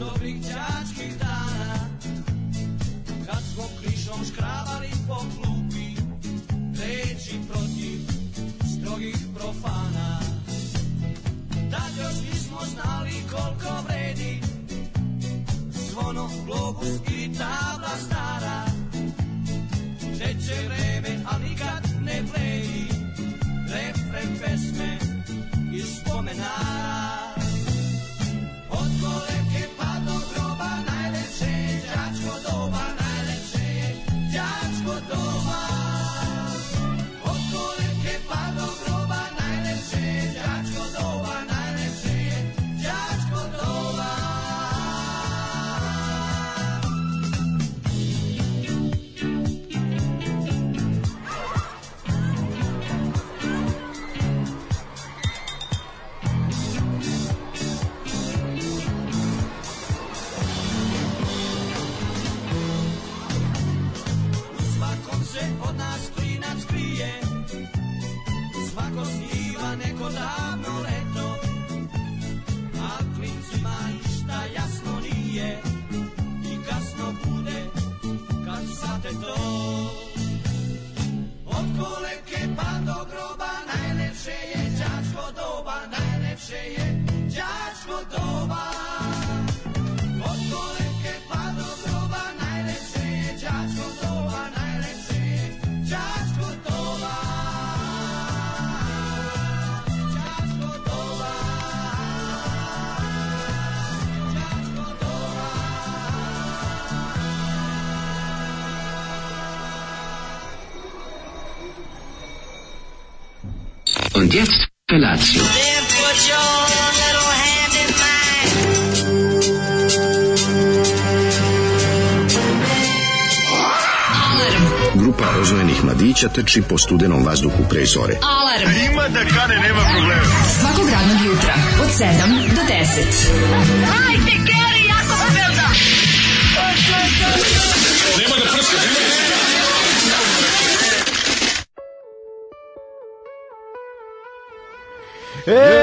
dobrih đačkih dana Kad smo krišom škrabali po klupi Reći protiv strogih profana Tad još nismo znali koliko vredi Zvono, globus i tabla stara Teče vreme, a nikad ne pleji Refren pesme iz spomenara od koleke pa do groba najlepše je đačko doba, najlepše je đačko doba. Od koleke pa do groba najlepše je đačko doba, najlepše je đačko doba. U svakom se od nas klinac krije Svako sniva neko davno leto A klincima ništa jasno nije I kasno bude kad sate to Od koleke pa do groba Najlepše je đačko doba Najlepše je đačko doba od koleke pa do groba najlepše je đačko doba, najlepše je đačko doba. Đačko doba. Đačko doba. Und jetzt Felatio. Then put your little hand in mine. Grupa oznojenih mladića teči po studenom vazduhu pre zore. Alarm. Ima da kane, nema problema. Svakog radnog jutra, od 7 do 10. Hajde, Geri, jako se velda.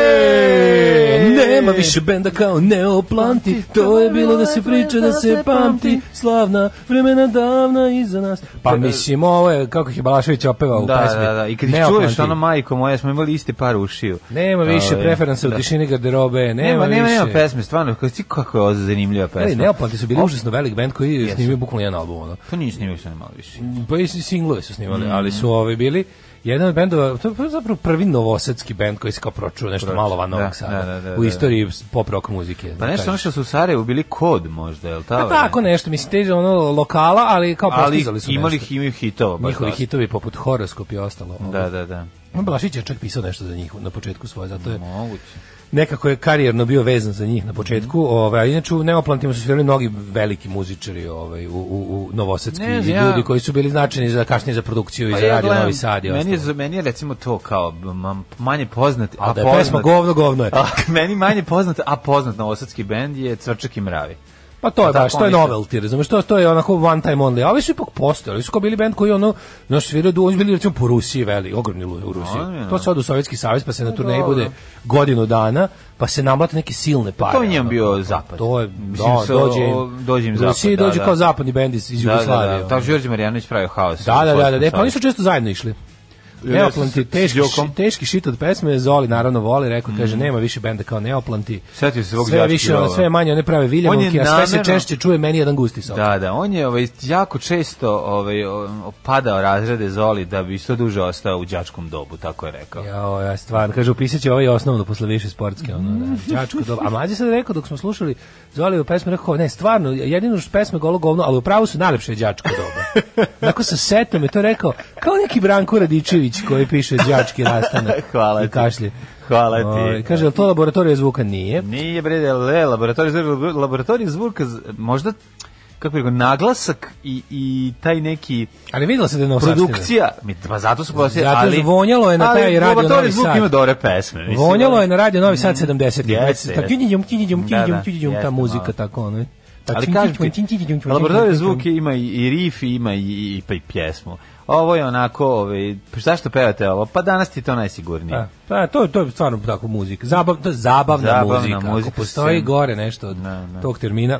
Ej, nema više benda kao Neoplanti, to je bilo da se priča, da se pamti, slavna vremena davna iza nas. Pa mislim, ovo je, kako ih je Balašević opevao Pa u Da, pesmi. da, da. I kad ih Neoplanti. čuješ, ono majko moja, smo imali iste par ušiju. Nema više Ove, preferansa u da. tišini garderobe, nema, Nema, nema, više. nema pesme, stvarno, kako ti kako je ovo zanimljiva pesma. Ali Neoplanti su bili O, užasno velik band koji je Jesu. snimio bukvalno jedan album. Ono. To nije snimio sam malo više. Pa i singlove su snimali, Mm. ali su ovi bili jedan od bendova, to je zapravo prvi novosadski bend koji se kao pročuo nešto malo van da, Novog Sada da, da, da, u da. istoriji pop rock muzike. Pa da nešto kažem. ono što su u Sarajevu bili kod možda, je li tako? Pa tako nešto, mislim, teže ono lokala, ali kao Ali postizali su imali nešto. imaju hitova. baš Njihovi dosta. hitovi poput Horoskop i ostalo. ono. Da, da, da. Blašić je čak pisao nešto za njih na početku svoje, zato je Moguće. nekako je karijerno bio vezan za njih na početku. Mhm. Ovaj, a inače u Neoplantima su svirali mnogi veliki muzičari ovaj, u, u, u Novosadski Ne i znam, ja- ljudi koji su bili značajni za kasnije za produkciju i Pa za ja radio gledam, Novi Sad i meni je, za- ostalo. meni je recimo to kao ma- manje poznat, a, A da je poznat... pesma govno, govno je. A, meni manje poznat, a poznat novosadski bend je Cvrčak i mravi. Pa to je Pa baš, tako to je oni su. novelty, razumeš, to, to je onako one time only. A ovi su ipak postojali, ovi su kao bili band koji ono, naš sviraju, du- oni su bili recimo po Rusiji veli, ogromni lu- u Rusiji. Ozbiljno? To se odu u Sovjetski savez, pa se na turneji bude godinu dana, pa se namlate neke silne pare. to je Pa njemu ono. bio zapad. pa To je, Mislim, da, sa- dođe, o- dođe im u Rusiji zapad, da, dođe da. kao zapadni bend iz, iz Jugoslavije. Da, da, da. Tako Đorđe Marijanović pravio haos. Da, da, da, da, Posle da, pa sad. oni su često zajedno išli. Ja, Neoplanti, s- s teški, Đokom. ši- teški shit od pesme, Zoli naravno voli, rekao, kaže, nema više benda kao Neoplanti. Sjetio se svog sve đačkih više, ono, rova. sve je manje, one prave On viljamovke, je a sve se namerno- češće čuje meni jedan gusti sok. Da, da, on je ovaj, jako često ovaj, o- padao razrede Zoli da bi što duže ostao u đačkom dobu, tako je rekao. Jao, ja stvarno, kaže, upisat će ovaj osnovno posle više sportske, ono, da, đačko doba. A mlađi sad rekao, dok smo slušali Zoli u pesmu, rekao, ne, stvarno, jedino što pesme golo govno, ali upravo su najlepše đačko doba. Onako sa setom je to rekao, kao neki Branko Radičević koji piše đački rastanak Hvala i ti. kašlje. Hvala ti. Ovaj, kaže, je li to laboratorija zvuka? Nije. Nije bre, da le, laboratorij zvuka, laboratorij zvuka z- možda kako bih rekao, naglasak i, i taj neki Ali vidjela se da je novosadština. produkcija, mi, pa zato su poslije, Zato ali... zvonjalo je na taj ali radio laboratorij Novi zvuk Sad. ima dobre pesme. Mislim, Vonjalo je na radio Novi Sad Znači, 70. jeste, Tako, jeste. tjinjum, tjinjum, Da, da, tjinjum, tjinjum, ta jeste, muzika, malo. tako, ono. Ali kažem ti, laboratorij zvuk ima i, i rif, ima i, i, pa i pjesmu. ovo je onako, ovaj, pa zašto pevate ovo? Pa danas ti je to najsigurnije. Da. Pa to to je stvarno tako muzika. Zabav, to je zabavna, Zabavna muzika. Ako muzika, postoji scena. gore nešto od Da, da. Mm. tog termina.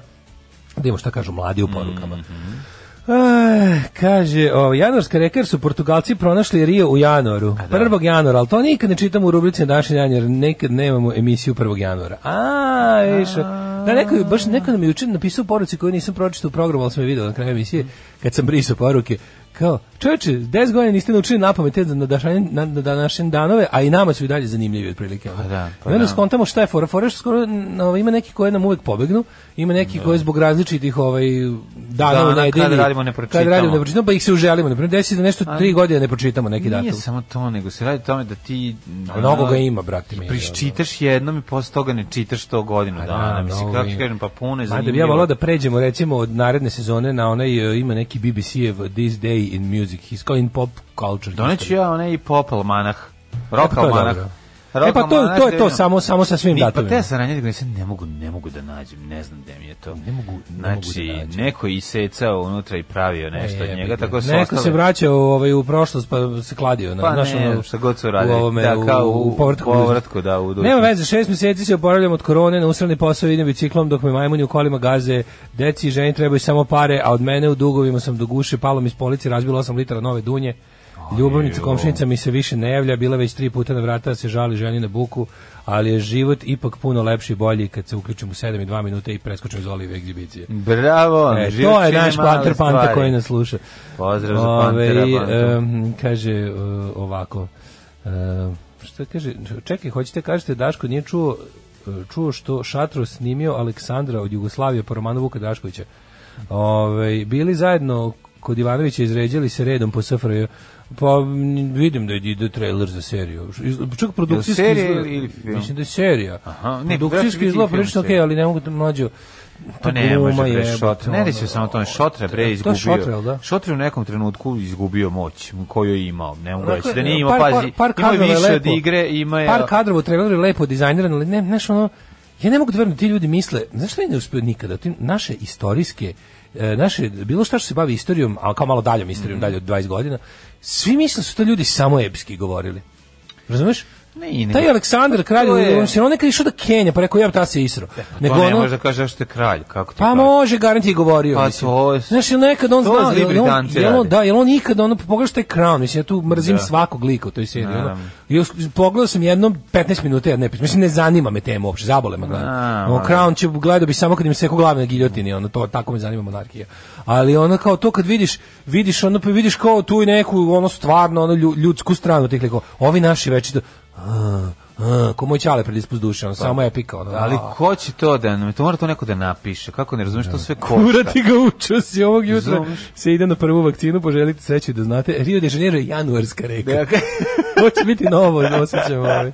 Da imamo šta kažu mladi u porukama. Eh, kaže, o, januarska reka jer su Portugalci pronašli Rio u januaru. da. 1. januara, ali to nikad ne čitam u rubrici na današnji dan, jer nekad nemamo emisiju 1. januara. A, viš, da, neko, je- baš neko nam je jučer napisao poruci koju nisam pročitao u programu, ali sam je video na kraju emisije, kad sam brisao poruke, kao, čovječe, 10 godina niste naučili na pamet te na, dašanje- na, na današnje danove, a i nama su i dalje zanimljivi otprilike. ono. Pa da, pa I onda da. skontamo šta je fora. Fora je što skoro, n- ovaj, ima neki koji nam uvek pobegnu, ima neki Da. koji zbog različitih ovaj, dana, Dana u nedelji, kad radimo ne Kad radimo pročitamo. ne pročitamo, pa ih se uželimo. Na primjer, desi da nešto tri godine ne pročitamo neki Nije datum. samo to, nego se radi o tome da ti... da, A Mnogo ga ima, brate mi. Priščitaš jednom i posle toga ne čitaš to godinu Pa da, dana. Mislim, mnogo kako ti ima. kažem, pa puno je Ma da zanimljivo. bi ja volao da pređemo recimo od naredne sezone na onaj e, ima neki BBC-ev eh, This Day in Music, his in pop culture. Doneću ja onaj pop almanah. Rock E, pa to je almanah. dobro. Rock E, pa to- almanah to je da to, vidim. samo- samo sa svim Ni- Pa datumima. te saranje koji se ne mogu, ne mogu da nađem, ne znam gde mi je to. Ne mogu, ne mogu znači, da nađem. neko je isecao unutra i pravio nešto od njega, tako su Neko se ostale- vraćao ovaj, u prošlost pa se kladio. na- Pa znaš, ono, ne, šta god su radili. U ovome, da, kao u, u povratku. povratku, da, u dušu. Nema veze, šest mjeseci se oporavljam od korone, na usrani posao idem biciklom dok me majmuni u kolima gaze, deci i ženi trebaju samo pare, a od mene u dugovima sam do guše, palom iz police, razbilo 8 litara nove dunje. Ljubavnica komšinica mi se više ne javlja, bila je već tri puta na vrata da se žali ženi na buku, ali je život ipak puno lepši i bolji kad se uključim u 7 i 2 minuta i preskočim iz olive egzibicije. Bravo, E, život to je čini naš male Panter Panta stvari. koji nas sluša. Pozdrav za Pantera Pantu. em, kaže e, ovako. E, šta kaže? Čekaj, hoćete da kažete Daško nije čuo e, čuo što Šatro snimio Aleksandra od Jugoslavije po romanu Vuka Draškovića. Ove, bili zajedno kod Ivanovića izređali se redom po SFRJ. Pa m, vidim da ide trailer za seriju. Iz- Čak produkcijski serija izgleda- ili film? Mislim da je serija. Aha, ne, verovatno će produkcijski biti izgleda i film prilično okej, serija. ali ne mogu da mlađu. Pa To ne, gluma može pre jebote, šotre. Ne ono. reći samo o tome, šotre To pre je izgubio. šotre, jel da? Šotre u nekom trenutku izgubio moć koju je imao. Ne mogu Onako, reći da nije imao, par- Dakle, par- pazi, imao par je kadrova je više od lepo. igre, ima je... Par kadrova u traileru je lepo dizajniran, ali ne, znaš ono, ja ne mogu da verujem da ti ljudi misle, znaš što ja ne uspio nikada, ti naše istorijske, e, naše, bilo šta što se bavi istorijom, a kao malo daljom istorijom, dalje od 20 godina, svi misle da su to ljudi samo epski govorili. Razumeš? Ne, i nego- Taj Aleksandar kralj To je- u se on nekad išao da Kenja, pa rekao ja ta se isro. Nego Nego to ne ono- može da kaže zašto je kralj, kako ti pa kaže. može, garant je govorio. Pa mislim. to je- Znaš, jel nekad on to zna, zli jel on- Britanci jel on- rade. da, jel on ikad, ono, pogledaš taj Crown, mislim, ja tu mrzim Da. svakog lika u toj seriji. ono. Naravno. Jel, pogledao sam jednom 15 minuta, ja ne, mislim, ne zanima me tema uopšte, zabole me. gledati. Da, Ono, ma da. Crown će, gledao bi samo kad im se seko glave na giljotini, ono, to, tako me zanima monarhija. Ali ono, kao to kad vidiš, vidiš, ono, pa vidiš kao tu i neku, ono, stvarno, ono, lju- ljudsku stranu tih likova. Ovi naši već, a, a, ko moj ćale pred ispod duše, Pa. ono, samo epika, ono, Ali a. Da. ko će to da, nam- to mora to neko da napiše, kako ne razumeš, to sve košta. Kurati ga učio si ovog jutra. Razumeš? Se ide na prvu vakcinu, poželite sreću da znate. Rio de Janeiro je januarska reka. Da, ka- to će biti novo, da osjećam ovaj.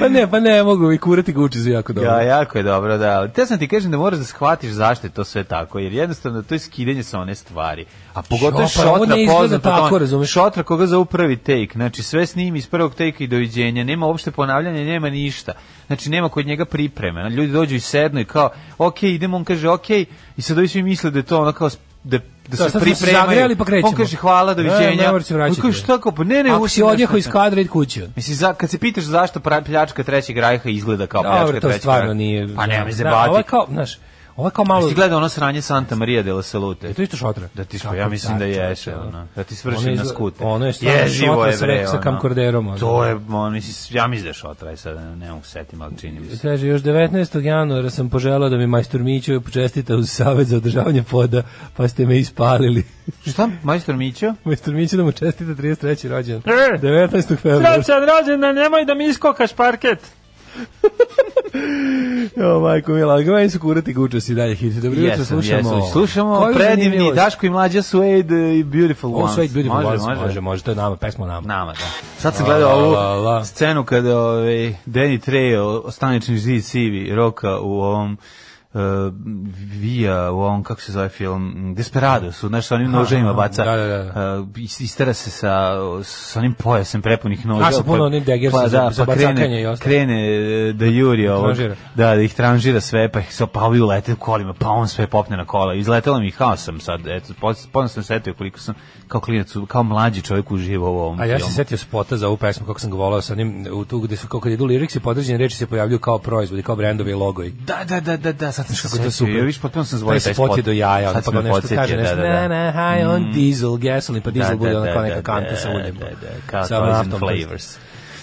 Pa ne, pa ne, mogu i kurati ga uči za jako dobro. Ja, jako je dobro, da. ali Te sam ti kažem da moraš da shvatiš zašto je to sve tako, jer jednostavno to je skidenje sa one stvari. A pogotovo Šo, pa ovo šotra ne izgleda poznata. tako, on- razumeš? Šotra koga za prvi take, znači sve snimi iz prvog take i doviđenja, nema uopšte ponavljanja, nema ništa. Znači nema kod njega pripreme. Ljudi dođu i sednu i kao, ok, idemo, on kaže ok, i sad ovi svi misle da je to ono kao s- da da sad se smo se pripremaju. zagrejali, pa krećemo. On kaže hvala, Ne, ne doviđenja. moraš se vraćati. da. On kaže, šta kao, pa ne, ne, Ako uopšte si odjehao nešto- iz kadra, id kući. ono. Mislim, za, kad se pitaš zašto pra- pljačka trećeg rajha izgleda kao pljačka Dobro, to trećeg stvarno Rajha. nije. Pa nema mi Da, Ovo je zebati. kao, znaš, ovo je kao malo... Jesi gledao ono sranje Santa Maria de la Salute? Je to isto šotra? Da ti, Kako ja mislim da car, ješe, čoveče, ono. Da ti Ono svrši je na izgleda- skute. ono je stvarno Jezivo šotra je, sa bre, rep- sa ono. kamkorderom, ono. To je, on, mislim, ja mislim da je šotra, aj sad ne mogu se setim, ali čini mi se. Kaže, još 19. januara sam poželao da mi majstor Mićo počestita uz savjet za održavanje poda, pa ste me ispalili. Šta, majstor Mićo? Majstor Mićo da mu čestite 33. rođendan. 19. februara. rođendan, E! nemoj da mi iskokaš parket. Jo, majko mila, ali ga meni su kurati guča si dalje hit. Dobro jutro, Jesam, slušamo. jesam. Slušamo Koju predivni zanimljivost? Daško i mlađa Suede i Beautiful O, Ones. sve ljudi može, Može, može, može, može, to je nama, pesma nama. Nama, da. Sad sam gledao ovu La, la, la. scenu kada ovaj, Danny Trejo, stanični žid sivi, roka u ovom uh, vija u ovom, kako se zove film, Desperado su, znaš, sa onim noževima baca, Da, da, da. uh, is- istera se sa, sa onim pojasom prepunih noža. A, sa puno pa- onim degersa pa, za- da, za pa bacakanje i krene, ostalo. krene e, da juri ovog, Tranžira. da, da ih tranžira sve, pa ih se pa ovi ulete kolima, pa on sve popne na kola. Izletelo mi kao sam sad, eto, pos- ponosno sam setio koliko sam kao klinac, kao mlađi čovjek uživao u ovom A ja se filmu. setio spota za ovu pesmu kako sam ga volao sa njim u tu gde su kako kad idu liriksi podređene reči se pojavljuju kao proizvodi, kao brendovi i logoji. Da, da, da, da, da, sad sam Kako se je setio. to super. Ja viš potpuno sam zvoj Taj spot je do jaja, on Sad pa sam kao me nešto podsjetio, kaže nešto. da, da, da. Na, na, high on diesel, gasoline, pa diesel Da, bude da, ona da, kao da, neka kanta da, sa da, uljem. da, da, kao Sa Thousand naftom. Flavors.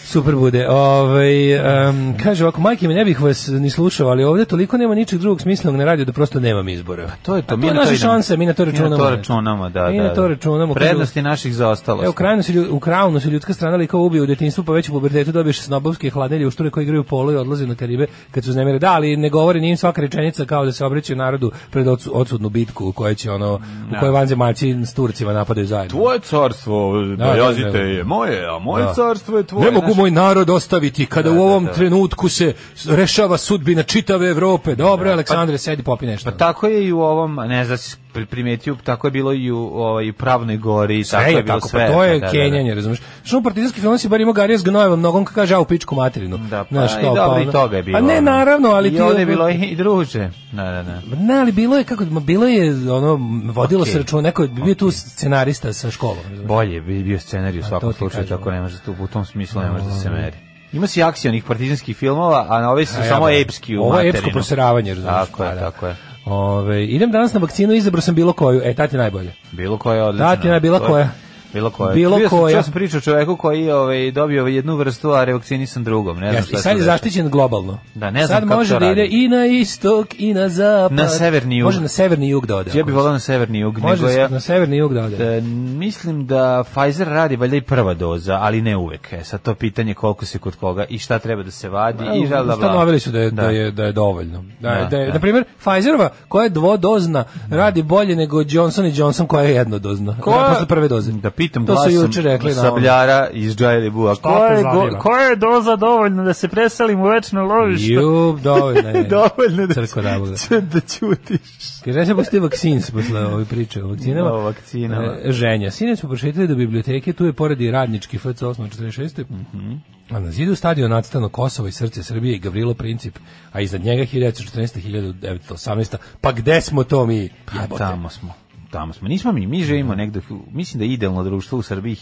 Super bude. Ovaj em, kaže ovako, majke mi ne bih vas ni slušao, ali ovdje toliko nema ničeg drugog smislenog na radiju da prosto nemam izbora. Pa To je to, A to je naša šansa, mi na to računamo. Mi na to računamo, da, da. Mi na to da. računamo. Kaže, Prednosti naših zaostalosti. Evo, krajno su, lju- u krajnu su ljudska strana lika ubiju u detinjstvu, pa već u pubertetu dobiješ snobovske hladnelje u šture koji igraju polo i odlaze na Karibe kad su uznemire. Da, ali ne govori njim svaka rečenica kao da se obraćaju narodu pred odsu- odsudnu bitku u kojoj će ono, u kojoj vanzemaljci s Turcima napadaju zajedno. Da. Tvoje carstvo, Bajazite, da, da. je moje, a moje Da. carstvo je Ne mogu moj narod ostaviti Da, kada u ovom trenutku se s- rešava sudbina čitave Evrope. Dobro, Aleksandre, sedi popi nešto. Da. Pa tako je i u ovom, ne znam da si pri- primetio, tako je bilo i u ovaj, pravnoj gori, sve tako E, je je bilo tako, sve. pa to je da, da, da. kenjanje, razumeš? Što u partizanski film si bar imao Garija s Gnojevim nogom, kad kaže, a u pičku materinu. Da, pa, Znaš, i kao, dobro, ono- i toga je bilo. A ne, ono. naravno, ali I ti... ovdje je bilo i druže. Da, da, da. Pa Ne, ali bilo je kako, ma bilo je ono vodilo Okej, se računa neko je bio tu scenarista sa školom. razumeš? Bolje bi bio scenarij u to svakom ti slučaju, kažem. tako ne može tu, u tom smislu ne može da se meri. Ima si akcija onih partizanskih filmova, a na ove su A ja, samo da. epski u Ovo je materinu. epsko proseravanje, razumeš? Tako Pa, je, da. tako je. Ove, idem danas na vakcinu, izabrao sam bilo koju. E, tati najbolje. Bilo koja je odlična. Da, ti ne, bilo To je- koja. Bilo koja. Bilo Čuo sam- koja. Čuo sam priču o čoveku koji je ovaj, dobio jednu vrstu, a revakcinisan drugom. Ne znam Jeste, šta I se sad je dešava. zaštićen globalno. Da, ne znam sad kako može to da ide radi. i na istok i na zapad. Na severni jug. Može na severni jug da ode. Ja ako bih volao na severni jug, hoće. nego Može je... na severni jug da ode. E, mislim da Pfizer radi valjda i prva doza, ali ne uvek. E, sad to pitanje koliko se kod koga i šta treba da se vadi i žal da Ustanovili su da je, da. je, da je dovoljno. Da, je- Da, da je, da. Na primjer, Pfizerova, koja je dvodozna, radi bolje nego Johnson Johnson koja je jednodozna. Koja? Posle prve doze. Da pitam to su glasom juče rekli na ovom. sabljara iz Džajli Bua. Koja te je, go- zanima? koja je doza dovoljno da se preselim u večno lovište? Ju, dovoljno je. dovoljno da, Crko da bude. da ćutiš. Kaže, ja se pusti vakcin posle ove priče o vakcinama. O vakcinama. E, ženja. Sine smo prošetili do biblioteke, tu je pored i radnički FC 846. Mhm. A na zidu stadion nacrtano Kosovo i srce Srbije i Gavrilo Princip, a iznad njega 1914. 1918. Pa gde smo to mi? Jebote. Pa Tamo smo. Tamo smo. Nismo mi, mi živimo negde, u- mislim da je idealno društvo u Srbiji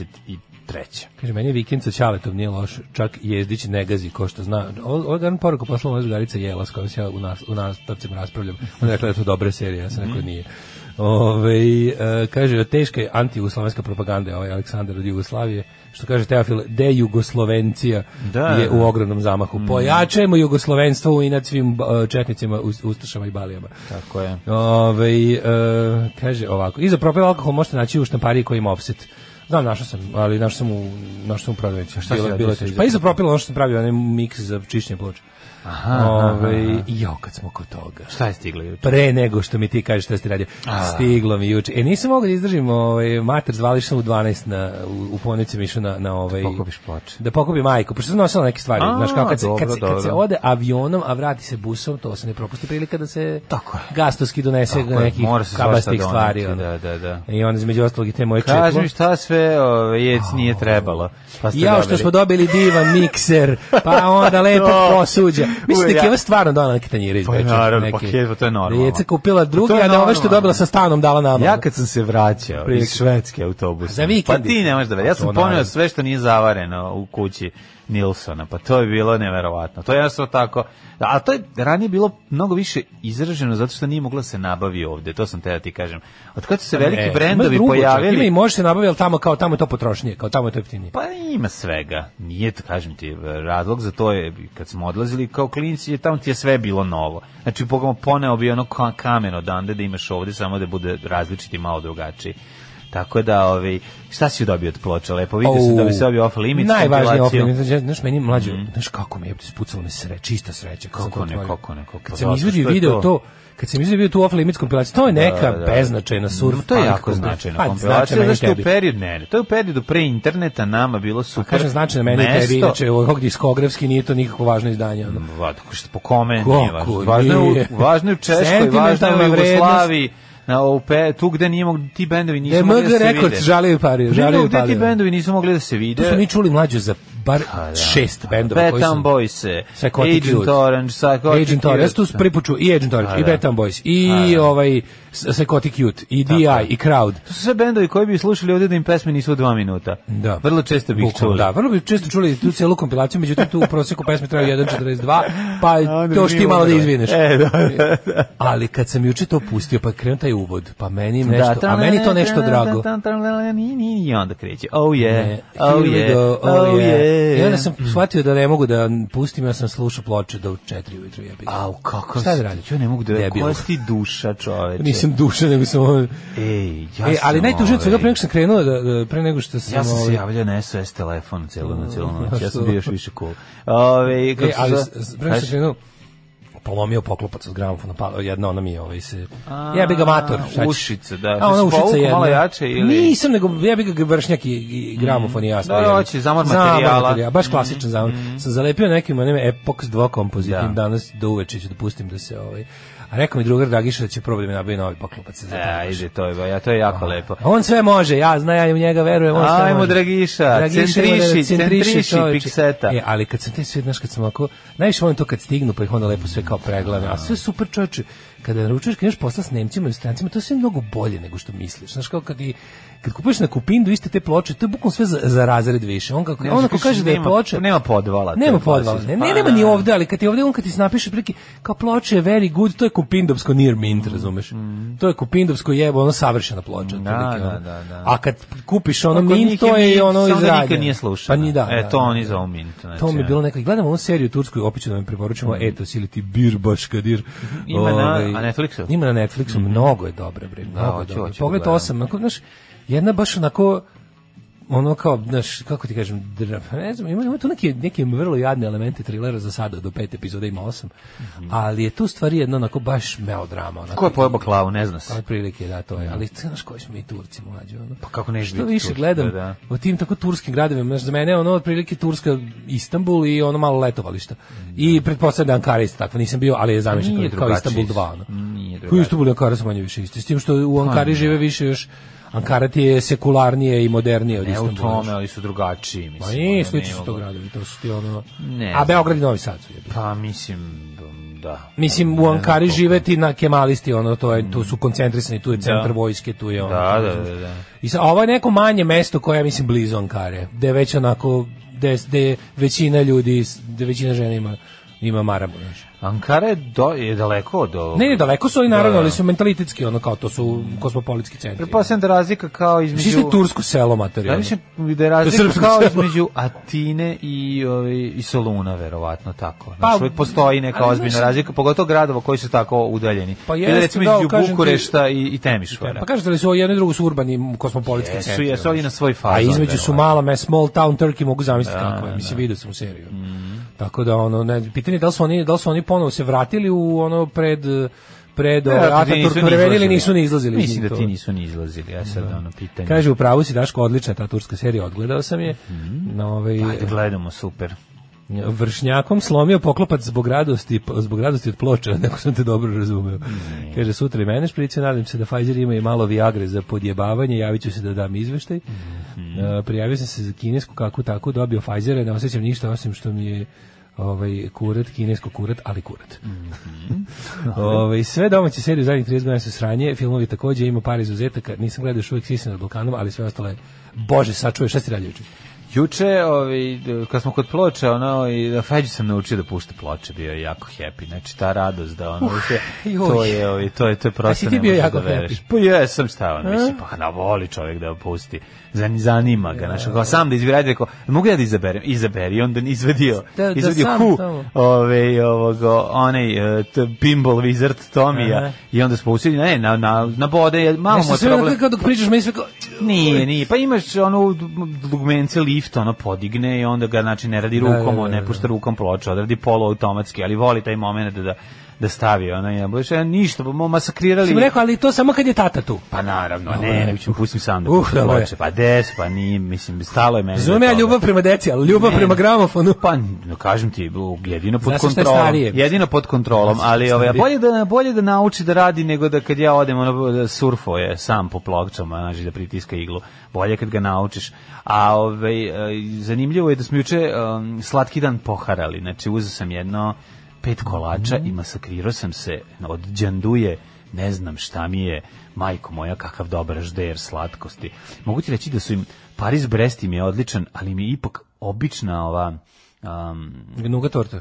1923. Kaže, meni je vikend sa Ćaletom nije loš, čak Jezdić ne gazi, ko što zna. Ovo dan poruku poslala moja drugarica Jela, s kojom se ja u, nas, u nastavcima raspravljam. Ona je rekla da su dobre serije, ja sam rekao Mhm. nije. Ove, e, kaže, teška je antijugoslovenska propaganda, je ovaj Aleksandar od Jugoslavije, što kaže Teofil, dejugoslovencija Da. Mhm. je u ogromnom zamahu. Pojačajmo jugoslovenstvo u inat svim e, četnicima, us- ustašama i balijama. Tako je. Ove, e, kaže ovako, iza propel alkohol možete naći u štampariji koji ima offset. Znam, našao sam, ali našao sam u, našao sam u prodavnici. si bilo, radio bilo je sa teško. iza Pa iza propela ono što sam pravio, onaj miks za čišćenje ploče. Aha, Ove, jo, kad smo kod toga. Šta je stiglo juče? Pre nego što mi ti kažeš šta si radio. Stiglo mi juče. E, nisam mogao da izdržim, ovaj, mater zvališ sam u 12 na, u, u ponicu mi išao na, na ovaj... Da pokupiš ploče. Da pokupi majku, pošto sam nosila neke stvari. A, znaš, kao kad se, dobro, kad, se, kad se dobro. ode avionom, a vrati se busom, to se ne propusti prilika da se Tako je. gastoski donese Tako je, nekih mora se svašta kabastih doneti, stvari. ono. da, da, da. I onda između ostalog i te moje Kaži četvo. mi šta sve ove, jec nije trebalo. Pa ste Jao što dobili. smo dobili divan mikser, pa onda lepo To. posuđa. Mislim da Uvek je ja. Keva stvarno dala neke tanjire iz Pa Beča, naravno, pa Keva, to je normalno. Da je Jeca kupila drugi, Pa to je a da ove što je normalno. dobila sa stanom dala nama. Ja kad sam se vraćao Prilike. iz švedske autobusa. Za vikend. Pa ti ne možeš da veruješ. Ja Pa sam to poneo naravno. sve što nije zavareno u kući Nilsona, pa to je bilo neverovatno. To je jednostavno tako. A to je ranije bilo mnogo više izraženo zato što nije moglo da se nabavi ovde. To sam te da ti kažem. Od kad su se veliki E, brendovi ima drugo, čak, Ima i pojavili, može se nabaviti, ali tamo kao tamo je to potrošnije, kao tamo je to jeftinije. pa ima svega. Nije, to, kažem ti, razlog za to je, kad smo odlazili kao klinici, je tamo ti je sve bilo novo. Znači, pogledamo, poneo bi ono ka- kamen odande da imaš ovde, samo da bude različiti malo drugačiji. Tako da, ovaj, šta si dobio od ploča? Lepo vidio se da bi se dobio off limits. Najvažnije off kompilaciju. limit. Znaš, znaš, meni mlađe, znaš kako mi je spucalo me sre, čista sreća. kad sam Kako to ne, otvorio. kako ne, kako Kad ne. sam Zato izvodio što je video to- Da, to, kad sam izbio bio tu off limits kompilaciju, to je neka beznačajna surf. To je punk jako kompi- značajno. Pa, Kompilacija, značajna znaš meni što i u tebi. period, ne, ne, to je u periodu pre interneta nama bilo super. Kažem značajno meni i tebi, mesto. inače ovog diskografski nije to nikako važno izdanje. Ono. Va, tako što po kome Kako nije važno. Važno je, nije? u, važno je u Češkoj, važno je Sentimentalna u vrednost. Jugoslaviji, na OP, tu gde nije mogli, ti bendovi Da je nisu mogli da MG se vide. Records žalio pari, Ne, žalio ne, gde ti pari. bendovi nisu mogli da se vide. Pa da. Tu smo mi čuli mlađe za bar šest bendova koji Betan su... Boys, Psychotic Agent Youth. Orange, Psychotic Agent Orange, ja sam tu Youth. prvi put čuo i Agent Orange, A, i da. Betan Boys, i ovaj S- Psychotic Youth, i DI, i Crowd. To su sve bendovi koji bi slušali ovdje da im pesme nisu u dva minuta. Da. Vrlo često bi ih Bukvalno, čuli. Da, vrlo bi često čuli tu celu kompilaciju, međutim tu u prosjeku pesme traju 1.42, pa A onda to još bi ti malo da umrli. izvineš. E, da, da, Ali kad sam juče to pustio, pa krenuo taj uvod, pa meni nešto, Da, a meni to nešto drago. E, I onda kreće. Oh yeah, Ne, da, oh here we yeah, go, oh yeah. I onda sam shvatio da ne mogu da pustim, ja sam slušao ploče do 4 ujutru jebi. ga. Au, kako Šta da si- radim? Ja ne mogu da... Debil. Koja si ti duša, čoveče? Nisam duša, nego sam ovo... Ej, ja E, ali sam najtužnije od svega ovaj- pre nego što sam krenuo, da, da, pre nego što sam... Ja sam se ovaj, Mm, javljao na SOS telefon celu na celu noć. Ja sam Što? bio još više cool. Ove, kako E, se ali zove? s- s- pre nego što Kaži- sam krenuo, polomio poklopac od gramofona, pa jedna ona mi je ovaj se... Jebi ga mator. šta ćeš? ušice, da. A ona Jesi ušica povukao jedna. malo jače ili- Nisam, nego jebi ga vršnjak i, i gramofon i jasno. Da, jebi. hoće, zamor materijala. Mhm. baš klasičan zamor. Sam zalepio nekim onim Epox 2 kompozitim Da. danas do uveče ću da pustim da se ovaj... A rekao mi drugar Dragiša da će probati da mi nabavi novi poklopac. za E, tako ide to je, ja, to je jako lepo. On sve može, ja znam, ja u njega verujem. On sve Ajmo, može. Dragiša, ima da- centriši, centriši, čoveče. pikseta. E, ali kad sam te sve, znaš, kad sam ako, najviše volim to kad stignu, pa ih onda lepo sve kao pregledam. A sve super čoveče, kada naručuješ, kad imaš posla s Nemcima i strancima, to je sve mnogo bolje nego što misliš. Znaš, kao kad, i, kad kupuješ na kupindu iste te ploče, to je bukvalno sve za, za razred više. On kako, Ne, on znaš, kažeš, ako kaže da je nema- ploča... nema podvala, to je Nema baš podvala. Ne, pa, ne, nema ni da. ovde, ali kad ti ovde on kad ti napiše prilike kao ploče je very good, to je kupindovsko near mint, razumeš? To je kupindovsko jebo, ono savršena ploča. otprilike, Mm, da, ono. da, da. A kad kupiš ono Pa kod njih mint, to je i Mint, ono samo da izradnja. nikad nije slušao. Pa ni da. E, da, to da. oni zovu mint. Znači, To mi je bilo ono. neko. Gledamo onu seriju tursku, opet ću da vam preporučimo Etos ili ti Birbaš Kadir. Mhm. Ima na- Ovaj, a Netflixu? Ima na Netflixu, mnogo je dobra, bre, mnogo je hoću- dobra. hoću da Pogled gledam. 8, onako, znaš, jedna baš onako ono kao, znaš, kako ti kažem, dra- pa ne znam, ima, ima tu neke, neke vrlo jadne elemente trilera za sada, do pet epizoda ima osam, ali je tu stvari jedna onako baš melodrama. Onako, Ko Mhm. je pojebao klavu, ne zna se. ali prilike, da, to je. Ali ti znaš koji smo mi Turci mlađi, ono. Pa kako ne bi Što biti više Turci, gledam da, da. o tim tako turskim gradovima, znaš, za mene je ono otprilike Turska Istanbul i ono malo letovališta. I pretpostavljam da Ankara je isto tako, nisam bio, ali je zamišljen Nije kao, kao drugačije. Istanbul 2, ono. Nije drugačije. Koji Pa Istanbul i Ankara su manje više isti, s tim što u Ankari žive više još, Ankara ti je sekularnije i modernije od Ne E, u Istanbula. tome, ali su drugačiji, mislim. Pa ono, nije, ne slični su mogu. to gradovi, to su ti ono... Ne A znam. Beograd i Novi Sad su jebi. Pa mislim, da. Mislim, u Ankari žive ti na kemalisti, ono, to je, tu su koncentrisani, tu je centar vojske, tu je ono. Mm. Da, da, da, da. I sa, a ovo je neko manje mesto koje je, mislim, blizu Ankare, gde je već onako, gde, gde je većina ljudi, gde većina žena ima, ima maramu, znaš. Ankara je, do, je daleko od ovog. Ne, ne, daleko su oni, Da, naravno, da. ali su mentalitetski, ono, kao to su kosmopolitski centri. Pretpostavljam da je razlika kao Mislim, između... isto je tursko selo materijalno. Ja mislim da je razlika srpsko kao selo. između Atine i, ovaj, i Soluna, verovatno tako. Pa, Znači, uvijek postoji neka ali ozbiljna znaš- razlika, pogotovo gradova koji su tako udaljeni. Pa Ili jeste, recimo da, između kažem ti- Bukurešta i, i Temišvara. Pa kažete li su ovo jedno i drugo su urbani kosmopolitski Jesu, centri? jesu, ali na svoj fazon, A između su Pa, da, verovatno. Da, mala me small town Turkey mogu zamisliti kako je. Mislim video sam u seriju. Mhm. Tako da ono ne pitanje je da li su oni da li su oni ponovo se vratili u ono pred pred ove, Vjerojatno ti Ataturk da, ni vremena ili izlazili. nisu ni izlazili. Da. iz Mislim njih, da to. ti nisu ni izlazili, ja sad ono pitanje. Kaže u pravu si Daško odlična je ta turska serija, odgledao sam je. Mhm. Na ovaj Ajde, gledamo, super. vršnjakom slomio poklopac zbog radosti, zbog radosti od ploča, neko sam te dobro razumeo. Kaže, sutra i mene šprice, nadam se da Pfizer ima i malo Viagre za podjebavanje, javit ću se da dam izveštaj. Mhm. E, prijavio sam se za kinesku kakvu takvu, dobio Pfizera, ne osjećam ništa osim što mi je ovaj kurat, kinesko kurat, ali kurat. Mhm. Ovaj, sve domaće serije u zadnjih 30 godina su sranje, filmovi takođe, ima par izuzetaka, nisam gledao još uvijek Sisa nad Balkanom, ali sve ostale, bože, sačuvaj, šta si radio juče? Juče, ovaj, d- kad smo kod ploče, ono, i da Feđu sam naučio da pušta ploče, bio je jako happy. Znači, ta radost da ono, više, joj. to je, ovaj, to je, to je prosto. A si ti ne bio možeš jako da veruješ. happy? Pa jesam šta ono, mislim, pa na voli čovjek da pusti. Zan- Zanima ga, znači, kao sam da izbira, ajde, rekao, mogu ja da izaberem? Izaberi, I onda izvedio, Da- da izvedio sam Who, tamo. ovaj, ovog, onaj, eh, t- Pinball Wizard Tomija, i onda smo usili, ne, na, na, na bode, malo mu Nešto je sve problem. onako kao dok pričaš, meni sve kao... Ovaj, Nije, nije. Pa imaš ono dugmence lift, ono podigne i onda ga znači ne radi Da, da, rukom, da, on ne da. pušta rukom ploču, odradi poluautomatski, ali voli taj moment da, da da stavi ono jabuče, a e, ništa, bomo masakrirali. Sam rekao, ali to samo kad je tata tu. Pa naravno, ne, Dobro. ne, ću pustim sam da Uh, pustim dobro je. ploče. Pa des, pa nije, mislim, stalo je meni. Razumem do ja toga. ljubav prema deci, ali ljubav Ne. prema gramofonu. Pa, no, kažem ti, jedino pod Znaš šta je kontrolom. starije? Jedino pod kontrolom, Znaš šta je ali ovaj, a starije? bolje da bolje da nauči da radi nego da kad ja odem ono da surfo je sam po pločama, znači da pritiska iglu. Bolje kad ga naučiš. A ovaj eh, zanimljivo je da smo juče em, slatki dan poharali. Znači uzeo sam jedno pet kolača i masakrirao sam se od đanduje ne znam šta mi je, majko moja, kakav dobar žder slatkosti. Mogu ti reći da su im, Paris Brest im je odličan, ali mi je ipak obična ova, um, em, Nuga torta.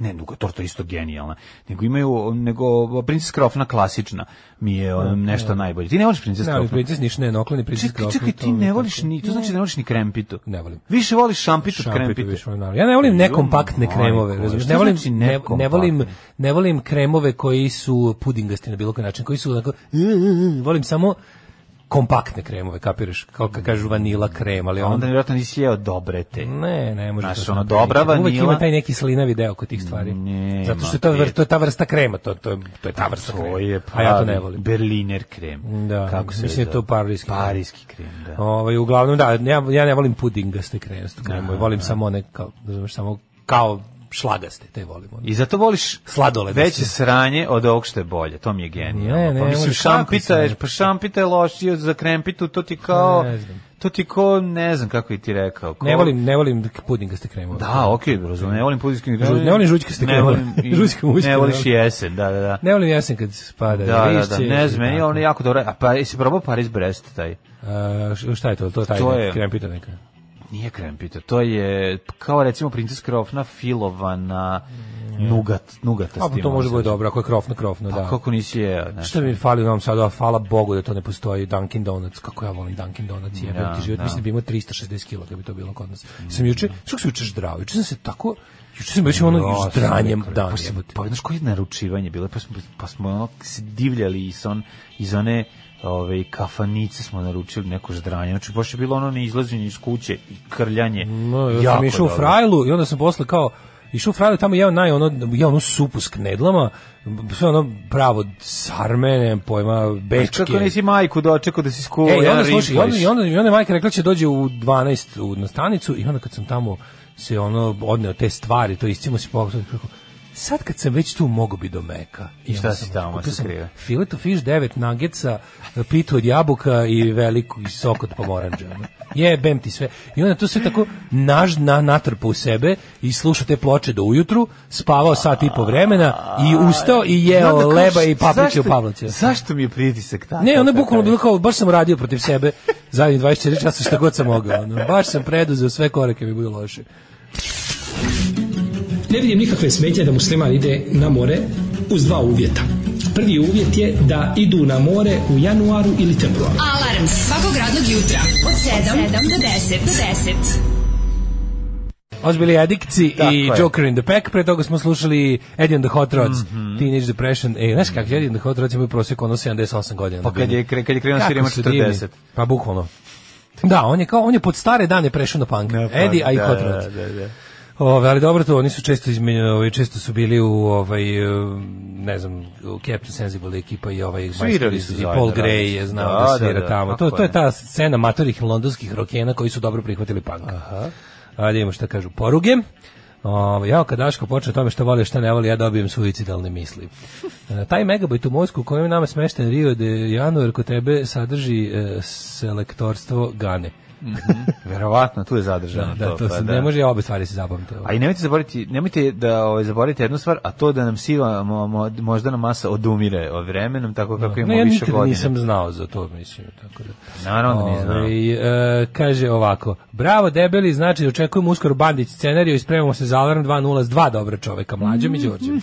ne, nego torta je isto genijalna. Nego imaju nego princesa Krofna klasična. Mi je ono, nešto najbolje. Ti ne voliš princesa Da, Ne, ali Krofna? princes niš ne, noklani princes Čekaj, čekaj, ti ne voliš ni, to znači da ne voliš ni krempitu. Ne volim. Više voliš šampitu od Šampitu krempitu. više volim, naravno. Ja ne volim nekompaktne Joj, kremove, majko, razumiješ? šta Ne volim, znači ne, ne volim, nekompaktne? ne volim kremove koji su pudingasti na bilo koji način, koji su onako, "E, e, e", volim samo kompaktne kremove, kapiraš? Kao kad kažu vanila krem, ali A Onda onda... vjerojatno nisi jeo dobre te. Ne, ne može Znaš, to. ono, sam dobra nikad. Uvek vanila- ima taj neki slinavi deo kod tih stvari. Nema, Pa Zato što je to, prijatelj. vr, to je ta vrsta krema, to, to, je- to je ta vrsta To krema. je A ja to ne volim. Berliner krem. Da, Kako se mislim da je to zove? parijski krem. Parijski krem, da. Ovaj uglavnom da, ja, ja ne volim pudingaste kremstvo, kremove, volim samo one kao, razumeš, samo kao šlagaste, te volim. ono. da I zato voliš Sladoled. Veće sranje od ovog što je bolje, to mi je genijalno. Ne, ne, pa mislim može, kako šampita se je, ne- pa šampita je lošije za krempitu, to ti kao Ne znam. to ti kao ne znam kako bi ti rekao. Ko, Ne volim, ne volim pudingaste kremove. Da, okej, okay, razumem. Ne volim pudingaste kremove. Ne volim žućkaste Ne kremove. volim i- Žućke muške, Ne ne voliš volim. jesen, da, da, da. Ne volim jesen kad spada Da, da, da, lišće ne i znam, meni je tako. ono jako dobro. A pa jesi probao Paris Brest taj? A, š- šta je to? To je taj To neki je- Da, krem pita neka. Nije krempita, to je kao recimo princes krofna filovana nugat, nugata A pa to može bude dobro, ako je krofno, krofno, Pa da. kako nisi jeo, znaš. Šta mi fali u Novom Sadu, a hvala Bogu da to ne postoji Dunkin Donuts, kako ja volim Dunkin Donuts, jebem Da, ti život, da. mislim da bi imao 360 kg kad bi to bilo kod nas. Sam juče, što se juče ždrao, juče sam se tako, juče sam već ono Ja, ždranjem Da, sam rekao, dan Pa, sam- jebote. pa znaš koje je naručivanje bilo? Pa smo, pa smo ono se divljali iz, on, iz one ove, kafanice smo naručili neko ždranje. Znači, baš je bilo ono neizlaženje iz kuće i krljanje. No, ja Jako sam išao u dobro. Frajlu i onda sam posle kao išao u Frajlu tamo jeo naj ono jeo ono supu s knedlama, sve ono pravo sarme, nemam pojma, bečke. Kako E, nisi majku dočekao da si skuvao E, i onda jedan slušaj, i onda, rinflaš? i onda, i onda je majka rekla da će dođe u 12 u, na stanicu i onda kad sam tamo se ono odneo te stvari, to istimo se pogledao kako sad kad sam već tu mogu bi do meka. I šta onda si sam tamo kupio sam sakrio? Filet of fish, 9 nuggetsa, pitu od jabuka i veliku i sok od pomoranđa. ono. Jebem ti sve. I onda tu sve tako naž, na, natrpa u sebe i sluša te ploče do ujutru, spavao sat i po vremena i ustao i I jeo onda kažeš, leba i paprike u da zašto- Pavlovcu. Zašto mi je pritisak tako? Ne, ono je kakav bukvalno bilo kao, baš sam radio protiv sebe zadnjih 24 časa šta god sam mogao. Ono. Baš sam preduzeo sve korake mi budu loše. Ne vidim nikakve smetnje da musliman ide na more uz dva uvjeta. Prvi uvjet je da idu na more u januaru ili februaru. Alarm svakog radnog jutra od 7, do 10. Do 10. Ozbili Adikci Tako i je. Joker in the Pack, pre toga smo slušali Eddie and the Hot Rods, Mhm. Teenage Depression. E, znaš kako, Eddie and the Hot Rods imaju prosjek ono 78 godina. Pa kad je, kre- kad je krenuo Kako svirima su divni. 40. Pa bukvalno. Da, on je kao on je pod stare dane prešao na punk. Na punk, Eddie a i da, Hot da, Rods. da, da. Ove, ali dobro to, oni su često izmenjeni, ovaj često su bili u ovaj e, ne znam, u Captain Sensible ekipa i ovaj majstori su su- i zajedno, Paul radili Gray su. je znao Da, da, da, svira da, tamo. To tako to je. je ta scena matorih londonskih rokena koji su dobro prihvatili punk. Aha. Ajde, imamo šta kažu poruge. Ovaj ja kad Daško počne o tome šta voli, šta ne voli, ja dobijem suicidalne misli. E, taj megabajt u mozgu u kojem je nama smešten Rio de Januar kod tebe sadrži e, selektorstvo Gane. Verovatno, tu je zadržano Da, to. to pa se da. ne može ja obe stvari se zapamtiti. A Pa i nemojte zaboraviti, nemojte da ovaj zaboravite jednu stvar, a to da nam siva mo, mo, moždana masa odumire od vremenom, tako kako imamo Ne, Da. ja više nikad godina. nisam znao za to, mislim, tako da. Naravno da nisam. znao. Ovaj, e, kaže ovako, bravo debeli, znači očekujemo uskoro Bandić scenariju i spremamo se za Alarm 2.0 s dva dobra čoveka, mlađom i Đorđem.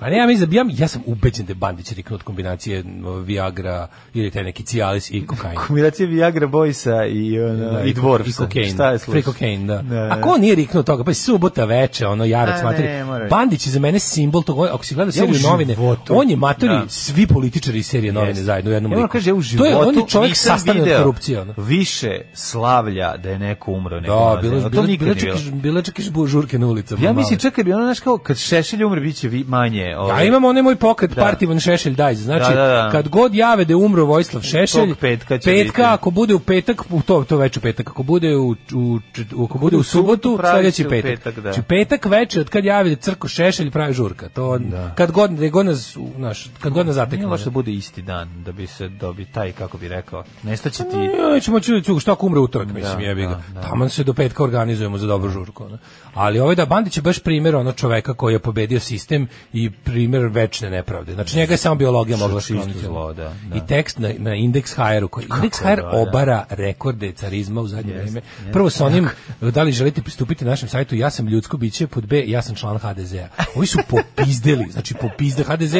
Pa ne, ja mislim da bi- ja, ja sam ubeđen da je Bandić riknut od kombinacije Viagra ili taj neki Cialis i kokain. Kombinacija Viagra Boysa i, ono, Da, i Dvorfsa. I kokain. Šta je Free slušaj? cocaine, da. Da, da. A ko nije riknuo toga? Pa je subota veče, ono, jarac A, materi. ne, mora biti. Bandić je za mene simbol toga. Ako si gledao Ja u seriju novine, životu. on je matori Da. svi političari iz serije novine Jeste. zajedno u jednom Ja moram liku. kažem, ja u to je, on je životu čovjek nisam sastavljen od video korupcije. Ono. Više slavlja da je neko umro nego Da, na bilo zemlji. je to bilo, nikad bilo, nije čak bilo. i- bilo je čak i žbu- žurke na ulicama. Ja male. mislim čekaj bi ono znaš kao kad Šešelj umre biće vi manje je... Ja imam onaj moj pokret da. Partivan Šešelj daj. Znači, ovaj- Da, da, da. kad god jave da je umro Vojislav Šešelj, Tog petka će biti. petka ako bude u petak, u to to veče u petak, ako bude u, u, u ako bude u subotu, pravi sledeći se u petak. petak, da. Znači, petak veče od kad javi da crko Šešelj pravi žurka. To kad god da je god nas, u- znaš, kad god nas Nije zatekne. loše da bude isti dan, da bi se dobi taj, kako bi rekao, nestaće ti... Ja ćemo čuti ću, šta ako umre utorak, mislim, Da, jebi ga. da, da. Taman se do petka organizujemo za dobru žurku. Ono. Ali ovaj da Bandić je baš primjer ono čoveka koji je pobedio sistem i primjer večne nepravde. Znači njega je samo biologija mogla Čisto skloniti. zlo, da, da. I tekst na, na Index HR-u. Koji, Index HR da, da. obara rekorde carizma u zadnje vreme. Prvo sa onim, da li želite pristupiti našem sajtu, ja sam ljudsko biće, pod B, ja sam član HDZ-a. Ovi su popizdeli, znači popizde HDZ.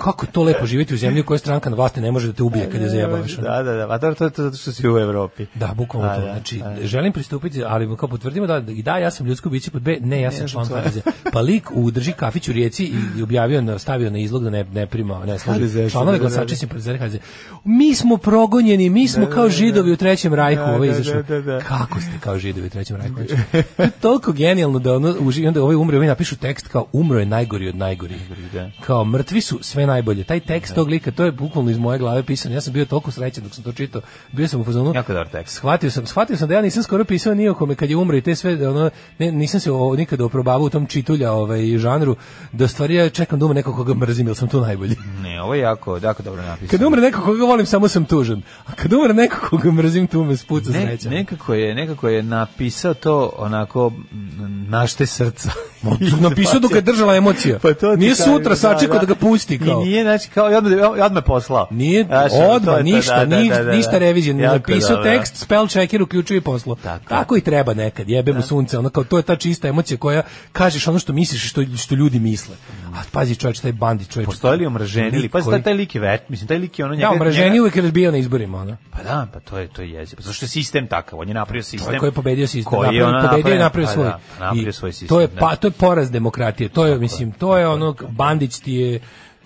Kako je to lepo živjeti u zemlji u kojoj stranka na vlasti ne može da te ubije kada je zajebavaš. ono. Da, da, da, a to, to, to zato što si u Evropi. Da, bukvalno A, to. da, znači, a, želim pristupiti, ali kao potvrdimo da i da ja sam ljudsko biće pod B, ne, ja sam član HDZ. Pa lik u drži kafić u Rijeci i objavio na stavio na izlog da ne ne prima, ne služi. HDZ, Članove da, da, glasači se prezere HDZ. Mi smo progonjeni, mi smo kao židovi u trećem rajhu, Da, ovo je da, izašlo. da, da, da. Kako ste kao židovi u trećem rajhu? Znači, to je toliko genijalno da ono uži, onda ovaj umre, ovaj napišu tekst kao umro je najgori od najgorih. da. Kao mrtvi su sve najbolje. Taj tekst tog lika, to je bukvalno iz moje glave pisano. Ja sam bio toliko srećan dok sam to čitao. Bio sam u fazonu. Jako dobar tekst. Shvatio sam, shvatio sam da ja nisam skoro pisao ni o kome kad je umro i te sve, ono, ne, nisam se o, nikada oprobavao u tom čitulja ovaj, žanru, da u stvari ja čekam da umre neko koga mrzim, jer sam tu najbolji. Ne, ovo je jako, jako dobro napisano. Kad umre neko koga volim, samo sam tužan. A kad umre neko koga mrzim, tu me spuca ne, sreća. nekako je, nekako je napisao to onako m, našte srca. Ma, tu Napisao dok je držala emocija. Pa to ti Nije kažem, sutra sačekao da, ga pusti. Kao. I nije, znači, kao, i odmah, i odmah poslao. Nije, Znaš, ono, E, to je odmah, to, ništa, da, da, niš- da, da, da. ništa revizije, Jako napisao dobro. tekst, spell checker uključuje i poslo. Tako, i treba nekad, jebe Da. mu sunce, ono kao to je ta čista emocija koja kažeš ono što misliš i što, što ljudi misle. A pazi čovječ, taj bandi čovječ. Postoji li omraženi ili, Da, Lik pa koji- taj, taj lik je već, mislim, taj lik je ono njega... Ja, omraženi njega- uvijek je razbijao na izborima, ono. Pa da, pa to je, to je jezivo. Zašto je sistem takav? On je napravio sistem. Ovaj Koji je pobedio sistem, Koji je napravio- ono pobedio i napravio pa svoj. Da, pa napravio I svoj sistem. To je, da. pa, to je poraz demokratije, to je, mislim, to je ono, Bandić ti je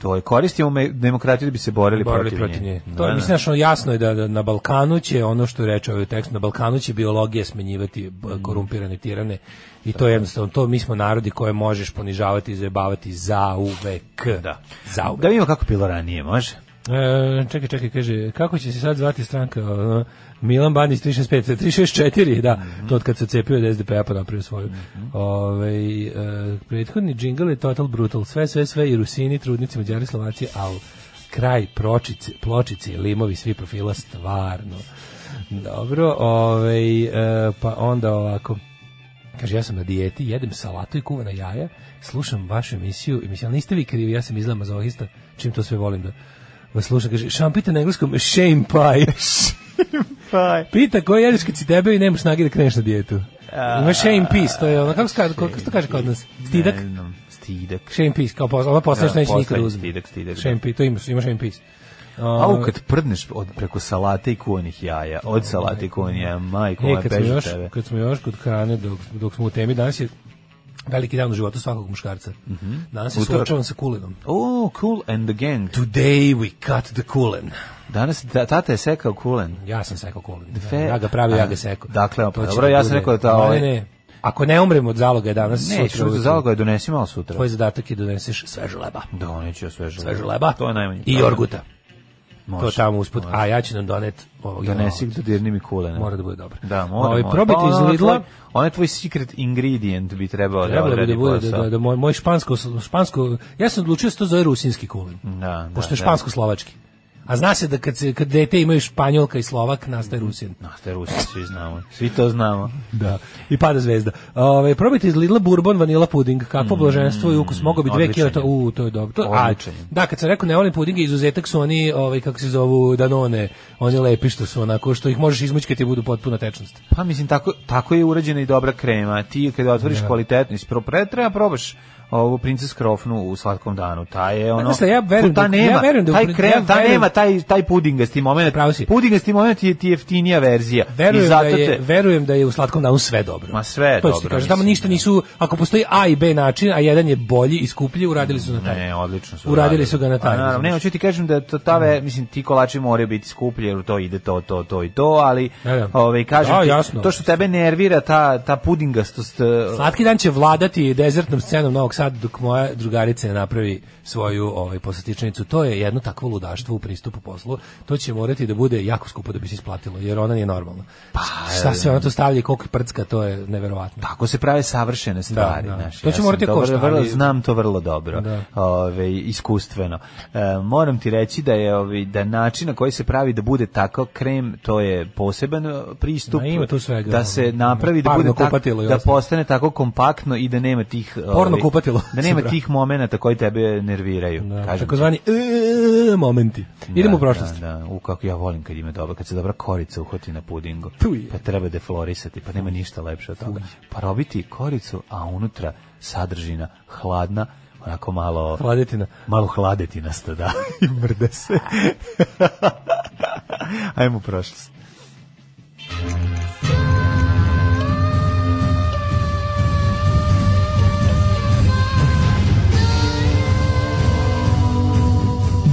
To je koristimo me- demokratiju da bi se borili, borili protiv, protiv nje. Da, To je, da. mislim, znaš, ono, jasno je da, da na Balkanu će, ono što reče ovaj tekst, na Balkanu će biologija smenjivati b- Mm. korumpirane tirane i to je jednostavno, to mi smo narodi koje možeš ponižavati i zajebavati zauvek. Da. Zauvek. Da vidimo kako je bilo ranije, može? E, čekaj, čekaj, kaže, kako će se sad zvati stranka? Ono, Milan Bandić 365, 364, da, to od kad se cepio od SDP-a pa napravio svoju. Ovaj, e, prethodni džingl je Total Brutal, sve, sve, sve, i Rusini, trudnici, Mađari, Slovaci, al kraj, pročice, pločice, limovi, svi profila, stvarno. Dobro, ovaj, e, pa onda ovako, Kaže, ja sam na dijeti, jedem salatu i kuvana jaja, slušam vašu emisiju i mislim, ali niste vi krivi, ja sam izlama mazohista, čim to sve volim da vas slušam. Kaže, šampita na engleskom, shame pie. Pa, Pita koji jedeš kad si tebe i nemaš snage da kreneš na dijetu. Ima shame peace, to je ono, kako se kaže, kako se to kaže kod nas? Stidak? Ne znam, stidak. Shame peace, kao posle, ono posle Da, što neće poslednji nikada uzeti. stidak, stidak, da. Shame peace, to ima, ima shame peace. A u kad prdneš od, preko salate i kuvanih jaja, od salate i kuvanih jaja, majko, E, moja kad smo peže još, tebe. kad smo još kod hrane, dok, dok smo u temi, danas je veliki dan u životu svakog muškarca. Danas se Mhm. Utorak. suočavam sa kulenom. O, cool and the gang. Today we cut the kulen. Danas ta, tata je sekao kulen. Ja sam sekao kulen. Fe- Ja ga pravio, ja A, ga sekao. dakle, To pa će dobro, da ja sam bude- rekao da ta- Ne, ne, ne. Ako ne umrem od zaloga je danas, Ne, sutra što da za ujutru. zaloga je donesi malo sutra. Tvoj zadatak je da doneseš sveže leba. Da, neću ja sve žele. Sveže leba. To je najmanje. I jorguta. To Može. tamo usput. A ja ću nam donet ovog Donesi jela. dodirni mi kulena. Mora da bude dobro. Da, mora. Ovaj, mora. probajte Pa, iz ono Lidla. tvoj- Onaj tvoj secret ingredient bi trebao da Trebalo bi odradi da bude da, posao. da, da moj, moj špansko, špansko, ja sam odlučio da se to zove rusinski kulen. Da, pošto da, je da. špansko-slovački. A zna se da kad, se, kad dete imaju španjolka i slovak, nastaje rusin. No, ste Rusi, svi znamo. Svi to znamo. Da, i pada zvezda. Ove, probajte iz Lidla Bourbon vanila puding. Kakvo blaženstvo i ukus. Mogao bi dve Mm, odličan kilo. je. To, u, to je dobro. To, a, Odličan je. da, kad sam rekao ne volim pudinge, izuzetak su oni, ovaj, kako se zovu, danone. Oni lepi što su onako, što ih možeš izmući kad ti budu potpuno tečnost. Pa mislim, tako, tako je urađena i dobra krema. Ti kada otvoriš Da. kvalitetno, ispro pre, treba probaš ovu princes krofnu u slatkom danu. Ta je ono... znaš šta, ja verujem ta da- nema, ja verujem da u taj prin- krem, ja ta verujem- nema, taj, taj pudingasti moment. Pravo si. Pudingasti moment je ti jeftinija verzija. I Verujem da, zato je, te, verujem da je u slatkom danu sve dobro. Ma sve je to ću ti dobro, kažem. Tamo mislim, da. ništa nisu, ako postoji A i B način, a jedan je bolji i skuplji, uradili su na taj. Ne, odlično su. Uradili su ga na taj, Pa, Mm. naravno, ne, razumeš. hoću ti kažem da to tave, mislim ti kolači moraju biti skuplji jer u to ide to to to i to, ali Da, da. ovaj kažem Da, ti, jasno. to što tebe nervira ta ta pudingastost eh, Slatki dan će vladati dezertnom scenom Novog sad dok moja drugarica ne napravi svoju ovaj posetičnicu, to je jedno takvo ludaštvo u pristupu poslu. To će morati da bude jako skupo da bi se isplatilo, jer ona nije normalna. Pa, šta se ona to stavlja i koliko prcka, to je neverovatno. Tako Pa se prave savršene stvari, da. znaš, To će ja sam morati dobro- košta, vrlo- ali- znam to vrlo dobro. Da. Ove, iskustveno. E, moram ti reći da je ovaj da način na koji se pravi da bude tako krem, to je poseban e, pristup. Da, ima tu svega, Da ono, se napravi da parno bude tako, kupatilo i da ostalo. postane tako kompaktno i da nema tih ovaj, Porno kupatilo. Da, Da nema Super. tih momenata koji tebe nerviraju. Pa, kažem ti. Takozvani e, momenti. Idemo Da, u prošlost. Da, da. U kako ja volim kad ima dobro, kad se dobra korica uhvati na pudingu. Tu je. Pa treba deflorisati, pa nema ništa lepše od toga. Pa robiti koricu, a unutra sadržina hladna, onako malo Vladetina. malo hladetinasto, da. I mrde se. Ajmo u prošlost.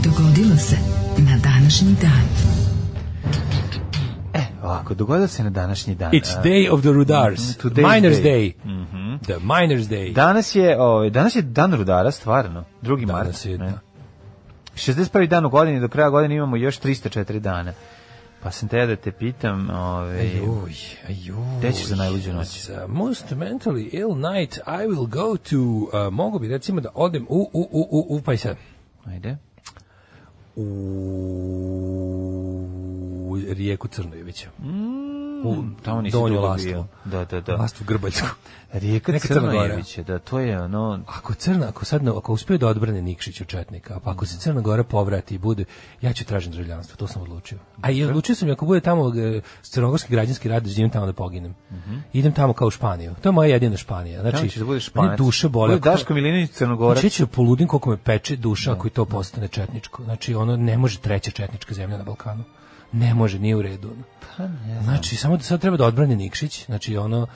Dogodilo se na današnji dan. Ovako, dogodilo se na današnji dan. It's A, Day of the Rudars. Mhm, Da. today's Miners day. Mhm. Day. The Miners Day. Danas je, ovaj, danas je dan rudara, stvarno. Drugi Danas mart. je, ne? da. 61. dan u godini, do kraja godine imamo još 304 dana. Pa sam te ja da te pitam, ovaj, Joj, joj. Gde ćeš za najluđu noć? Za Uh, most mentally ill night I will go to, uh, mogu bi recimo da odem u, u, u, u, u, pa i sad. ajde. U rijeku Crnojevića. u Tamo nisi Donju dugo Lastvu. bio. Da, da, da. Lastvu Grbaljsku. Rijeka Neka Crna Gora. Crnojevića, da, to je ono... Ako Crna, ako sad, ako uspije da odbrane Nikšić od Četnika, pa ako se Crna Gora povrati i bude, ja ću tražiti državljanstvo, to sam odlučio. A i odlučio sam i ako bude tamo e, crnogorski građanski rad, da idem tamo da poginem. Idem tamo kao u Španiju. To je moja jedina Španija. Tamo Znači, Mhm. ćeš da budeš mene španac. duše bole. Bude Daško Milinović Crnogorac. Znači, ja ću da poludim koliko me peče duša Da. ako i to postane četničko. Znači, ono ne može treća četnička zemlja na Balkanu. Ne može, nije u redu. ono. Pa Znači, samo da sad treba da odbrane Nikšić, znači ono,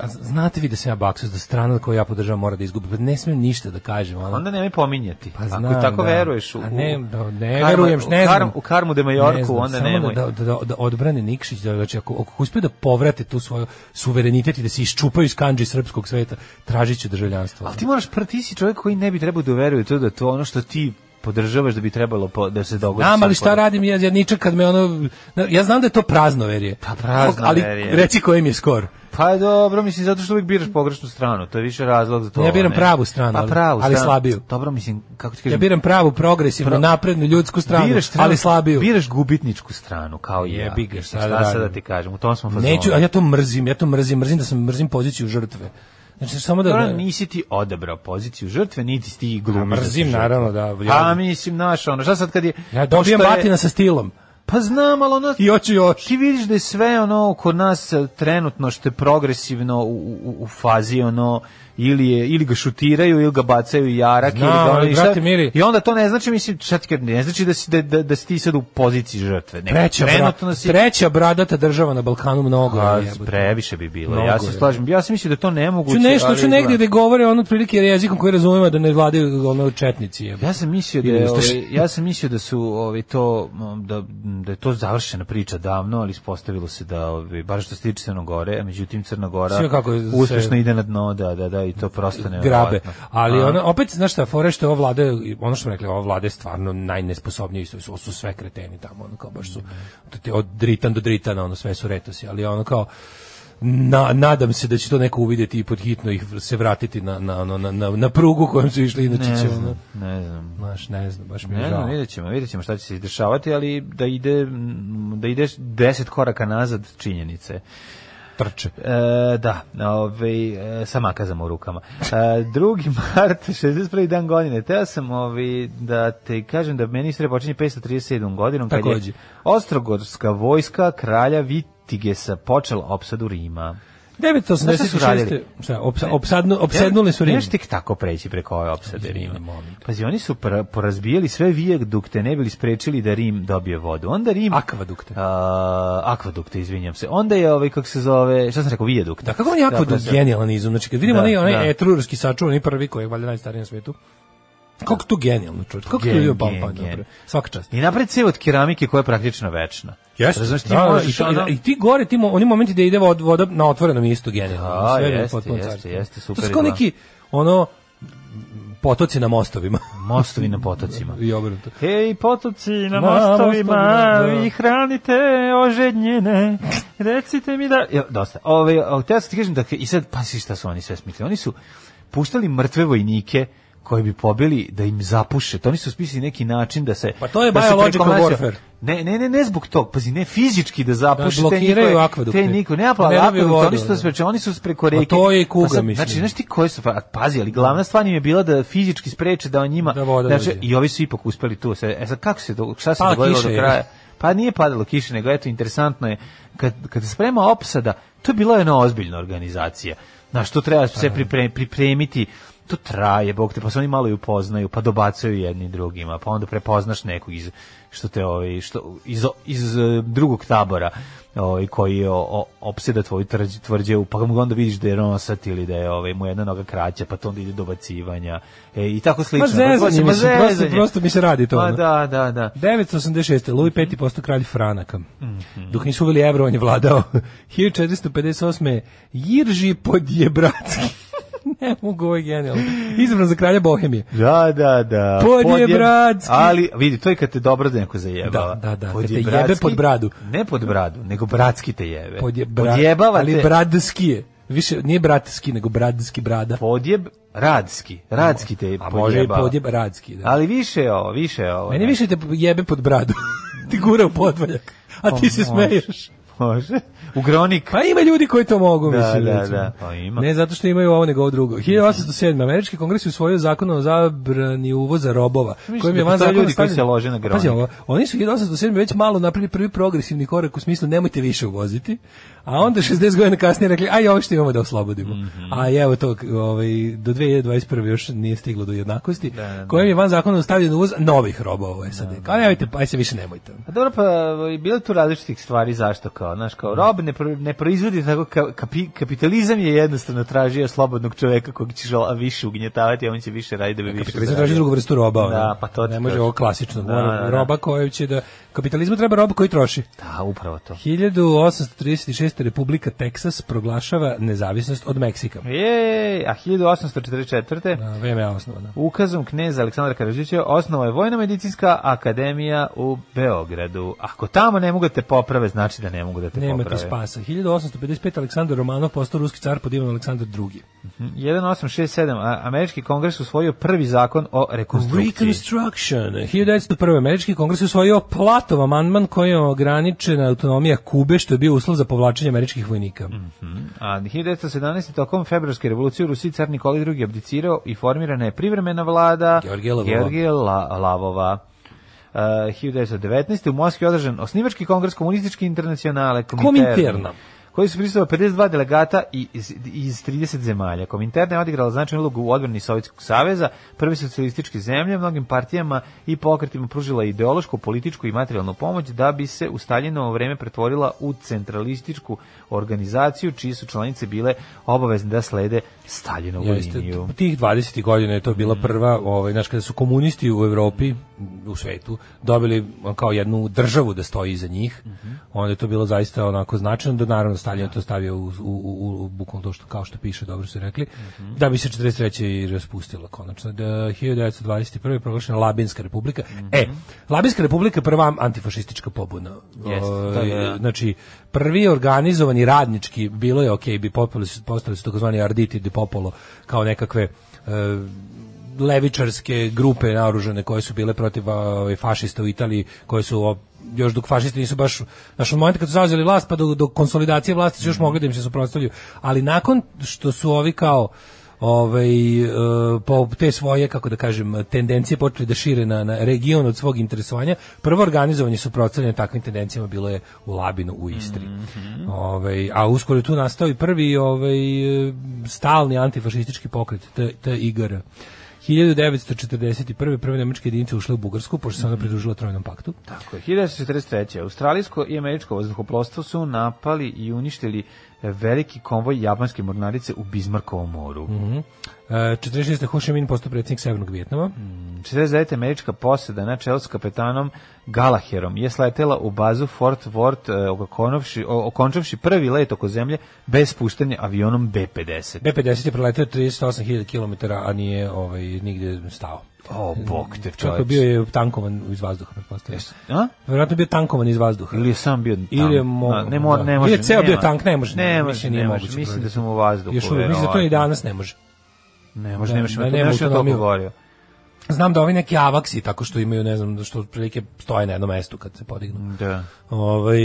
a z- znate vi da sam ja baksus, da strana koju ja podržavam mora da izgubi, pa ne smijem ništa da kažem, ono. Onda nemoj pominjati. Pa Ako znam, tako da. veruješ u... A ne, u- da, ne karma- verujem, ne u znam. karm- u karmu de Majorku, Ne znam, onda samo nemoj. Da, da, da, da odbrane Nikšić, da, znači ako, ako uspe da povrate tu svoju suverenitet i da se iščupaju iz kanđi srpskog sveta, tražit će državljanstvo. Ali Pa ti moraš, pr- ti si čovjek koji ne bi trebao da veruje to da to ono što ti podržavaš da bi trebalo po- da se dogodi. Znam, ali sad šta kod- radim, ja, ja ničak kad me ono... Ja znam da je to praznoverje. Pa praznoverje. Ali reci kojim je skor. Pa dobro, mislim, zato što uvijek biraš pogrešnu stranu, to je više razlog za to. Ja biram ne? pravu stranu, pa ali- pravu ali stranu. slabiju. Dobro, mislim, kako ti kažem, Ja biram pravu, progresivnu, Pro- naprednu, ljudsku stranu, stranu- ali slabiju. Biraš gubitničku stranu, kao i ja. Jebi ga, šta Šta da sad da radim? ti kažem, u tom smo fazonu. Neću, a ja to mrzim, ja to mrzim, mrzim da sam mrzim poziciju žrtve. Znači, samo da... Dobro, ne- nisi ti odabrao poziciju žrtve, niti si ti A glumiš. mrzim, da si naravno, da. žrtva. Pa Ja, mislim, znaš, ono, šta sad kad je... ja dobijem pošto je- batina sa stilom. Pa znam, ali ono... I hoću još. Ti vidiš da je sve ono kod nas e, trenutno što je progresivno u, u, u fazi ono ili je ili ga šutiraju ili ga bacaju u jarak Znam, ili ga ono ali, i šta- brate, mili. i onda to ne znači mislim šta ti kažem, ne znači da si da, da, da si ti sad u poziciji žrtve nego Treća, trenutno bra, si treća bradata država na Balkanu mnogo. Pa, je, jebote. previše bi bilo. Mnogo ja se je. slažem. Ja sam mislio da je to nemoguće. Ću nešto, ali ću negdje gledam. da govore ono otprilike jezikom koji razumemo da ne vladaju ono četnici. jebote. Ja sam mislio da Ili je, ustaše. ovaj, ja sam mislio da su ovaj to m, da, da je to završena priča davno, ali ispostavilo se da ovaj baš što se tiče Crne Gore, a međutim Crna Gora Sve kako se- uspešno ide na dno, da, da, da i to prosto ne grabe. Ali ona opet znaš šta fore što je ova vlada ono što smo rekli ova vlada je stvarno najnesposobniji su, su, su sve kreteni tamo ono kao baš su te- od dritan do dritana ono sve su retosi ali ono kao na- nadam se da će to neko uvidjeti i podhitno ih se vratiti na, na, ono, na, na, na prugu kojom su išli inače ne će ono znam, ne znam. znaš ne znam baš mi je Ne žao znam, vidjet ćemo, vidjet ćemo šta će se izdešavati, ali da ide, m, da ideš deset koraka nazad činjenice. trče E, da, ovaj, e, sa makazama u rukama. E, drugi mart, 61. dan godine, teo sam ovaj, da te kažem da meni istorija počinje 537. godinom, kad Takođe. je Ostrogorska vojska kralja Vitigesa počela opsadu Rima. Znaš šta su 986. radili? Šta, opsa- opsadnu- opsednuli su Ne Rim. možeš tek tako preći preko ove opsade Izvini, Rima. molim te. Pazi, oni su pra- porazbijali sve vijek dok te ne bili sprečili da Rim dobije vodu. Onda Rim... Akvadukte. A, akvadukte, izvinjam se. Onda je, ovaj, kako se zove, šta sam rekao, vijedukte. Da, kako on jako da, prosto. genijalan izum. Znači, kad vidimo Da, onaj, onaj da. etrurski sačuvan, i prvi koji je valjda najstariji na svetu, kako to genijalno čovječ, kako to Gen- je gen- pampan, gen. dobro. Svaka čast. I napred cev od keramike koja je praktično večna. Razumeš, ti da, i, možeš to- i- ono- i ti gore, ti mo- oni momenti da ide vod, voda na otvorenom je isto genijalno. Da, Sve je jeste, potpuno jeste, carstvo. jeste, super To su kao je, da. neki, ono, potoci na mostovima. Mostovi na potocima. I obrnuto. Hej, potoci na Na mostovima, mostovima, da. vi hranite oženjene, recite mi da... Jo, dosta. Ove, o, teo sam ti kažem da... I sad, pasi šta su oni sve smislili. Oni su puštali mrtve vojnike koji bi pobili da im zapuše. To oni su spisali neki način da se... Pa to je da se biological prekomasio- warfare. Ne, ne, ne, ne zbog tog. Pazi, ne fizički da zapuše. Da te blokiraju njihove- akvedukte. Te niko, ne, pa Ne dobiju akvedukte, vodu, oni su to da. sprečavali, oni su preko reke. to je i kuga, sad, mislim. Znači, znaš ti koje su... fa- Pazi, ali glavna stvar im je bila da fizički spreče da o njima... Da voda znači, dođe. I ovi su ipak uspeli tu. se- E sad, kako se, do, šta se Pala dogodilo kiša, do je. kraja? Pa nije padalo kiše, nego eto, interesantno je, kad, kad se sprema opsada, to je bila jedna ozbiljna organizacija. Znaš, to Pa treba da. se pripre, pripremiti, to traje, bog te, pa se oni malo i upoznaju, pa dobacuju jedni drugima, pa onda prepoznaš nekog iz, što te, ovaj, što, iz, iz eh, drugog tabora ovaj, koji je o, o, opseda tvoju tvrđ, tvrđevu, pa mu onda vidiš da je nosat ili da je ovaj, mu jedna noga kraća, pa to onda ide dobacivanja e, i tako slično. Ma zezanje, Prosto- mislim, prosto, zezanje. prosto mi se radi to. Pa ono. da, da, da. 986. Louis V postao kralj Franaka. Dok nisu uveli evro, on je vladao. 1458. Jirži Podjebratski. ne mogu, ovo je genijalno. Izabran za kralja Bohemije. Da, da, da. Podjebradski. Ali, vidi, to je kad te dobro da neko zajebava. Da, da, da, kad te Podjebradski- jebe pod bradu. Ne pod bradu, nego bratski te jebe. Podjebra, Podjebava ali te. bradski je. Više, nije bratski, nego bradski brada. Podjeb, radski. Radski te A podjebava. može i podjebradski. Da. Ali više je ovo, više je ovo. Meni više te jebe pod bradu. ti gura u podvaljak. A ti se Pa može. smeješ. Može. Ugronik. Pa ima ljudi koji to mogu, Da, mislim. da, recimo. da, pa ima. Ne zato što imaju ovo nego ovo drugo. 1807. Američki kongres je usvojio zakon o zabrani uvoza robova. Mislim kojim da je van postoje zakona ljudi koji se stavljen- Pa lože na Pazi gronik. ovo, oni su 1807. već malo napravili prvi progresivni korak u smislu nemojte više uvoziti, a onda 60 godina kasnije rekli aj ovo što imamo da oslobodimo. Mhm. A evo to, ovaj, do 2021. još nije stiglo do jednakosti, Da, kojim je van zakona stavljen uvoz novih robova u SAD. Kao nemojte, aj se više nemojte. A dobro, pa i bilo je tu različitih stvari zašto kao, znaš, kao rob ne, pro- ne proizvodi tako, ka, kapi- kapitalizam je jednostavno tražio slobodnog čoveka kog ćeš a, više ugnjetavati, a on će više raditi da bi više E, Kapitalizam traži zaradio. drugu vrstu roba. ono. Da, pa to ti ne može kažem. ovo klasično. Da, mora da, da. Roba koju će da... Kapitalizmu treba roba koji troši. Da, upravo to. 1836. Republika Teksas proglašava nezavisnost od Meksika. Jej, a 1844. Na vreme je osnovana. Ukazom kneza Aleksandra Karadžića osnova je Vojna medicinska akademija u Beogradu. Ako tamo ne mogu da te poprave, znači da ne mogu da te Nema ti poprave. spasa. 1855. Aleksandar Romanov postao ruski car pod imenom Aleksandar II. 1867. a- Američki kongres usvojio prvi zakon o rekonstrukciji. Reconstruction. 1901. Američki kongres je usvojio Platov amandman koji je ograničena autonomija Kube, što je bio uslov za povlačenje američkih vojnika. A 1917. tokom februarske revolucije u Rusiji car Nikolaj II. abdicirao i formirana je privremena vlada Georgija Lavova. Georgija La- Lavova. Uh, 1919. u Moskvi je održan osnivački kongres komunističke internacionale Kominterna, Kominterna. koji su pristava 52 delegata i- iz, iz 30 zemalja. Kominterna je odigrala značajnu ulogu u odbrani Sovjetskog saveza, prve socijalističke zemlje, mnogim partijama i pokretima pružila ideološku, političku i materijalnu pomoć da bi se u Staljinovo vreme pretvorila u centralističku organizaciju čiji su članice bile obavezne da slede Staljinovu Jeste, liniju. t- tih 20. godina je to bila Mhm. prva, ovaj, znaš, kada su komunisti u Evropi, u svetu, dobili on, kao jednu državu da stoji iza njih, Mhm. onda je to bilo zaista onako značajno, da naravno Stalin je to stavio u, u, u, u bukvalno to što, kao što piše, dobro su rekli, Mhm. da bi se 43. i raspustila konačno. Da, 1921. je proglašena Labinska republika. E, Mhm. Labinska republika je prva antifašistička pobuna. Jeste, O, da, da, da. znači prvi organizovani radnički bilo je ok bi popali su postali su takozvani arditi di popolo kao nekakve e, levičarske grupe naoružane koje su bile protiv ovaj, fašista u Italiji koje su o, još dok fašisti nisu baš znaš od momenta kad su zauzeli vlast pa do, do konsolidacije vlasti su još mogli da im se suprotstavljaju ali nakon što su ovi kao ovaj e, po te svoje kako da kažem tendencije počeli da šire na, na region od svog interesovanja prvo organizovanje suprotstavljanja takvim tendencijama bilo je u Labinu u Istri ovaj a uskoro je tu nastao i prvi ovaj e, stalni antifašistički pokret T- TIGR 1941. prve nemačke jedinice ušle u Bugarsku pošto se ona pridružila Trojnom paktu Da. Tako je. 1943. Australijsko i američko vazduhoplovstvo su napali i uništili veliki konvoj japanske mornarice u Bizmarkovom moru. E, 46. Ho Chi Minh postao predsjednik Severnog Vjetnama. 49. američka posada na čelu s kapetanom Galaherom je sletela u bazu Fort Worth e, okonovši- o- okončavši prvi let oko zemlje bez puštanja avionom B-50. B-50 je preletao 38.000 km, a nije ovaj, nigde stao. O, bog te Čovjek čovječ. bio je tankovan iz vazduha, pretpostavljam. A? Vjerojatno je bio tankovan iz vazduha. Ili je sam bio tam. Ili je mo- A, ne, mo- da. ne može. Ili je ceo bio nema. tank, ne može, Ne ne, može, mislim, ne nije može. moguće Mislim da provjeriti. sam u vazduhu. Još uvijek, mislim da to i verovatno. danas ne može. Ne može, Da, nemaš da, ima to, nema nešto je o tome autonomiju. govorio. Znam da ovi neki avaksi, tako što imaju, ne znam, što otprilike stoje na jednom mestu kad se podignu. Da. Ovaj,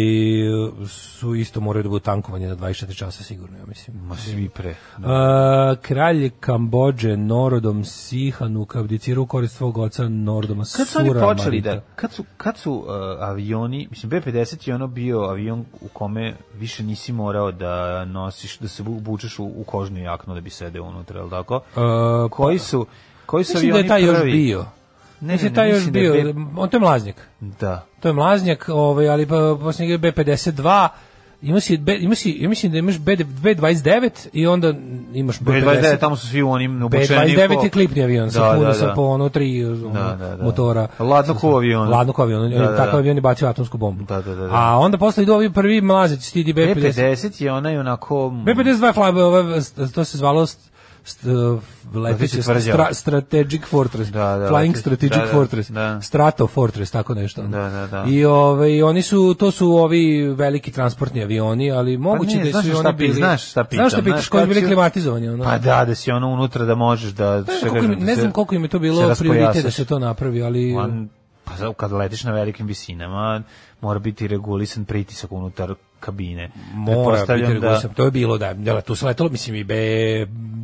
su isto moraju da budu tankovanje na 24 časa sigurno, ja mislim. Ma svi pre. A, kralj Kambođe Norodom Sihanu abdicirao u korist svog oca Norodoma Kad su Sura oni počeli da, Marita. kad su, kad su uh, avioni, mislim B-50 je ono bio avion u kome više nisi morao da nosiš, da se bučeš u, u kožnu jaknu da bi sedeo unutra, jel tako? A, pa- koji su, koji su Mislim da avioni je taj još prvi? bio. Ne, mislim ne, taj još mislim da je bio, B- on to je mlaznjak. Da. To je mlaznjak, ovaj, ali pa posljednji B52, ima si, B, ima si, ja mislim da imaš B, B29 i onda imaš B50. B-29, tamo su svi u onim obučeni. B29 je ko- klipni avion sa puno sa po ono tri ono, Da, da, da. motora. Ladno Sa- ko avion. Ladno ko avion. Da, da, Takav da. avion je bacio atomsku bombu. Da, da, da, da. A onda posle idu ovi prvi mlazić, stidi B50. B-50 je onaj onako... B52 fly, ova, ovaj, st- to se zvalo st- st- leteći Leteći tvrđava. stra, strategic fortress Da, da, flying leteći- strategic da, da, fortress da. strato fortress tako nešto ono. Da, da, da. i ovaj oni su to su ovi veliki transportni avioni ali moguće nije, Pa da znaš su i šta oni pi- bili znaš šta pitam, znaš šta znaš pitaš koji su kako bili si- klimatizovani ono Pa da, da si ono unutra da možeš da... Ne šta znam, koliko, kažem, da ne se- znam koliko im je to se bilo raspojasaš. prioritet da se to napravi, ali Man, pa za- kad letiš na velikim visinama, mora biti regulisan pritisak unutar kabine. mora biti Pretpostavljam regulisan. To je bilo da, da tu su letelo, mislim i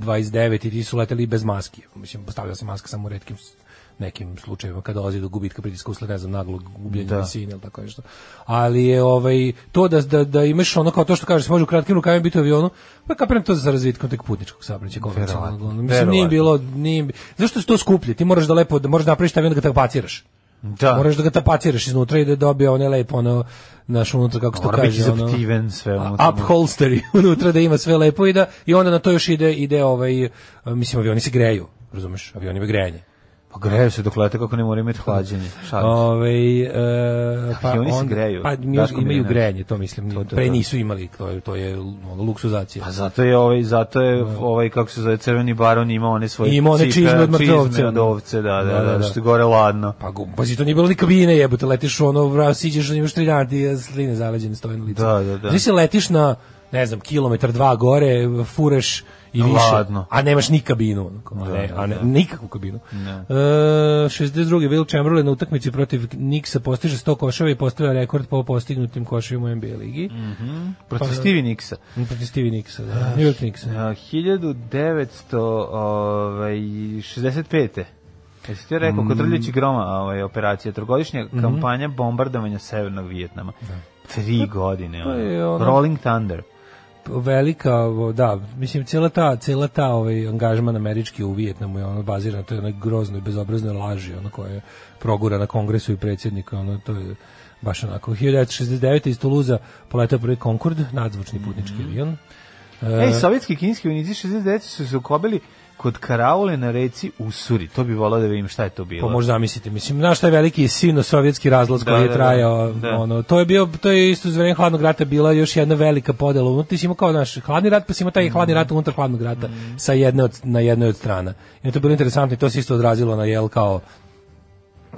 B29 i ti su leteli i bez maski. Mislim, postavlja se maska samo u retkim s- nekim slučajevima kada dolazi do gubitka pritiska usled ne znam naglog gubljenja Da. visine ili tako nešto. Ali je ovaj to da da, da imaš ono kao to što kažeš, može u kratkim rukavima biti u avionu, pa kapiram to za razvitkom tek putničkog saobraćaja konvencionalnog. Verovatno, Ono, Mislim nije verovatno. bilo nije zašto je to skuplje? Ti moraš da lepo da možeš napraviš avion da ga tapaciraš. Da, Moraš da ga tapaciraš iznutra i da dobije one lepo ono naš unutra kako se to mora biti kaže ono zaptiven sve unutra. upholstery unutra da ima sve lepo i da i onda na to još ide ide ovaj mislim avioni se greju razumeš avioni imaju grejanje Pa greju se dok lete kako ne mora imati hlađenje. Da. Šalim se. ovaj e, pa Avioni se onda- greju. pa mi- Daško imaju Milinović. grejanje to mislim To, da. to, pre to. nisu imali to je to je ono, luksuzacija Pa zato je ovaj zato je ovaj kako se zove crveni baron imao one svoje Imao Da. one cipe, čizme od mrtve ovce, čizme od ono. ovce, da, da, Da, da, da, da. što je gore ladno. Pa gu- pazi, to nije bilo ni kabine, jebote, letiš u ono, vra, siđeš, imaš tri dana, ti sline zaleđene stoje na licu. Da, da, da. Znači se letiš na, ne znam, kilometar dva gore, fureš i više, Ladno. Da, a nemaš ni kabinu, ono, kao, a ne, a ne, nikakvu kabinu. E, 62. Will Chamberlain na utakmici protiv Niksa postiže 100 koševa i postavlja rekord po postignutim koševima u NBA ligi. Mhm. Protiv Pa da. Stevie Nicksa. Protiv Stevie Niksa, da, New York Niksa. A, 1900 ovaj 65. Jesi ti rekao, kod Rljeći groma ovaj, operacija, trogodišnja Mhm. kampanja bombardovanja Severnog Vijetnama. Tri godine. ono. Da. je ono- Rolling Thunder. velika, o, da, mislim cijela ta, cijela ta ovaj angažman američki u Vijetnamu je ono bazirano to je onoj groznoj bezobraznoj laži, ono koja je progura na kongresu i predsjednika, ono to je baš onako 1969 iz Tuluza poletao prvi Concorde, nadzvučni putnički avion. E. Ej, sovjetski i kinski vojnici 69 su se ukobili kod karaule na reci Usuri. To bi volao da vidim šta je to bilo. Pa možda zamisliti, mislim, znaš šta je veliki sino-sovjetski razlaz Da, koji da, je da. trajao, Da. ono, to je bio, to je isto za vreme hladnog rata bila još jedna velika podela, unutra ti si imao kao naš hladni rat, pa si imao taj Mm. hladni rat unutar hladnog rata, sa jedne od, na jednoj od strana. I to je bilo interesantno i to se isto odrazilo na jel kao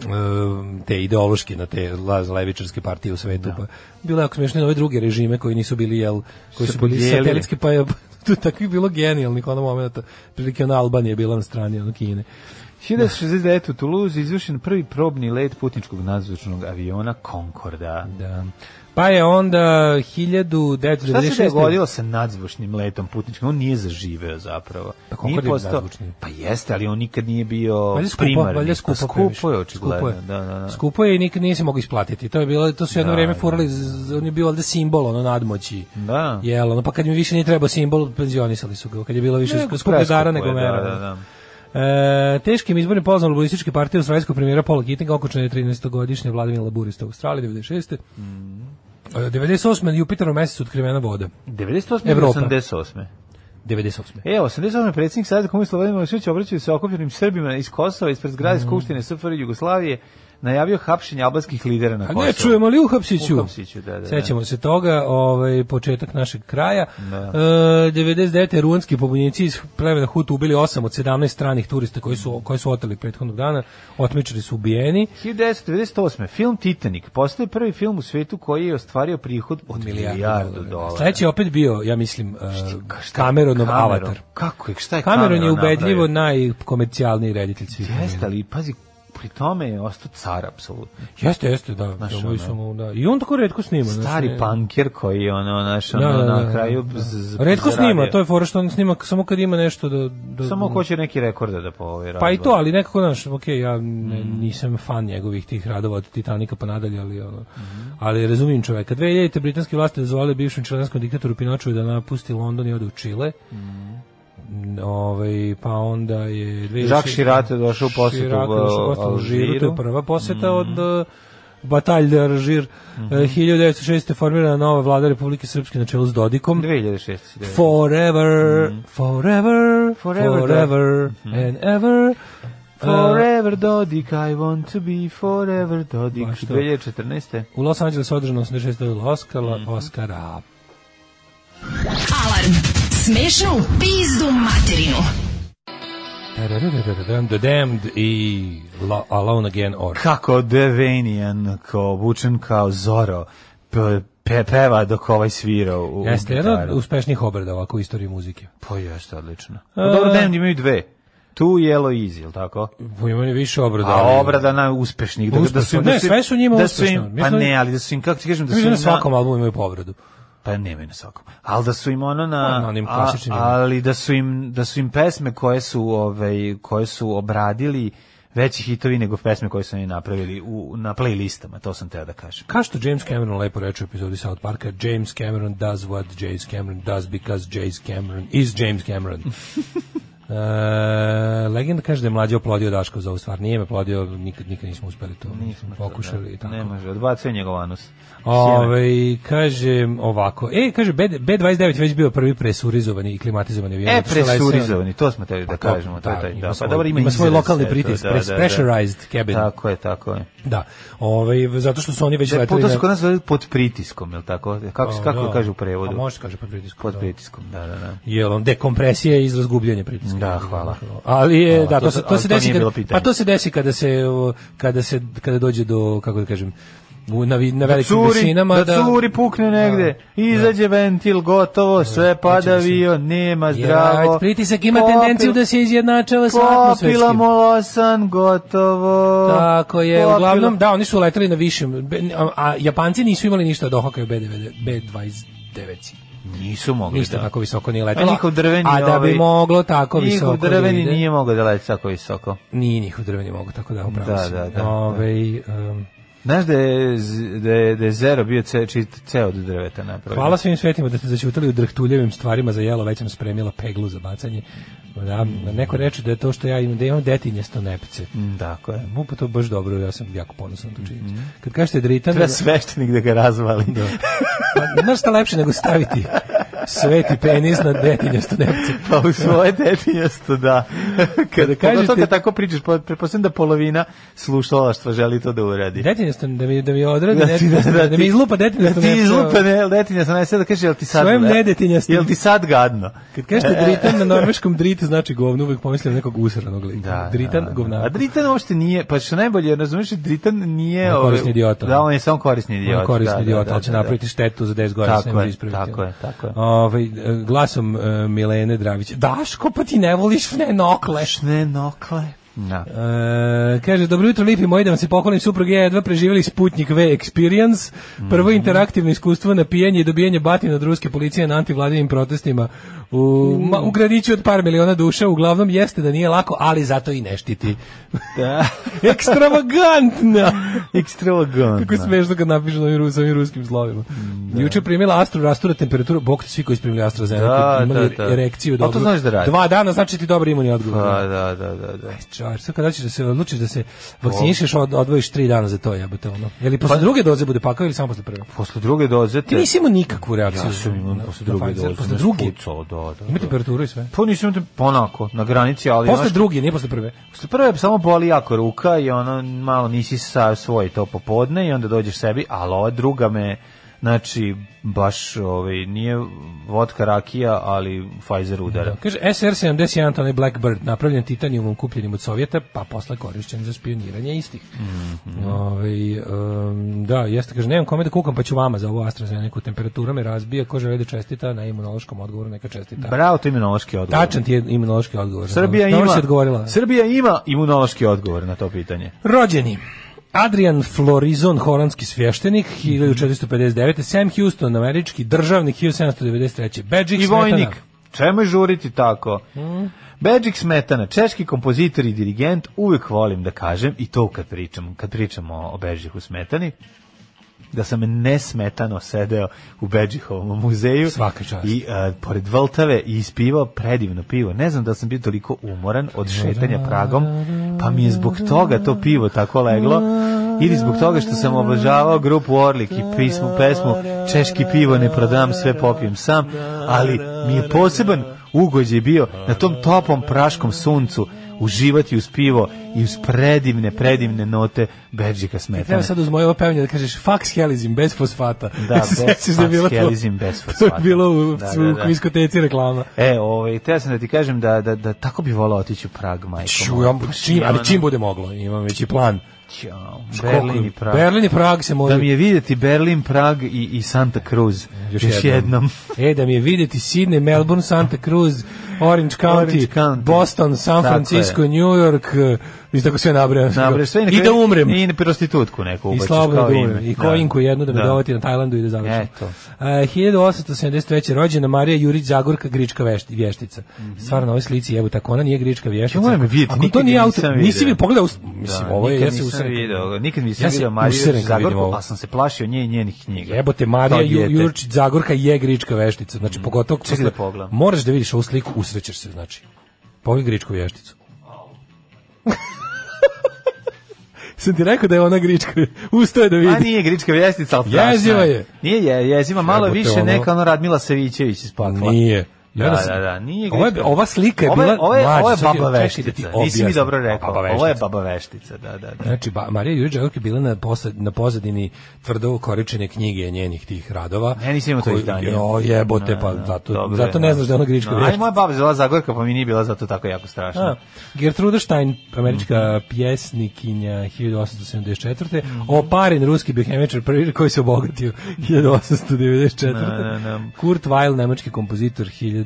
em, te ideološki na te la- levičarske partije u svetu Da. pa bilo je jako smiješno i na ove druge režime koji nisu bili jel koji Se su bili podijelili. satelitski pa je tu takvih bilo genijalnih onog momenta prilike ona Albanija je bila na strani ono Kine 1969 u Toulouse izvršen prvi probni let putničkog nadzvučnog aviona Concorda. Da. Pa je onda Šta se 1996. dogodilo sa nadzvučnim letom putničkim? On nije zaživeo zapravo. Pa Concorde Nije je postao- nadzvučni. Pa jeste, ali on nikad nije bio Valjda skupo, primarni. valjda Pa skupo, skupo je previše. Skupo očigledno. je. Da, da, da. Skupo je i nikad nije se mogao isplatiti. To je bilo to su jedno Da, vrijeme da. furali, z- z- on je bio valjda simbol ono nadmoći. Da. Jel, ono, pa kad mi više nije trebao simbol, penzionisali su ga. Kad je bilo više Nego sku- skuplje dara preskupo nego je, mera. Da, da, da. E, teškim izbornim poznom laborističke partije Mhm. australijskog premijera Paula Kittinga okončan je 13-godišnje vladavina laburista u Australiji 96. Mm. 98. Jupiter u mesecu otkrivena voda. 98. ili Evropa. 88. 98. E, 88. predsjednik Saveza Komunista Vladimir Milošević obraćaju se okupljenim Srbima iz Kosova ispred zgrade Mm. Skupštine SFR Jugoslavije najavio hapšenje albanskih lidera na A Kosovu. Pa ne čujemo li Uhapsiću? Uhapsiću, da, da, da. Sećamo se toga, ovaj, početak našeg kraja. Da. E, 99. ruanski pobunjenici iz plemena Hutu ubili 8 od 17 stranih turista koji su, koji su oteli prethodnog dana. Otmičari su ubijeni. 1998. Film Titanic postaje prvi film u svijetu koji je ostvario prihod od milijardu dolara. Sledeći je opet bio, ja mislim, e, Cameronov Cameron. avatar. Kako je, šta je Cameron, Cameron je ubedljivo napravio? najkomercijalniji reditelj svih. Jeste, ali pazi, pri tome je ostao car, apsolutno. Jeste, jeste, da. da, moji su mu, da. I on tako redko snima. znaš, Stari ne- panker koji je ono, naš, ono, Da, da, da, na da. kraju... Redko snima, to je fora što on snima samo kad ima nešto da... da Samo ko će neki rekorda da po ovoj Pa i to, ali nekako, znaš, ok, ja ne, nisam fan njegovih tih radova od Titanika pa nadalje, ali, ono, Mhm. ali razumijem čoveka. 2000. britanske vlasti dozvolile bivšem čilanskom diktatoru Pinoču da napusti London i ode u Čile. Mm. Ovaj, pa onda je... 2006. Mhm. Jacques Chirac je došao u posetu Chirac je došao u posetu u Alžiru, to je Alžiru. Mhm. prva poseta od uh, Batalj de Alžir. Mm 1906. je formirana nova vlada Republike Srpske na čelu s Dodikom. 2006. Forever, forever, Mhm. Forever, da. Mhm. forever, and ever. Uh, Forever Dodik, I want to be forever Dodik. Baš to. 2014. u Los Angelesu je održano 86 dodjela Oscara, Oscara. Alarm. Smešnu pizdu materinu. Tarararararam, The Damned i Lo- Alone Again or Kako Devanian, ko obučen kao Zoro, pe, pe, peva dok ovaj svira u, u Jeste jedan od gitaru. uspešnijih obrada ovako u istoriji muzike. Pa jeste, odlično. E. A, dobro, Devanian imaju dve. Tu Yellow Easy, jel tako? Po imaju više obrada. ali- A obrada na uspešnih. Da, da su, Uspešno. da Ne, sve su njima da su uspešno. Im, pa Mislim- ne, ali da su im, kako ti kažem, da su Mislim im na svakom albumu imaju povredu. Pa nemaju na svakom. Ali da su im ono na... Pa na onim a- klasičnim. ali da su, im, da su im pesme koje su, ovaj, koje su obradili veći hitovi nego pesme koje su oni napravili u, na playlistama, to sam teo da kažem. Kao što James Cameron lepo reče u epizodi South Parka, James Cameron does what James Cameron does because James Cameron is James Cameron. e, legenda kaže da je mlađe oplodio Daško za ovu stvar. Nije me plodio, nikad, nikad nismo uspeli to. Nismo pokušali i tako. Ne može, odbacuje njegov anus. Ove, kaže ovako. E, kaže, B, B29 već bio prvi presurizovani i klimatizovani avion. E, zato što je presurizovani, to smo teli da Pa to- kažemo. To je da, taj, ima da, pa svoj- dobro, ima, ima svoj izraz, lokalni eto, da, pritisak, pres- pressurized cabin. Tako je, tako je. Da. Ove, zato što su oni već Da, leteli... to su na- kod nas zove pod pritiskom, jel tako? Kako, A, kako da. kaže u prevodu? A može se kaže pod pritiskom. Pod da. pritiskom, da, da, da. Jel on dekompresija je izraz gubljenja pritiska. Da, hvala. Ali je Hvala, da to to se se- to ali se to desi nije bilo kada, pitanje. pa to se desi kada se o, kada se kada dođe do kako da kažem u- na, vi- na velikim curi, visinama da, curi pukne negde, Da. izađe ventil, gotovo, sve pada avio, nema Jer, zdravo. ajde, pritisak ima Popil- tendenciju da se izjednačava sa Popila atmosferskim. molosan, gotovo. Tako je, Popila- uglavnom, da, oni su letali na višem, be- a, a Japanci nisu imali ništa od Ohoka B-29. Nisu mogli, Ništa da. tako visoko nije A letalo. njihov drveni, a da bi ovaj, moglo tako visoko. Njihov da drveni ide. nije mogao da leti tako visoko. Nije njihov drveni mogu, tako da upravo Da, si. da, da, Ovaj, em, Znaš da je, z- da je, da je Zero bio ce, čist ceo od drveta napravio? Hvala svim svetima da ste zaćutali u drhtuljevim stvarima za jelo, već sam spremila peglu za bacanje. Da, neko reče da je to što ja imam, da imam detinjesto nepce. Mm, Tako je. Mu pa to baš dobro, ja sam jako ponosan na tu činjenicu. Mhm. Kad kažete dritan, Treba sveštenik da ga razvali. Da. pa nema šta lepše nego staviti sveti penis na detinjesto nepce. Pa u svoje detinjasto, da. Kada kažete... Kada kažete- Kada tako pričaš, pa- pretpostavljam da polovina slušalaštva želi to da uradi. Detinjesto, da mi, da mi odradi, Da ti- detinjesto, da- da da, mi ti- izlupa Da detinjesto ti nepce. izlupa ne, detinjasto, ne, sad da kaže, jel ti sad... Svojem le- nedetinjastom. Jel ti E. sad gadno? Kad kažete dritan na norveškom drit znači govno, uvek pomislim na nekog usranog lika. Da, dritan, govnar. A Dritan uopšte nije, pa što najbolje, razumiješ, Dritan nije... On je ovaj, korisni idiota. Da, on je samo korisni idiot. on korisni da, idiot, da, da, ali će da, da. napraviti štetu za 10 godina, Tako se ne može je, ispraviti. tako je, tako je. Ovaj, e, glasom e, Milene Dravić, Daško, pa ti ne voliš fnenokle. Šne nokle. Da. E, kaže, dobro jutro, lipi moji, da vam se pohvalim, suprug i ja jedva preživjeli Sputnik V Experience, prvo Mhm. interaktivno iskustvo na pijenje i dobijanje batina od ruske policije na antivladinim protestima u, Mhm. ma, u gradiću od par miliona duša, uglavnom jeste da nije lako, ali zato i ne štiti. da. Ekstravagantna! Ekstravagantno. Kako je smešno kad napišu na ovim, rus- ovim ruskim slovima. Da. Juče primila Astro rastura temperaturu, bok ti svi koji su primili AstraZeneca, Da, imali da, da. erekciju A to dobro. znaš da radi. Dva dana znači ti dobar imunni odgovor. Pa, da, da, da, da. čar. Sad kad hoćeš da se odlučiš da se vakcinišeš, od, odvojiš tri dana za to, jebote, ono. Je Pa- li posle druge doze bude pakao ili samo posle prve? Posle druge doze te... Ti nisi imao nikakvu reakciju. Ja sam imao na- posle na druge Pfizer, doze. Posle me druge? Spucao, da, da, Ima da. temperaturu i sve. Pa nisam onako, na granici, ali... Posle znaš, druge, nije posle prve. Posle prve samo boli jako ruka i ono malo nisi sa svoj to popodne i onda dođeš sebi, ali ova druga me znači baš ovaj nije vodka rakija, ali Pfizer udara. Kaže, SR-71, to onaj Blackbird, napravljen titanijumom kupljenim od Sovjeta, pa posle korišćen za spioniranje istih. Mhm. Ovaj, em, da, jeste, kaže, nemam kome da kukam, pa ću vama za ovu AstraZeneca. Temperatura me razbija, ko želi da čestita na imunološkom odgovoru, neka čestita. Bravo, to je imunološki odgovor. Tačan ti je imunološki odgovor. Srbija Da. Dobro ima, si odgovorila. Srbija ima imunološki odgovor na to pitanje. Rođeni. Adrian Florizon, holandski svještenik, Mhm. 1459. Sam Houston, američki državnik, 1793. Bedžik I Smetana. Hmm? vojnik. Čemu je žuriti tako? Bedžik Smetana, češki kompozitor i dirigent, uvek volim da kažem, i to kad pričam, kad pričamo o Bedžiku Smetani, da sam nesmetano sedeo u Bedžihovom muzeju Svaka čast. i e, pored Vltave i ispivao predivno pivo. Ne znam da li sam bio toliko umoran od šetanja Pragom, pa mi je zbog toga to pivo tako leglo ili zbog toga što sam obožavao grupu Orlik i pismu, pesmu Češki pivo ne prodam, sve popijem sam, ali mi je poseban ugođaj bio na tom toplom praškom suncu uživati uz pivo i uz predivne, predivne note Bedžika Treba Smetana. E, pa sad uz moje ovo pevanje da kažeš fax helizim bez fosfata. Da, Se bez sećaš da je bilo to? fakshelizim bez fosfata. To je bilo u, Da, da, da, u da. kviskoteci reklama. E, ovaj, teo sam da ti kažem da, da, da tako bi volao otići u Prag, majko. Ču, moja. ja, Pa čim, ali ono, čim bude moglo, imam već i plan. ćao, Berlin i Prag. Berlin i Prag se može. Da mi je vidjeti Berlin, Prag i, i Santa Cruz. Još, jednom. e, da mi je vidjeti Sydney, Melbourne, Santa Cruz, Orange County, Orange County. Boston, San Tako Francisco, je. New York, e, i tako sve nabrajam. Nabre, sve na I da kraju- umrem. I na prostitutku neku I ubaciš slabo da kao umrem. ime. I kojinku jednu da me Da. dovati na Tajlandu i da završim. Eto. E, 1873. rođena Marija Jurić Zagorka, grička vešti- vještica. Stvarno, na ovoj slici jebu tako, ona nije grička vještica. Ja Mhm. moram je vidjeti, Ako to nikad nije je auto, nisam nisi mi vidio. pogledao, us- mislim, Da, ovo je, nikad ja se nisam usrekao. video, nikad nisam Ja se video Mariju usrekao vidim Zagorku, ovo. a sam se plašio nje i njenih knjiga. Jebote, Marija To Ju, dijete. Jurić Zagorka je grička veštica. Znači, pogotovo... Čekaj posle- da pogledam. Moraš da vidiš ovu sliku, usrećeš se, znači. Pogledaj gričku vješticu. Sam ti rekao da je ona grička. Ustao je da vidi. A nije grička vjestica, ali strašna Jeziva je. Nije je, jeziva, malo Jebote, više ono- neka ono Radmila Savićević iz Pakla. Pa Nije. Da, nas- da, da, nije Ova, je- grička. ova slika je Ovo bila... ovo je, mlađa, ovo je sad ti- baba čekaj da ti veštica. Nisi mi objasnim. dobro rekao. Baba Ovo je veštica. baba veštica, da, da, da. Znači, ba, Marija Jurić Đaković je bila na, posad, na pozadini tvrdo koričene knjige njenih tih radova. Ne, nisam imao to koji- izdanje. Da, Jo, jebote, pa zato, zato ne znaš da je ona grička veštica. vještica. Aj, moja baba je zvala Zagorka, pa mi nije bila zato tako jako strašna. A, Gertruda Stein, američka pjesnikinja 1874. Mhm. Oparin, ruski biohemičar prvi koji se obogatio 1894. Da, da, da. Kurt Weill, nemački kompozitor 1900.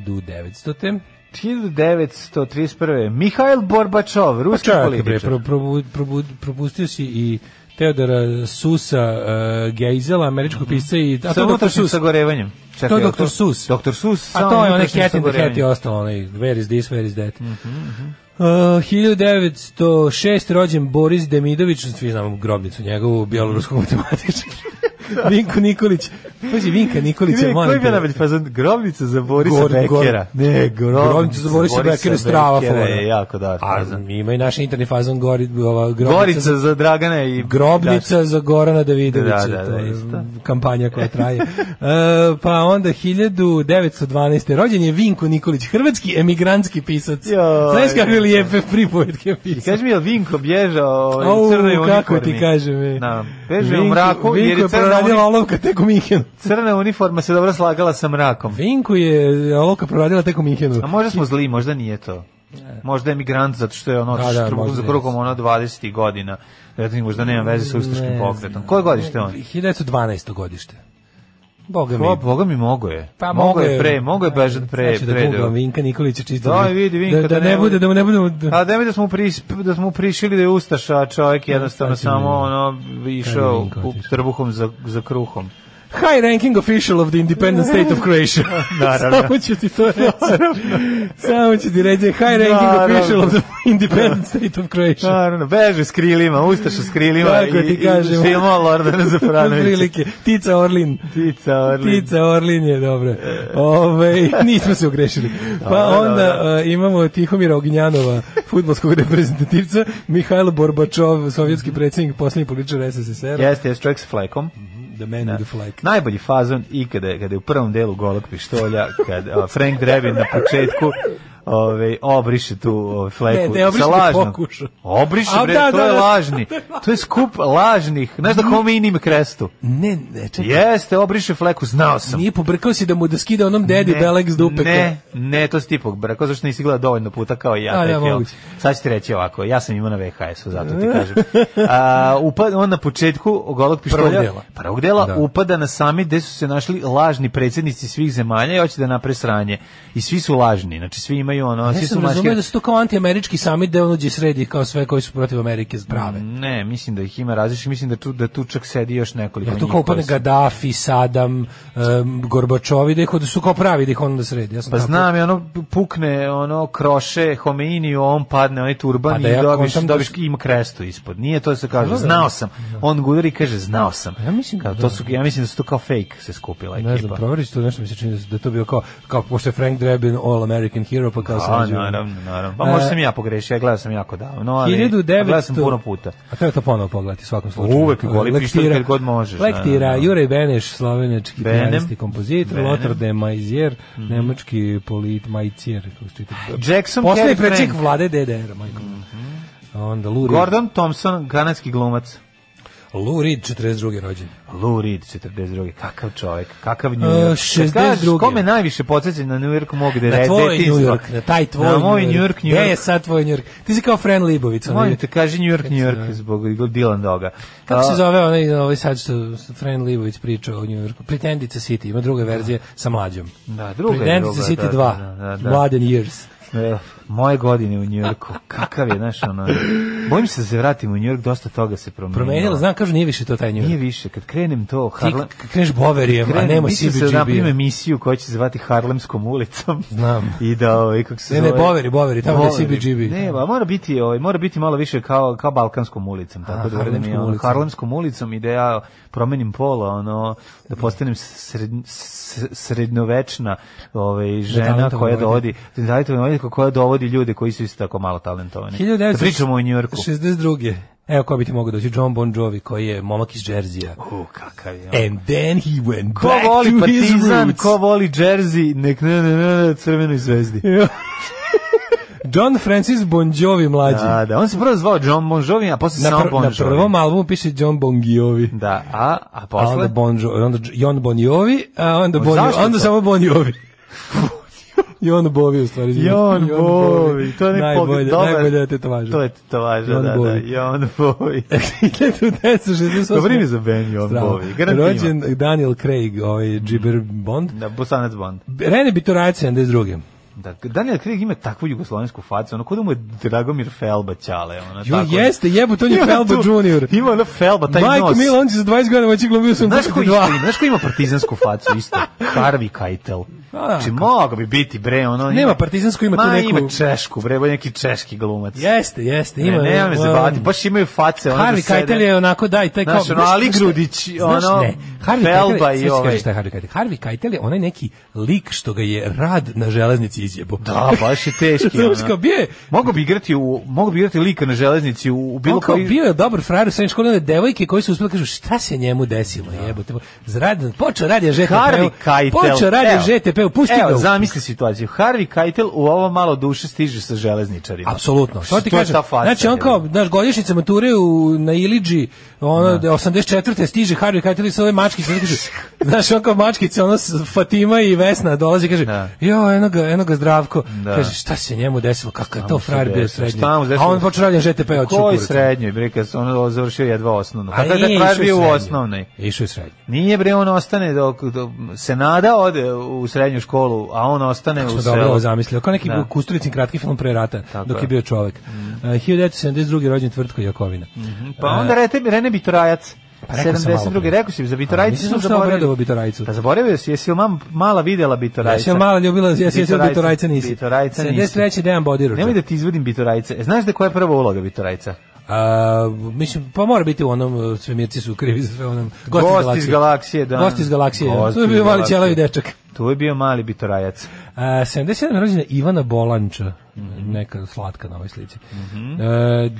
1931. Mihajl Borbačov, ruski Pa Čekaj, bre, političar. pro, probu- probu- propustio si i Teodora Susa uh, Geizela, američkog Mhm. pisca i... A Sa to je Dr. unutrašnjim Sus. sagorevanjem. Čekaj, To je jel Dr. Sus. Dr. Sus. A sa to je onaj unutrašnjim Cat in the Hat i sagorevanjem. ostalo, onaj Where is this, where is that. Mhm, Uh, 1906 rođen Boris Demidović, svi znamo grobnicu njegovu, bjeloruskog matematičara. Vinko Nikolić. Pazi, Vinka Nikolić je Koji koji molim je bio te. najbolji fazon? Grobnica za Borisa Gor- Bekera. gor- grobnica za Borisa Bekera je strava Bekera fora. je jako dobar A fazon. ima i naš interni fazon gori, ova, grobnica, Gorica za, za Dragana i grobnica za Gorana Da, Davidovića. da, to da, je isto. Kampanja koja traje. E, pa onda 1912. rođen je Vinko Nikolić, hrvatski emigrantski pisac. Joj. Znaš kakve lijepe pripovetke I pisao? kaži mi, je li Vinko bježao ovaj, Au, u crnoj uniformi? kako ti kažem, e. Da, beže u Vinko- mraku, jer Vinko je je crna, proradila uni- olovka tek u Minhenu. crna uniforma se dobro slagala sa mrakom. Vinku je olovka proradila tek u Minhenu. A možda smo zli, možda nije to. Možda je migrant zato što je ono Da, da, otišao trbuhom možda za je. kruhom ono 20 godina. Vjerojatno možda nema veze sa ustaškim Ne pokretom. znam. Koje godište je on? 1912. godište. Boga mi. Pa, Boga mi mogo je. Pa mogo je pre, mogo je bežat pre. Znači da pre, googlam Vinka Nikolića čisto. Da, vidi, Vinka, da, da, da ne ne bude, da mu ne budemo... A da mi da smo pris, da smo prišili da je ustaša čovjek jednostavno sad ćemo samo vidjeti. ono išao Vinko u otišao? trbuhom za, za kruhom. High ranking official of the independent state of Croatia. Naravno. Samo ću ti to reći. Samo ću ti reći high ranking Naravno. official of the independent state of Croatia. Naravno, beže s krilima, ustaša s krilima Tako i, ti kažem. i filmova Lordana Zafaranovića. Prilike. Tica Orlin. Tica Orlin. Tica Orlin je dobro. Ove, nismo se ogrešili. Pa Dobro, onda dobro. a, imamo Tihomira Ognjanova, futbolskog reprezentativca, Mihajlo Borbačov, sovjetski predsjednik, posljednji političar SSSR, Jeste, jeste čovjek s flekom. Da. The Man with the Flag. Najbolji fazon ikada, kada je u prvom delu golog pištolja, kad a, Frank Drebin na početku ove, obriše tu ove, fleku. Ne, ne obriše, sa nego lažnom. pokuša. Obriše, A, bre, da, to da, je da. lažni. To je skup lažnih. Znaš da kome inim krestu? Ne, ne, čekaj. Jeste, obriše fleku, znao sam. Nije pobrkao si da mu da skida onom dedi Ne, Belek s dupe. Ne, ne, to si ti pobrako, zašto nisi gledao dovoljno puta kao i ja. A, taj ja film. moguće. Sad ću ti reći ovako, ja sam imao na VHS-u, zato ti kažem. A, upa, on na početku golog pištolja, Prvog dela. prvog dela Da. upada na sami gde su se našli lažni predsjednici svih zemalja i hoće da napre sranje. I svi su lažni, znači svi imaju ono, Ja svi su sam mačke- razumio da su to kao antiamerički samit da on uđe sredi kao sve koji su protiv Amerike zbrave. Ne, mislim da ih ima različitih, mislim da tu, da tu čak sedi još nekoliko Ja to njih kao koji upadne su- Gaddafi, Sadam, um, Gorbačovi, da, ih, da su kao pravi da ih onda sredi. Ja sam Pa tako- znam, je ono pukne ono kroše Homeiniju, on padne onaj turban Pa da i ja dobiš, kontam da dobiš su- ima krestu ispod. Nije to da se kaže, znao sam. On gudari i kaže, znao sam. Ja mislim Kao, da- to su, ja mislim da su to kao fake se skupila ekipa. Ne znam, proveriš to nešto mi se čini da su- da je to bio kao, kao pošto je Frank Drebin All American Hero, pa kao A, sam Da, E. naravno, naravno. Pa možda sam i ja pogrešio, ja gledao sam jako davno, ali pa 1900... gledao sam puno puta. A treba to ponovo pogledati u svakom slučaju. Uvek, goli pištolj Lektira- kad god možeš, Lektira, da, da, da. Jure Beneš, slovenački Benem. pijanist i kompozitor, Benem. Mhm. Lothar de Maizier, nemački polit Maizier. kako se čita. Jackson Posle Carey je prečik Frank. Mhm. vlade DDR, majko. Onda Lou Reed. Gordon Thompson, kanadski glumac. Lou Reed, 42. rođen. Lou Reed, 42. Kakav čovjek, kakav New E, York. 62.. Kome najviše podsjeća na New York mog Na dede- tvoj detinjstva? New York, na taj tvoj da. Na moj New York, New Gde je York. sad tvoj New York? Ti si kao Fran Libovic. onaj- Molim te, kaži New York, New York zbog Dylan Doga. da. Kako se A, zove onaj, ovaj sad što Fran Livović priča o New Yorku? Pretendice City, ima druga verzija sa mlađom. Da, druga je Pretendice druga, City da, 2, da, da, da. Mladen Years. e, Moje godine u New Yorku, kakav je, znaš, ono... Bojim se da se vratim u New York, dosta toga se promenilo. Promenila, znam, kažu, nije više to taj New Nije York. više, kad krenem to... Ti Harlem, k- kreneš Boverijem, a krenem, nema mislim se da napravim CBGB. emisiju koja će se zvati Harlemskom ulicom. Znam. I da, ovaj, kako se Ne, ne, zove- Boveri, Boveri, tamo gde je Boveri. CBGB. Ne, ba, mora biti, ovaj, mora biti malo više kao, kao Balkanskom ulicom. A, Tako da Harlemskom mi je, ono, ulicom. Harlemskom ulicom i da ja promenim pola, ono, da postanem sred, s- srednovečna ovaj, žena Da talentovana koja vojna. dovodi, da talentovana vojna koja dovodi ljude koji su isto tako malo talentovani. Da pričamo o Njujorku. 1962. Evo ko bi ti mogao doći, John Bon Jovi, koji je momak iz Džerzija. U, kakav je on. And then he went Ko E, back voli to his Partizan, roots. ko voli Jersey, nek ne, ne, ne, ne, crvenoj zvezdi. John Francis Bon Jovi mlađi. Da, da, on se prvo zvao John Bon Jovi, a posle na, samo pr- Bon na Jovi. prvom albumu piše John Bon Jovi. Da, a, a A posle? onda Bon Jovi, onda Dž- Jon Bon Jovi, a onda Bon Jovi, zašto onda to? samo Bon Jovi. Jon Bovi u stvari. izvinite. Jon Bovi, to ne najbolje, dobar- najbolje da tetovaža. To je tetovaža, Jon da, da, Bovi. Jon Bovi. E, 1968. Dobro ime za Ben Jon Strava. Bovi, garantima. Rođen Daniel Craig, ovaj Džiber Bond. Da, Bosanac Bond. Rene Bitorajac 72. Da, Daniel Craig ima takvu jugoslovensku facu, ono, kod mu je Dragomir Felba ćale, ono, Jo, tako. jeste, jebut, on je Ima Felbo tu- Junior. Ima ono Felba, taj Majko nos. Mila, on će za 20 godina moći glumio sam Znaš ko, 42. isto, ima- znaš ko ima partizansku facu isto? Harvey Keitel. A, Znači, mogo bi biti, bre, ono... Nema partizansko, ima tu Ma, neku- ima češku, bre, bolje neki češki glumac. Jeste, jeste, Ne, ima. nema me um, zabavati, baš imaju face. ono da Harvey sede. Keitel je onako da i taj kao Znaš, ono, Ali Grudić, Znaš, ono, ne. Harvey Felba Keitel, i sad ću ovaj. kažem šta je Harvey Keitel. Harvey Keitel je onaj neki lik što ga je rad na železnici izjebo. Da, baš je teški. Znaš, ono. kao bio je, Mogu bi igrati u mogu bi igrati lika na železnici u, u bilo on kao koji bio je dobar frajer u srednjoj školi, one devojke koji su uspjeli kažu šta se njemu desilo, jebote. Zradan, počeo radi žtp Harvey Da. Keitel. Počeo radi Evo. žtp pusti ga. Evo, u- zamisli situaciju. Harvey Keitel u ovo malo duše stiže sa železničarima. Apsolutno. Što ti To je kažem? ta faca, Znači on jebote. kao, znaš, godišnjica mature u na Iliđi, ono da. 84. stiže Harvey Keitel sa ove mačkice, znaš, kaže, znaš, on kao mačkice, ono s- Fatima i Vesna dolazi i kaže, Da. jo, eno ga, eno ga zdravko. Da. Kaže, šta se njemu desilo? Kakav je to se frajer bio desilo? srednji? Šta mu se A on desilo? počeo raditi žtp U od kojoj srednjoj, bre, kad se on završio jedva osnovno. Kakav je taj frajer bio u osnovnoj? Išao je srednji. Nije bre, on ostane dok, dok se nada ode u srednju školu, a on ostane u Smo selu. dobro ovo zamislio. Kao neki Da. Kustulicin kratki film pre rata, Tako dok je je. Mhm. bio čovek. Uh, 1972. rođen Tvrtko Jakovina. Pa onda Rete, Rene Bitorajac. Pa rekao sam malo 72. pre. Rekao si, za A, Bitorajicu mislim da sam što je zaboravio. obradovao Bitorajicu. Pa zaboravio si, jesi li mam, mala videla Bitorajica? Da, Jesi mala ljubila, jesi jesi Bitorajca- Bitorajca da nisi. Bitorajca nisi. 73. Dejan Bodirović. Nemoj da ti izvodim Bitorajice. E, Znaš da koja je prva uloga Bitorajca? A, mislim, pa mora biti u onom, uh, svemirci su krivi za sve onom. Gost, Gost iz galaksije, da. Gost iz galaksije, Gost da. To je iz bio mali galaksije. ćelavi dečak. Tu je bio mali Bitorajac. A, 77. rođena Ivana Bolanča, Mhm. neka slatka na ovoj slici. Mm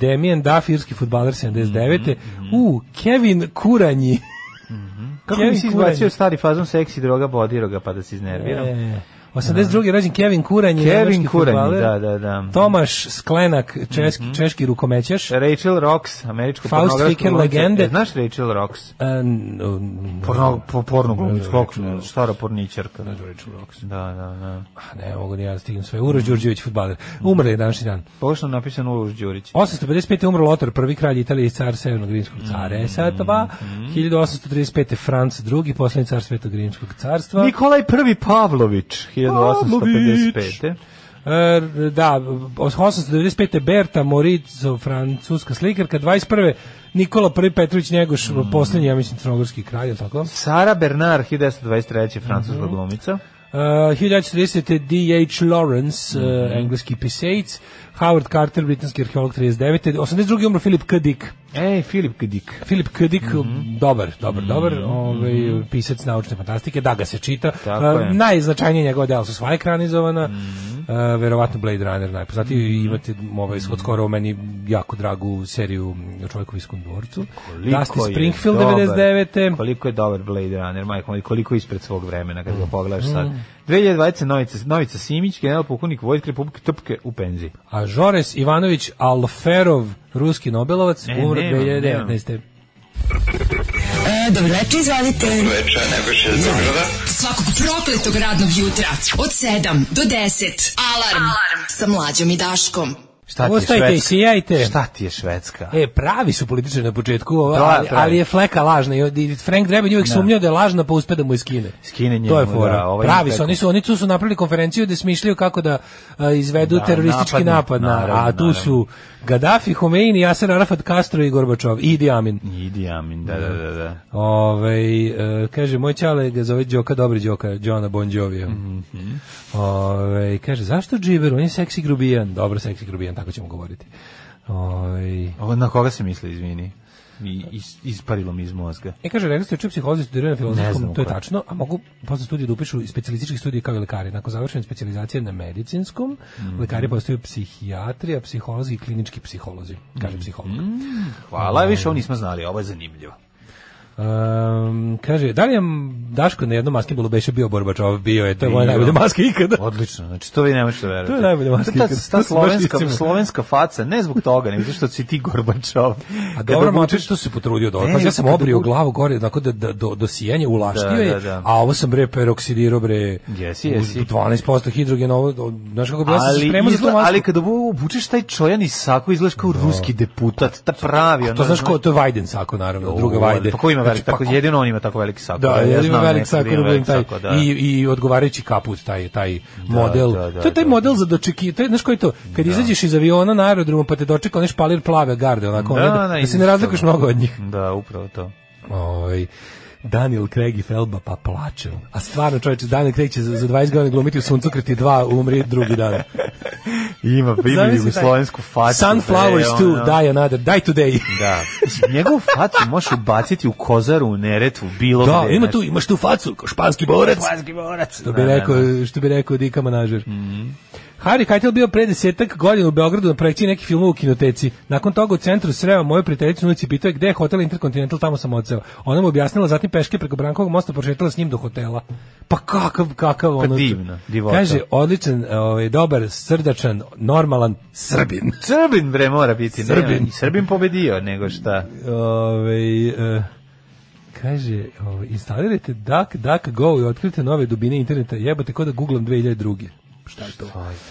Demijan Duff, irski futbaler Mhm, 79. U, Kevin Kuranji. Kako Kevin mi si Kuranji. izbacio stari fazon seksi droga bodiroga pa da se iznerviram? E, 82. rođen Kevin Kuranji. Kevin nemački Kuranji, fudbaler. da, da, da. Mhm. E, Tomaš Sklenak, češki, češki rukomećaš. Rachel Rocks, američko Faust pornografska Ficken glumica. legende. E, znaš Rachel Rocks? E, n- n- Porno, po, porno glumicu, Rachel kako ne, stara porničarka. Da, Rachel Rocks. da, da. A ne mogu ni ja da stignem sve. Uroš Đurđević, futbaler. Umre je današnji dan. Pošto napisan Uloš Đurić. 855. umro Lotar, prvi kralj Italije i car Severnog rimskog cara E, Mhm, pa, Esatova. 1835. Franc II, poslednji car Svetog rimskog carstva. Nikolaj I Pavlović, 1855. E, da, 895. Berta Morizo, francuska slikarka. 21. Nikola I Petrović Njegoš, Mhm. mm. poslednji, ja mislim, crnogorski kralj, je li tako? Sara Bernard, 1923. francuska glumica. Uh, 1930. D.H. Lawrence, uh, Mhm. engleski pisac, Howard Carter, britanski arheolog 39. 82. umro Philip K. Dick. Ej, Filip Kdik. Philip K. Dick, Mhm. dobar, dobar, dobar, ovaj, pisac naučne fantastike, da ga se čita. Tako Uh, je. Mhm. najznačajnije njegova dela su sva ekranizovana, uh, verovatno Blade Runner najpoznatiji, i imate ovaj, od skoro o meni jako dragu seriju o čovjekoviskom dvorcu. Koliko Dusty je Springfield dobar, 99. Koliko je dobar Blade Runner, majko moj, koliko je ispred svog vremena kad ga Mm. pogledaš sad. 2020 Novica, Novica Simić, general pukovnik Vojske Republike Trpke u penziji. A Žores Ivanović Alferov, ruski Nobelovac, E, umro nemam, 2019. E, dobro večer, izvolite. Dobro večer, nego še Svakog prokletog radnog jutra od 7 do 10. Alarm, Alarm. sa mlađom i Daškom. Šta ti je Ostajte i Švedska? sijajte. Šta ti je Švedska? E, pravi su političari na početku, Da, ali, pravi. ali je fleka lažna. i- I Frank Drebin uvijek sumnjao da je lažna, pa uspe da mu je skine. Skine njemu, To je fora. da, ovaj pravi ima su, tako- oni su, oni tu su napravili konferenciju gde smišljaju kako da a, izvedu Da, teroristički napad, napad, na, a naravno, tu su Gaddafi, Homeini, Yasser Arafat, Castro i Gorbačov, i Idi Amin. Idi Amin, da, da, da, da. Ove, e, kaže, moj čale ga zove Đoka, dobri Đoka, Đona Bon Jovi. Mhm. Ovaj, kaže, zašto džiber, on je seksi grubijan. Dobro, seksi grubijan, tako ćemo govoriti. Ovaj, Ove, Ovo, na koga se misli, izvini? I, is, isparilo mi iz mozga. E kaže, rekli ste učio psiholozi studiraju na Ne znam filozofskom, to je ko je. tačno, a mogu posle studije da upišu i specijalistički studij kao i lekari. Nakon završene specijalizacije na medicinskom, Mhm. lekari postaju psihijatri, a psiholozi i klinički psiholozi, kaže Mhm. psiholog. Ehm, Hvala, više ovo nismo znali, ovo je zanimljivo. Um, kaže, da li je Daško na jednom maskebolu beše bio Borbačov? Bio je, to je moja najbolja maska ikada. Odlično, znači to vi ne možete verovati. To je najbolja maska Ta, ta, ikad. ta To su baš slovenska, licima. slovenska faca, ne zbog toga, nego zato što si ti Gorbačov. A Kad Pa dobro, obučeš- Matić to se potrudio dobro. Ne, Pa ja sam kad obrio obu- glavu gore, tako da, da do, do sijenja ulaštio Da, je, da, da. a ovo sam bre peroksidirao bre. Jesi, jesi. u 12% hidrogena, ovo, znaš kako bi ja sam se ali, spremao za tu izgla- masku. ali kad obu- obučeš taj čojan i sako, izgledaš kao ruski deputat, ta pravi. To znaš ko, to je Vajden sako, naravno, druga Vajde. Pa ko ima velik, Znači, pa tako, ko- jedino on ima tako veliki sako. Da, ja ima znam velik nekog da sako, ima da velik taj, sako, da. i, i odgovarajući kaput, taj, taj model. da, da, to je taj da. model za dočeki, to je, znaš koji je to? Kad izađeš iz aviona na aerodromu pa te dočeka onaj špalir plave garde, onako, Da, ono, da, da, da se ne izašao. razlikuješ mnogo od njih. Da, upravo to. Ovaj Daniel Craig i Felba pa plače. A stvarno čoveče, Daniel Craig će za, za 20 godina glumiti u Suncokreti 2, umri drugi dan. Ima, ima Zamisli jugoslovensku taj- facu. Sunflowers da. bre, 2, ono. die another, die today. Da. Mislim, Njegovu facu možeš ubaciti u kozaru, u neretvu, bilo Da, gde. ima znaš. tu, imaš tu facu, kao španski borac. Španski borac. da, Što bi rekao, što bi rekao Dika Manažer. Mhm. Harry Keitel bio pre desetak godina u Beogradu na projekciji nekih filmova u kinoteci. Nakon toga u centru sreo moju prijateljicu na ulici i pitao je gde je hotel Intercontinental, tamo sam odseo. Ona mu objasnila, zatim peške preko Brankovog mosta prošetala s njim do hotela. Pa kakav, kakav ono... divno, Pa divota. Kaže, odličan, ovaj, dobar, srdačan, normalan Srbin. Srbin bre mora biti. nema. Srbin. I Srbin pobedio, nego šta. Ovaj, eh, kaže, ovaj, instalirajte DuckDuckGo i otkrite nove dubine interneta. Jebate ko da googlam 2002. Šta je to?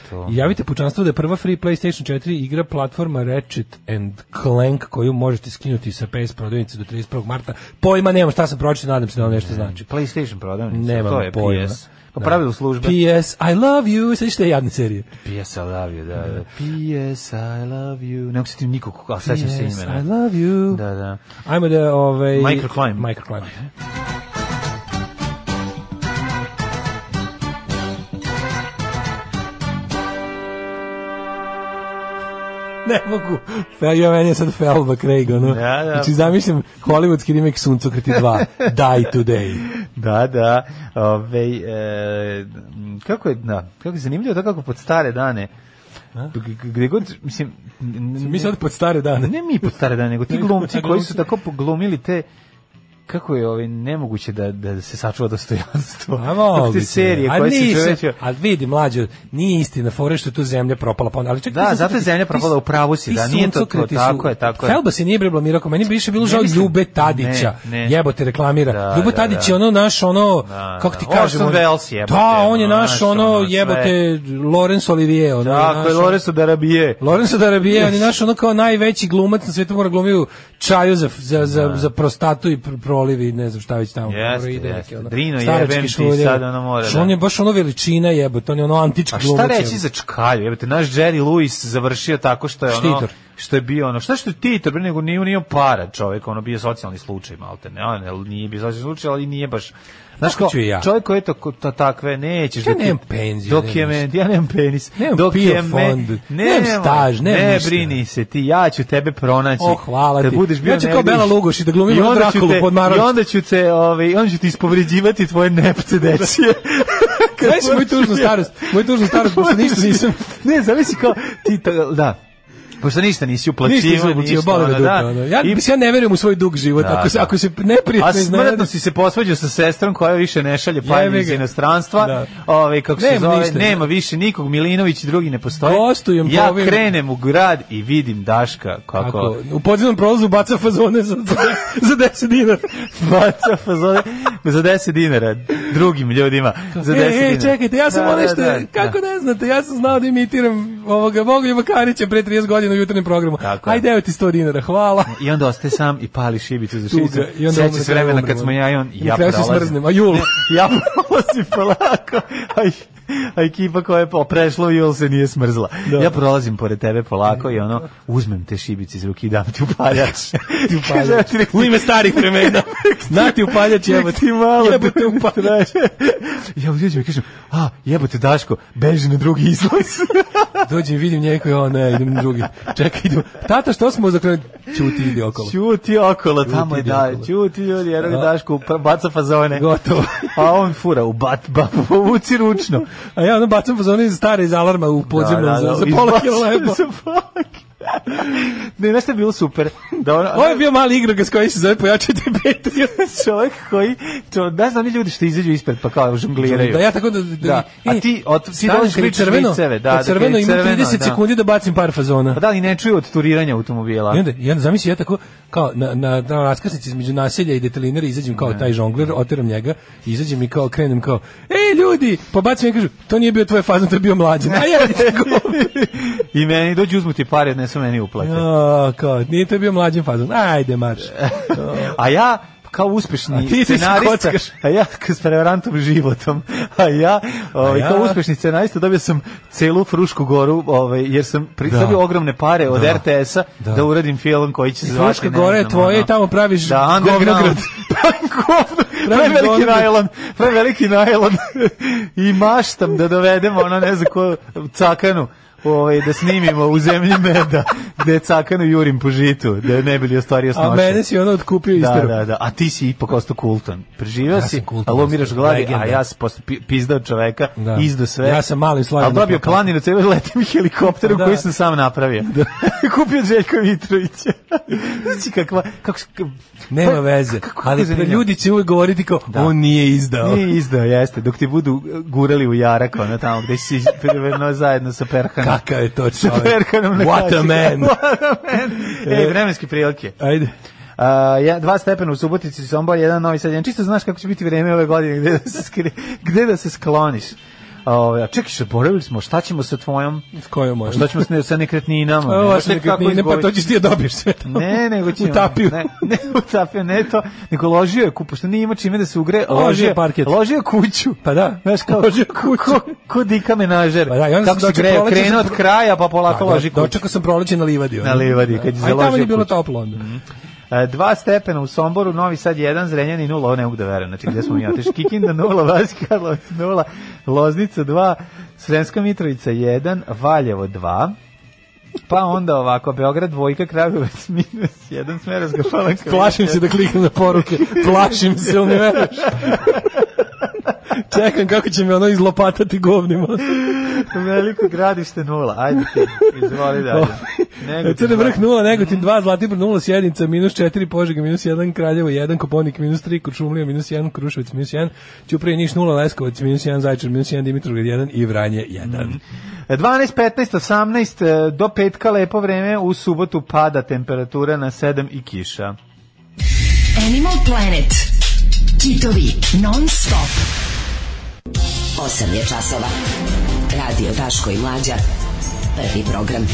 to? I Javite pučanstvo da je prva free PlayStation 4 igra platforma Ratchet and Clank koju možete skinuti sa PS prodavnice do 31. marta. Pojma nemam šta sam pročitao, nadam se da vam nešto znači. PlayStation prodavnica, Nemam to je pojma. PS. Pa pravilo službe. P.S. I love you, sve što je jadne serije. P.S. I love you, da, da. P.S. I love you. Ne mogu se tim nikog, ali sećam se Yes, imena. I love you. Da, da. Ajmo da, ovaj... Microclimb. Microclimb. Ne mogu. Fel, ja meni je sad Felba Craig, ono. Da, da. Znači, zamišljam hollywoodski remake Suncokriti 2, Die Today. Da, da. Ove, e, kako je, da, kako je zanimljivo to kako pod stare dane, g- gde god, mislim, n- n- Mi sad pod stare dane. ne mi pod stare dane, nego ti Nego glumci koji su glumci. tako poglumili te kako je ovaj nemoguće da da se sačuva dostojanstvo. pa A mogu te serije koje se čoveče A vidi mlađe, nije istina, fore što je tu zemlja propala. Pa onda, ali čekaj, Da, ti sam- zato je ti- zemlja propala, ti- u pravu si, ti da, nije to to, suncokreti su- tako je, tako je. Felba se nije bre blamirao, kao meni bi više bilo Ne žao mislim- Ljube Tadića. ne, ne. Jebote reklamira. Da, Ljube da, Tadić da. je ono naš ono Da, kako da. ti kažemo. Orson Welles, jebote, Da, on je ono, naš naš, ono ono, sve. jebote Laurence Olivier, ono. Tako naš, je ono- Lorenzo Darabije. Lorenzo Darabije, on je naš ono kao najveći glumac na svetu, mora glumio čaju za, za, za, za prostatu i pr- proliv i ne znam šta već tamo. Da. Jeste, Mora ide jeste. neki, ono, Drino, starački jebem ti, šulje. sad ono mora, Što On da. je baš ono veličina jebote, on je ono antički A glumac. šta reći jebote. za Čkalju? Jebote, naš Jerry Lewis završio tako što je ono... Štitor. Što je bio ono... Šta što je Titor? Bre, nego nije, nije para čovjek, ono bio socijalni slučaj, malte ne. On je- nije bio socijalni slučaj, ali nije baš... Znaš Kako kao, ću ja? čovjek koji je tako ta, takve, nećeš... Ja dok je- nemam penziju, Dok nemam je men, ja nemam penis. Nemam dok PIO je me- fond, nemam staž, nemam Ne ništa. brini se ti, ja ću tebe pronaći. O, hvala Kad ti. budeš bio Ja ću kao negdje- Bela Lugoš i da glumim I ono onda ću Drakulu te- pod Maroš. I onda ću te, ovaj, onda ću ti ispovređivati tvoje nepce dečije. Kad Znaš moju tužnu budeš- starost, moju tužnu starost, pošto ništa nisam... ne, zavisi kao ti to, da. Pošto ništa nisi Ništa uplaćivao, nisam uplaćio, boli me ono, da. dupe. ono. Ja, I- mislim, ja ne verujem u svoj dug život. Da, ako, se, da. ako se A neprijatno smrtno iznenadi... si se posvađao sa sestrom koja više ne šalje Jebi panje iz ga. inostranstva. Da. Ovaj kako se Nemam zove, ništa. nema više nikog, Milinović i drugi ne postoje. Gostujem po ja ovim- krenem u grad i vidim Daška kako Ako, u podzemnom prolazu baca fazone za, za 10 dinara. baca fazone za 10 dinara drugim ljudima. Za 10 e, dinara. e, čekajte, ja sam Da, onaj da, što, da, kako ne znate, ja sam znao da imitiram ovoga Bogu i Vakarića pre 30 godina u jutarnjem programu. Tako je. Ajde, evo ti 100 dinara, hvala. I onda ostaje sam i pali šibicu za šibicu. Tuga. I onda da Seća umre, se vremena umre, kad smo ja i on, umre. ja Na kraju se prolazim. smrznem, a jul. ja prolazim polako, a, i- a ekipa koja je prešla jul se nije smrzla. Da. Ja prolazim pored tebe polako i ono, uzmem te šibice iz ruke i dam ti upaljač. ti upaljač. U ime starih vremena. Na ti upaljač, evo ti malo. da Jebote upaljač. ja uđeđem i kažem, a jebote Daško, beži na drugi izlaz. Dođem, vidim njega i o ne, idem na drugi. Čekaj, idem. Tata, što smo zakrenuli? Ćuti, idi okolo. Ćuti okolo, tamo je idi da, okolo. ćuti ljudi, jer je Daško upra- baca fazone. Gotovo. A on fura u bat, bat, povuci ručno. A ja ono bacam fazone stare iz alarma u podzemnom Da, za, za pola izbacio kilo leba. Za pola kila. Ne, nešto je bilo super. Da ono, Ovo je bio mali igrokaz koji se zove Pojačajte Petrija. čovjek koji, čo, ne znam, oni ljudi što izađu ispred pa kao žongliraju. Da ja tako da, da, Da. A ti od- ti stanem dolaziš kad je lično špriceve, da, kad da, crveno kad je ima crveno, 30 da. sekundi da bacim par fazona. Pa da li ne čuju od turiranja automobila? I onda, i onda zamisli ja tako kao na na na raskrsnici između naselja i detelinera izađem Da. kao taj žongler, oteram njega, izađem i kao krenem kao ej ljudi, pa bacim i kažu to nije bio tvoj fazon, to je bio mlađi. A ja I meni dođu uzmu ti pare, odnesu meni uplate. Ja, kao, nije to bio mlađi fazon. Ajde, marš. E, A ja kao A uspešni ti se scenarista, kockaš. a ja k- s prevarantom životom, a ja, ovaj, ja- kao uspešni scenarista dobio sam celu Frušku goru, ovaj, jer sam pri, Da. dobio ogromne pare od Da. RTS-a da. Da. uradim film koji će se zvati, Fruška ne gora je znam, tvoja ono. i tamo praviš da, underground. govnograd. Pa, govno, Praviš preveliki govnograd. najlon, preveliki najlon i maštam da dovedem ono, ne znam ko, cakanu ovaj, da snimimo u zemlji meda gde cakanu jurim po žitu da ne bili ostvario snoše A mene si ono otkupio i da, istero. da, da. A ti si ipak ostao kultan. Preživio Ja si, sam kultan, ali umiraš ostao. gladi, a Legenda. ja sam posle pi- pizdao čoveka, Da. izdo sve. Ja sam malim slavim Ali dobio na plakatu. planinu, celo letim helikopteru Da. koji sam sam napravio. Kupio Željko Mitrovića. Znači kakva, kako, se- Nema Pa, veze. kako- kako ali je zanimljivo. Da. ljudi će uvek govoriti kao on nije izdao. Nije izdao, jeste, dok ti budu gurali u jarak, ono tamo, gde si prevrno zajedno sa Perhanom. Kakav je to Sa čovjek? Perhanom na What a kaši. man. E, What a man. Ej, vremenske prilike. Ajde. A, ja, dva stepena u Subotici, Sombor, jedan novi sad. jedan. Čisto znaš kako će biti vreme ove godine, gde da se, skri, gde da se skloniš. Ovaj, a čekaj, zaboravili smo, šta ćemo sa tvojom? S kojom Pa mojom? Šta ćemo s ne, sa nekretninama? da Ovo Nemaš su li kako nekretnine, pa izgovor- to ćeš ti da dobiješ sve to. Ne, nego ćemo. U tapiju. Ne, ne utapio, ne to. Nego ložio je kupu, što nije imao čime da se ugre. Ložio je Ložio, parket. Ložio je kuću. Pa da. Znaš kao, Ložio je ko, ko, ko dika menažer. Pa da, i onda Kako sam se dočekao greje, proleće, krenuo sam od pro- kraja, pa polako Da, loži kuću. Dočekao sam proleće na livadi. ono. Na livadi, kad je A i tamo založio nije bilo kuću. toplo onda. E, Dva stepena u Somboru, Novi Sad 1, Zrenjanin 0, ovo ne mogu da verujem, znači gde smo mi otišli, Kikinda 0, Vaski Karlovac 0, Loznica 2, Sremska Mitrovica 1, Valjevo 2, pa onda ovako, Beograd dvojka, Kragujevac minus 1, Smerovska palanka. Plašim se da kliknem na poruke. Plašim se, ili ne veruješ? Čekam kako će me ono izlopatati govnima. Veliko gradište 0, ajde ti, izvoli dalje. Nego ti Ovaj, e, Crni dva. vrh 0, Negotin 2, Zlatibor 0, Sjednica minus 4, Požega minus 1, Kraljevo 1, Koponik minus 3, Kuršumlija minus 1, Kruševac minus 1, Ćuprije Niš 0, Leskovac minus 1, Zajčar minus 1, Dimitrovgrad 1 i Vranje 1. Mhm. 12, 15, 18, e, do petka lepo vreme, u subotu pada temperatura na 7 i kiša. Animal Planet. Kitovi non stop. 8 je časova. Radio Daško i Mlađa. Prvi program.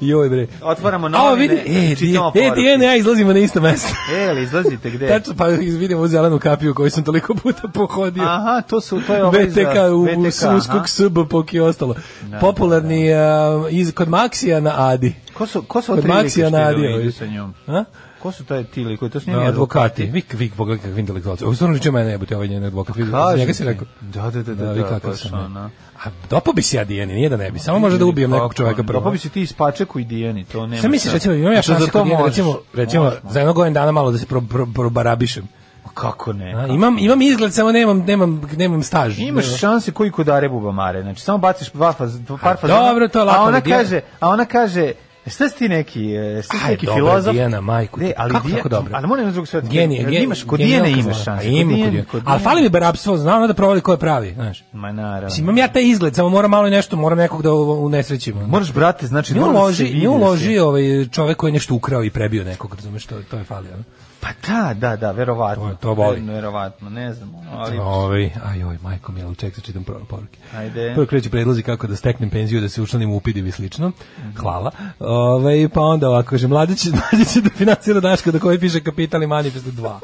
Joj bre. Otvaramo A, novine, vidi, e, ti, čitamo e, ti, znači poruke. e, ne, ja izlazimo na isto mesto. E, ali izlazite gde? Tačno, pa vidim ovu zelenu kapiju koju sam toliko puta pohodio. Aha, to su to je ovaj za- BTK u, u aha. Da, uskog SB pok i ostalo. Popularni a, iz, kod Maksija na Adi. Ko su ko su Kod tri lika što Maksija idu- Nadija, idu ovi. sa njom? A? Ko su taj ti likovi? To su njeni Da, advokati. Vi vi pogledaj kakvi intelektualci. Ovo stvarno liče mene, jebote, ovaj njen advokat. Vi, za Pa Kažem njega si ti. rekao. Da, da, da, da, vi da, kakav baš sam. ja. ono. A dopo bi se ja Dijani, nije da ne bi. Samo može da ubijem nekog čoveka prvo. Pa bi se ti ispačeku i Dijani, to nema. Sam misliš, šta. recimo, imam ja Znači, za šanse to kod Dijane, možeš. recimo, recimo Možeš, za jednog godin dana malo da se pro, pro, probarabišem. možeš. Kako ne? A, imam, imam izgled, samo nemam, nemam, nemam staž. Imaš šanse koji kod Are Bubamare. Znači samo baciš dva faz, dva par A, fazona. dobro, to je lako, A ona ali Dijana- kaže, a ona kaže, Šta si ti neki, e, šta si Aj, neki dobro, filozof? Dijana, majku ti. Ne, ali Kako Dija- tako dobro? Ali moram da na drugu svetu. Genije, genije. Imaš, kod Dijane imaš šanse. kod Ima Dijane, kod Dijane. kod Ali Dijane. fali mi barapstvo, znam da provali ko je pravi, znaš. Ma naravno. Mislim, imam ja taj izgled, samo moram malo i nešto, moram nekog da ovo unesrećimo. Moraš, brate, znači... Nije mora da se uloži, vidi nije da si- uloži ovaj čovek koji je nešto ukrao i prebio nekog, razumeš, to, to je falio. ono. Pa da, da, da, verovatno. To- to boli. Ver- Verovatno, ne znam, ono, ali... Ovaj, aj, oj, majko milo, ček, sad čitam prvo poruke. Ajde. Prvo kreću predlozi kako da steknem penziju, da se učlanim u upidiv i slično. Hvala. Ovaj, pa onda ovako, kaže, mladić, mladić će da financira Daška da koji piše Kapital i Manifest 2.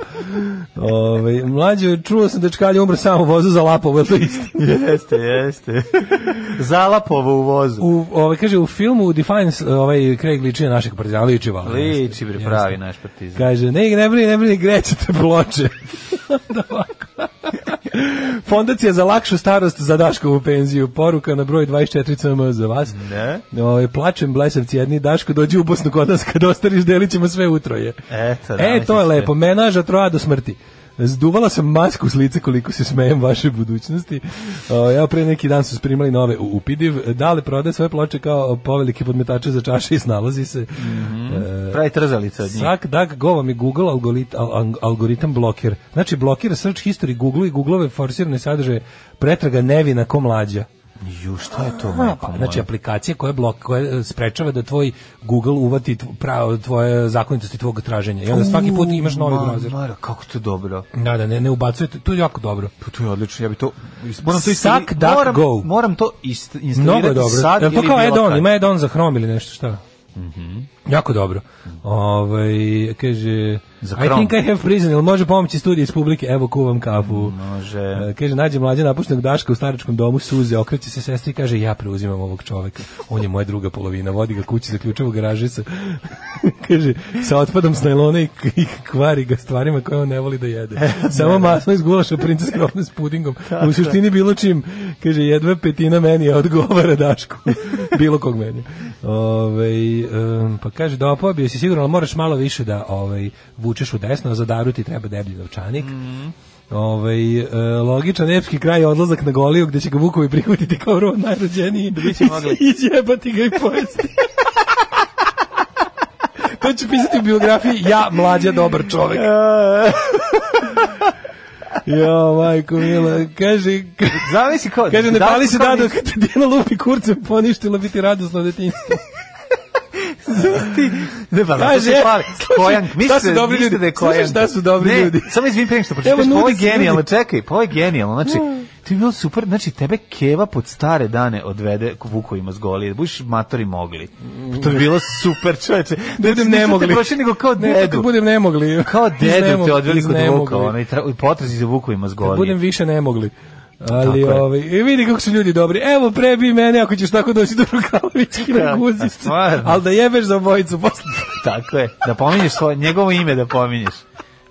Ovaj, mlađe, čuo sam da čkalje umre samo u vozu za Lapovo, je li to isto? Jeste, jeste. Zalapovo u vozu. U, ovaj, kaže, u filmu Defiance ovaj, Craig liči na našeg partizana, liči vala. Liči, bre, pravi naš partizan. Kaže, ne, ne brini, ne brini, grećete ploče. Onda ovako. Fondacija za lakšu starost za Daškovu penziju. Poruka na broj 24 CM za vas. Ne? Ove, plačem blesavci jedni, Daško, dođi u Bosnu kod nas, kad ostariš, delit ćemo sve utroje. Eto, da, e, to je mislim lepo, menaža troja do smrti. Zduvala sam masku s lice koliko se smejem vaše budućnosti. O, ja pre neki dan su primali nove u Upidiv. Dale prode sve ploče kao povelike podmetače za čaše i snalazi se. Mhm. E, Pravi trzalica od njih. Svak dag gova mi Google algorit, al, al- algoritam blokir. Znači blokira search history Google i Googleove forsirane sadržaje pretraga nevina ko mlađa. E, Ju, šta je to, A, majko pa, moja? znači aplikacija koja blok koja e, sprečava da tvoj Google uvati tv- pravo tvoje zakonitosti tvog traženja. I onda svaki put imaš novi Ma, browser. Mara, kako to dobro. Da, da, ne, ne ubacujete, to je jako dobro. Pa to je odlično, ja bi to... Moram to Suck, instali- duck, moram, go. Moram to ist, Mnogo instalirati je dobro. sad Jel to ili kao bilo add-on, kad. Mhm. ima add-on za Chrome ili nešto šta? Jako dobro. Ovaj kaže Za I Chrome. think I have prison, ili može pomoći studije iz publike, evo kuvam kafu. Mm, Može. E, Kaže, nađe mlađe napuštenog Daška u staračkom domu, suze, okreće se sestri i kaže, ja preuzimam ovog čoveka. On je moja druga polovina, vodi ga kući, zaključava u garaži sa, kaže, sa otpadom s najlona i, k- i kvari ga stvarima koje on ne voli da jede. Samo masno iz gulaša, princes krofne s pudingom. U suštini bilo čim, kaže, jedva petina meni odgovara Dašku. bilo kog meni. Ovaj, em, pa kaže, dopao bi joj si sigurno, ali moraš malo više da ovaj, vučeš u desno, a za daru ti treba deblji novčanik. Ovaj e, logičan epski kraj je odlazak na Goliju gde će ga Vukovi prihvatiti kao vrlo najrođeniji da biće mogli. i jebati ga i pojesti. to će pisati u biografiji ja mlađa dobar čovek. Jo, majko mila, kaže... Zamisli kao... da Kaže, ne pali se kao dado nik- Da, kad te Dijana lupi kurcem, poništila bi ti radosno detinjstvo. Pusti. Ne pa, Kaže, to se pali. slušaj, Kojan, šta mislite, su dobri mislite ljudi? da je Kojan. Slušaj, šta su dobri ne, ljudi? Samo izvini prema što pročitaš, Evo, pa ovo nude je se ljudi. Mm. genijalno, čekaj, pa ovo je genijalno. Znači, to je bilo super, znači tebe Keva pod stare dane odvede k Vukovima s Golije, da budiš matori mogli. Pa To je bilo super, čoveče. Da budem nemogli. Niste prošli nego kao Ne, kad dedu. budem nemogli. Kao dedu te Iznemogli, odveli kod iznemogli. Vuka, onaj tra- i potrazi za Vukovima s Kad Golije. Da budem više nemogli. Ali Tako je. ovaj, i vidi kako su ljudi dobri. Evo prebi mene ako ćeš tako doći do Rukalovićki na Da, guzicu. stvarno. Ali da jebeš za obojicu posle. Tako je, da pominješ svoje, njegovo ime da pominješ.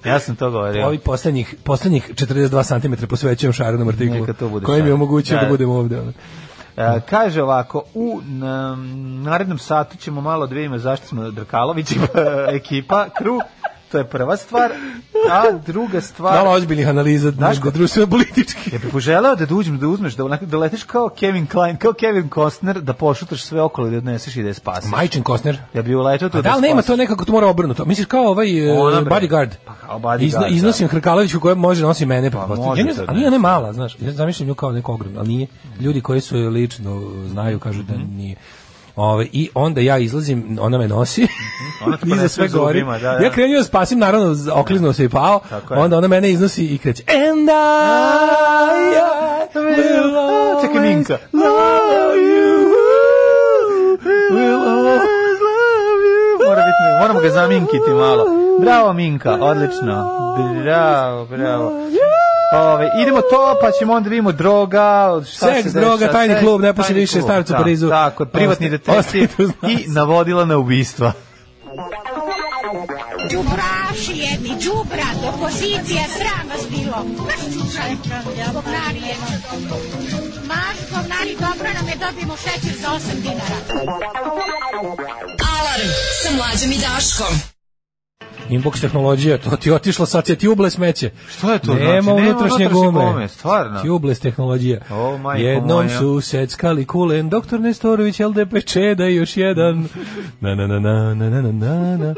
Ja sam to govorio. Ovi poslednjih, poslednjih 42 cm posvećujem Šarenom artiklu, Neka to bude koji mi je Šaran. omogućio da, Da. budem ovde. ono. E, kaže ovako, u na, narednom satu ćemo malo da vidimo zašto smo Drkalović i ekipa, kru, to je prva stvar, a druga Malo stvar... ozbiljnih analiza Pa- Znaš ko- društveno politički. Ja bih poželeo da uđem, da uzmeš, da, onako, da letiš kao Kevin Klein, kao Kevin Costner, da pošutaš sve okolo i da odneseš i da je spasiš. Majčin Kostner. Ja bih uletao tu A da li nema to spasiš. nekako, to mora obrnuto. Misliš kao ovaj e, Ona, bre. bodyguard? Pa kao bodyguard, da. iznosim Hrkaloviću koja može nosi mene. Pa, može ja ne, to, da a ne. nije ona mala, znaš. Ja zamišljam nju kao neko ogromno, ali nije. Ljudi koji su je lično e, znaju kažu da Mhm. nije. Ove, I onda ja izlazim, ona me nosi, Mhm. Ona te iza ponese sve u zubima, gori. da, da. Ja krenio da spasim, naravno, z- okliznuo se i pao, Tako je. onda ona mene iznosi i kreće. And I, I will A, čekaj, always Ninka. love you. Will always love you. Mora biti, moramo ga zaminkiti malo. Bravo Minka, odlično. Bravo, bravo. Ove, idemo to, pa ćemo onda vidimo droga, šta Seks, se dešava, droga, tajni seks, klub, ne puši tajni više, klub, starac u da, Parizu. Tako, privatni Osta- detektiv ostanite uz nas. i navodila na ubistva. Đubraši jedni, đubra, opozicija, sram vas bilo. Baš čučali, govnari jedni. Maš, govnari, dobro nam je, dobijemo šećer za 8 dinara. Alarm sa mlađom i Daškom. Inbox tehnologija, to ti je otišlo, sad će ti uble smeće. Što je to nema znači? Nema unutrašnje unutrašnje gume. gume, stvarno. Tubeless tehnologija. O, majko Jednom moja. su seckali kulen, doktor Nestorović, LDP Čeda i da još jedan. Na, na, na, na, na, na, na, na, na.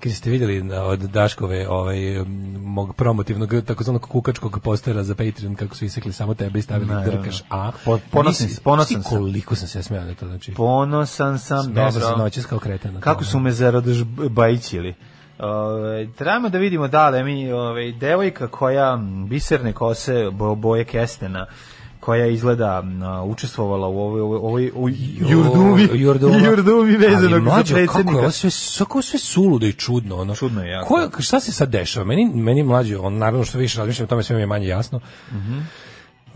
Kad ste vidjeli na- od Daškove ovaj, m, mog promotivnog takozvanog kukačkog postera za Patreon kako su isekli samo tebe i stavili Ne, drkaš A. Po- ponosan Nisi- sam, ponosan nisi sam. Koliko sam se ja smijao na to, znači. Ponosan sam, Smeo sam se dobro. noćas kao kreten na Kako tome. su me zaradžbajićili. Ove, trebamo da vidimo da li mi ove, devojka koja m, biserne kose bo, boje kestena koja izgleda m, a, učestvovala u ovoj ovoj ovoj u jurdumi Jorduma. jurdumi Ali vezano za mlađo, Kako je predsednika ovo sve, kako sve suludo i čudno, ono. Čudno je jako. Ko, šta se sad dešava? Meni, meni mlađe, on, naravno što više razmišljam, o tome sve mi je manje jasno. Mhm.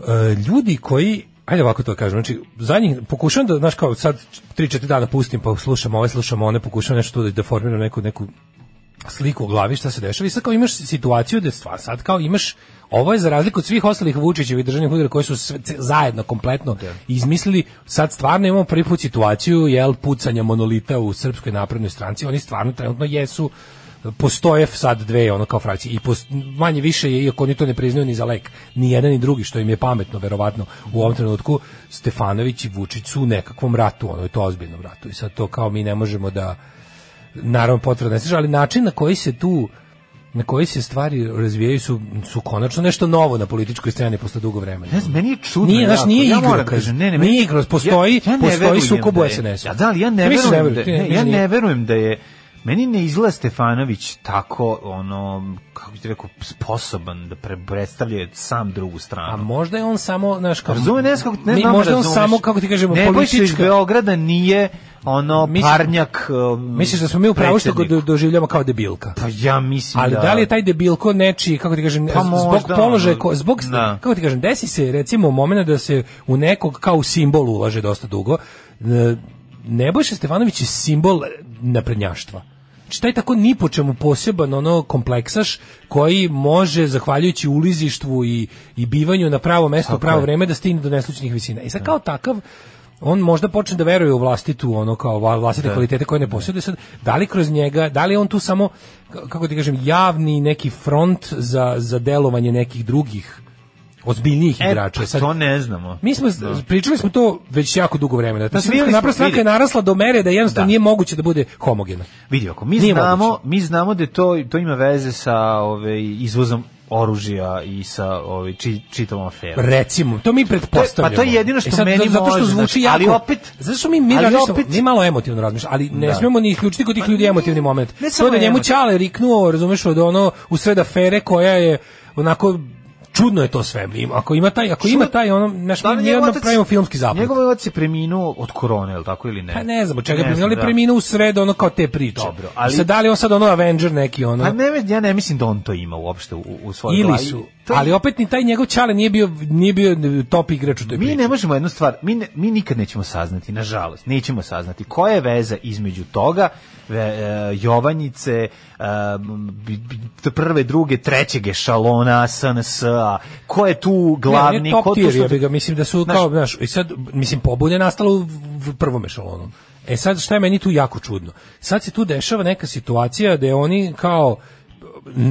E, ljudi koji ajde ovako to kažem, znači zadnjih pokušavam da, znaš kao sad 3-4 dana pustim pa slušam ove, slušam one, pokušavam nešto da, da formiram neku, neku sliku u glavi šta se dešava i sad kao imaš situaciju da je stvar, sad kao imaš ovo je za razliku od svih ostalih Vučićevih državnih udara koji su sve, ce- zajedno kompletno izmislili, sad stvarno imamo prvi put situaciju jel, pucanja monolita u srpskoj naprednoj stranci, oni stvarno trenutno jesu postoje sad dve ono kao frakcije i pos- manje više je iako oni to ne priznaju ni za lek ni jedan ni drugi što im je pametno verovatno u ovom trenutku Stefanović i Vučić su u nekakvom ratu ono je to ozbiljnom ratu i sad to kao mi ne možemo da naravno potvrda ne stiže, ali način na koji se tu na koji se stvari razvijaju su, su konačno nešto novo na političkoj sceni posle dugo vremena. Ne znam, meni je čudno. Nije, znaš, jako. nije ja igro, moram da kaže. kažem, ne, ne, Nije meni- igro, postoji- ja, ja ne postoji verujem sukob da u je- SNS-u. Ja, da, ali ja ne Ti misliš da verujem da, veruješ? Ti ne- ne, misliš ja da nije? ne verujem da je Meni ne izgleda Stefanović tako, ono, kako bih ti rekao, sposoban da pre- predstavlja sam drugu stranu. A možda je on samo, znaš, kao... Razume, ne znam kako, ne Pa, Mi- znam da Možda je on razumeš. samo, kako ti kažemo, Nebojša iz politička... Beograda nije ono Misliš- parnjak um, Misliš da smo mi u pravu što ga do- predsednik. doživljamo kao debilka? Pa ja mislim Ali da... da li je taj debilko nečiji, kako ti kažem, Pa zbog možda, položaja, ono, ko- zbog, da. kako ti kažem, desi se recimo moment da se u nekog kao u simbol ulaže dosta dugo. E, Nebojša Stefanović je simbol naprednjaštva. Znači taj tako ni po čemu poseban ono kompleksaš koji može zahvaljujući ulizištvu i, i bivanju na pravo mesto u pravo je. vreme da stigne do neslučnih visina. I sad Da. kao takav on možda počne da veruje u vlastitu ono kao vla- Da. vlastite kvalitete koje ne posjeduje sad da li kroz njega da li je on tu samo k- kako ti kažem javni neki front za za delovanje nekih drugih ozbiljnijih E, igrača pa Sad, to ne znamo. mi smo z- pričali smo to već jako dugo vremena ta Mislim, srpska videli smo- napredna stranka je vidi. narasla do mere da jednostavno Da. nije moguće da bude homogena Vidi, ako mi Nije znamo, moguće. mi znamo da je to to ima veze sa ovaj izvozom oružja i sa ovaj, či, čitavom aferom. Recimo, to mi pretpostavljamo. E Pa to je jedino što meni zato- zato što može, zvuči znači, jako. ali opet- zato što mi mi ali razmišljamo- opet- Da. Pa mi malo emotivno razmišljamo, ali ne smemo ni isključiti kod tih ljudi emotivni moment. ne to samo da njemu emotivno. Ćale riknuo, razumeš, od ono u sred afere koja je onako čudno je to sve. Im- Ako ima taj, ako ima taj ono, znaš, mi Da li njegov jedno otac- pravimo filmski zaplet. Njegov otac je preminuo od korone, je li tako ili ne? Pa ne znam, od čega Ne preminuo, ali da. preminuo u sred ono kao te priče. Dobro, ali- Sad da li je on sad ono Avenger neki ono? Pa ne, ja ne mislim da on to ima uopšte u, u svojoj ili glavi. su. To je- Ali opet ni taj njegov Ćale nije bio nije bio top igrač u toj Mi priči. ne možemo jednu stvar, mi, ne- mi nikad nećemo saznati, nažalost, nećemo saznati koja je veza između toga, ve, e, Jovanjice, e, bi- bi- t- prve, druge, trećeg ešalona, SNS-a, ko je tu glavni, ne, ne, top ko tu tier, što- jebi ga, mislim da su Znaš- kao, znaš, i sad, mislim, pobuda je nastala u v- prvom ešalonu. E sad, šta je meni tu jako čudno? Sad se tu dešava neka situacija da oni kao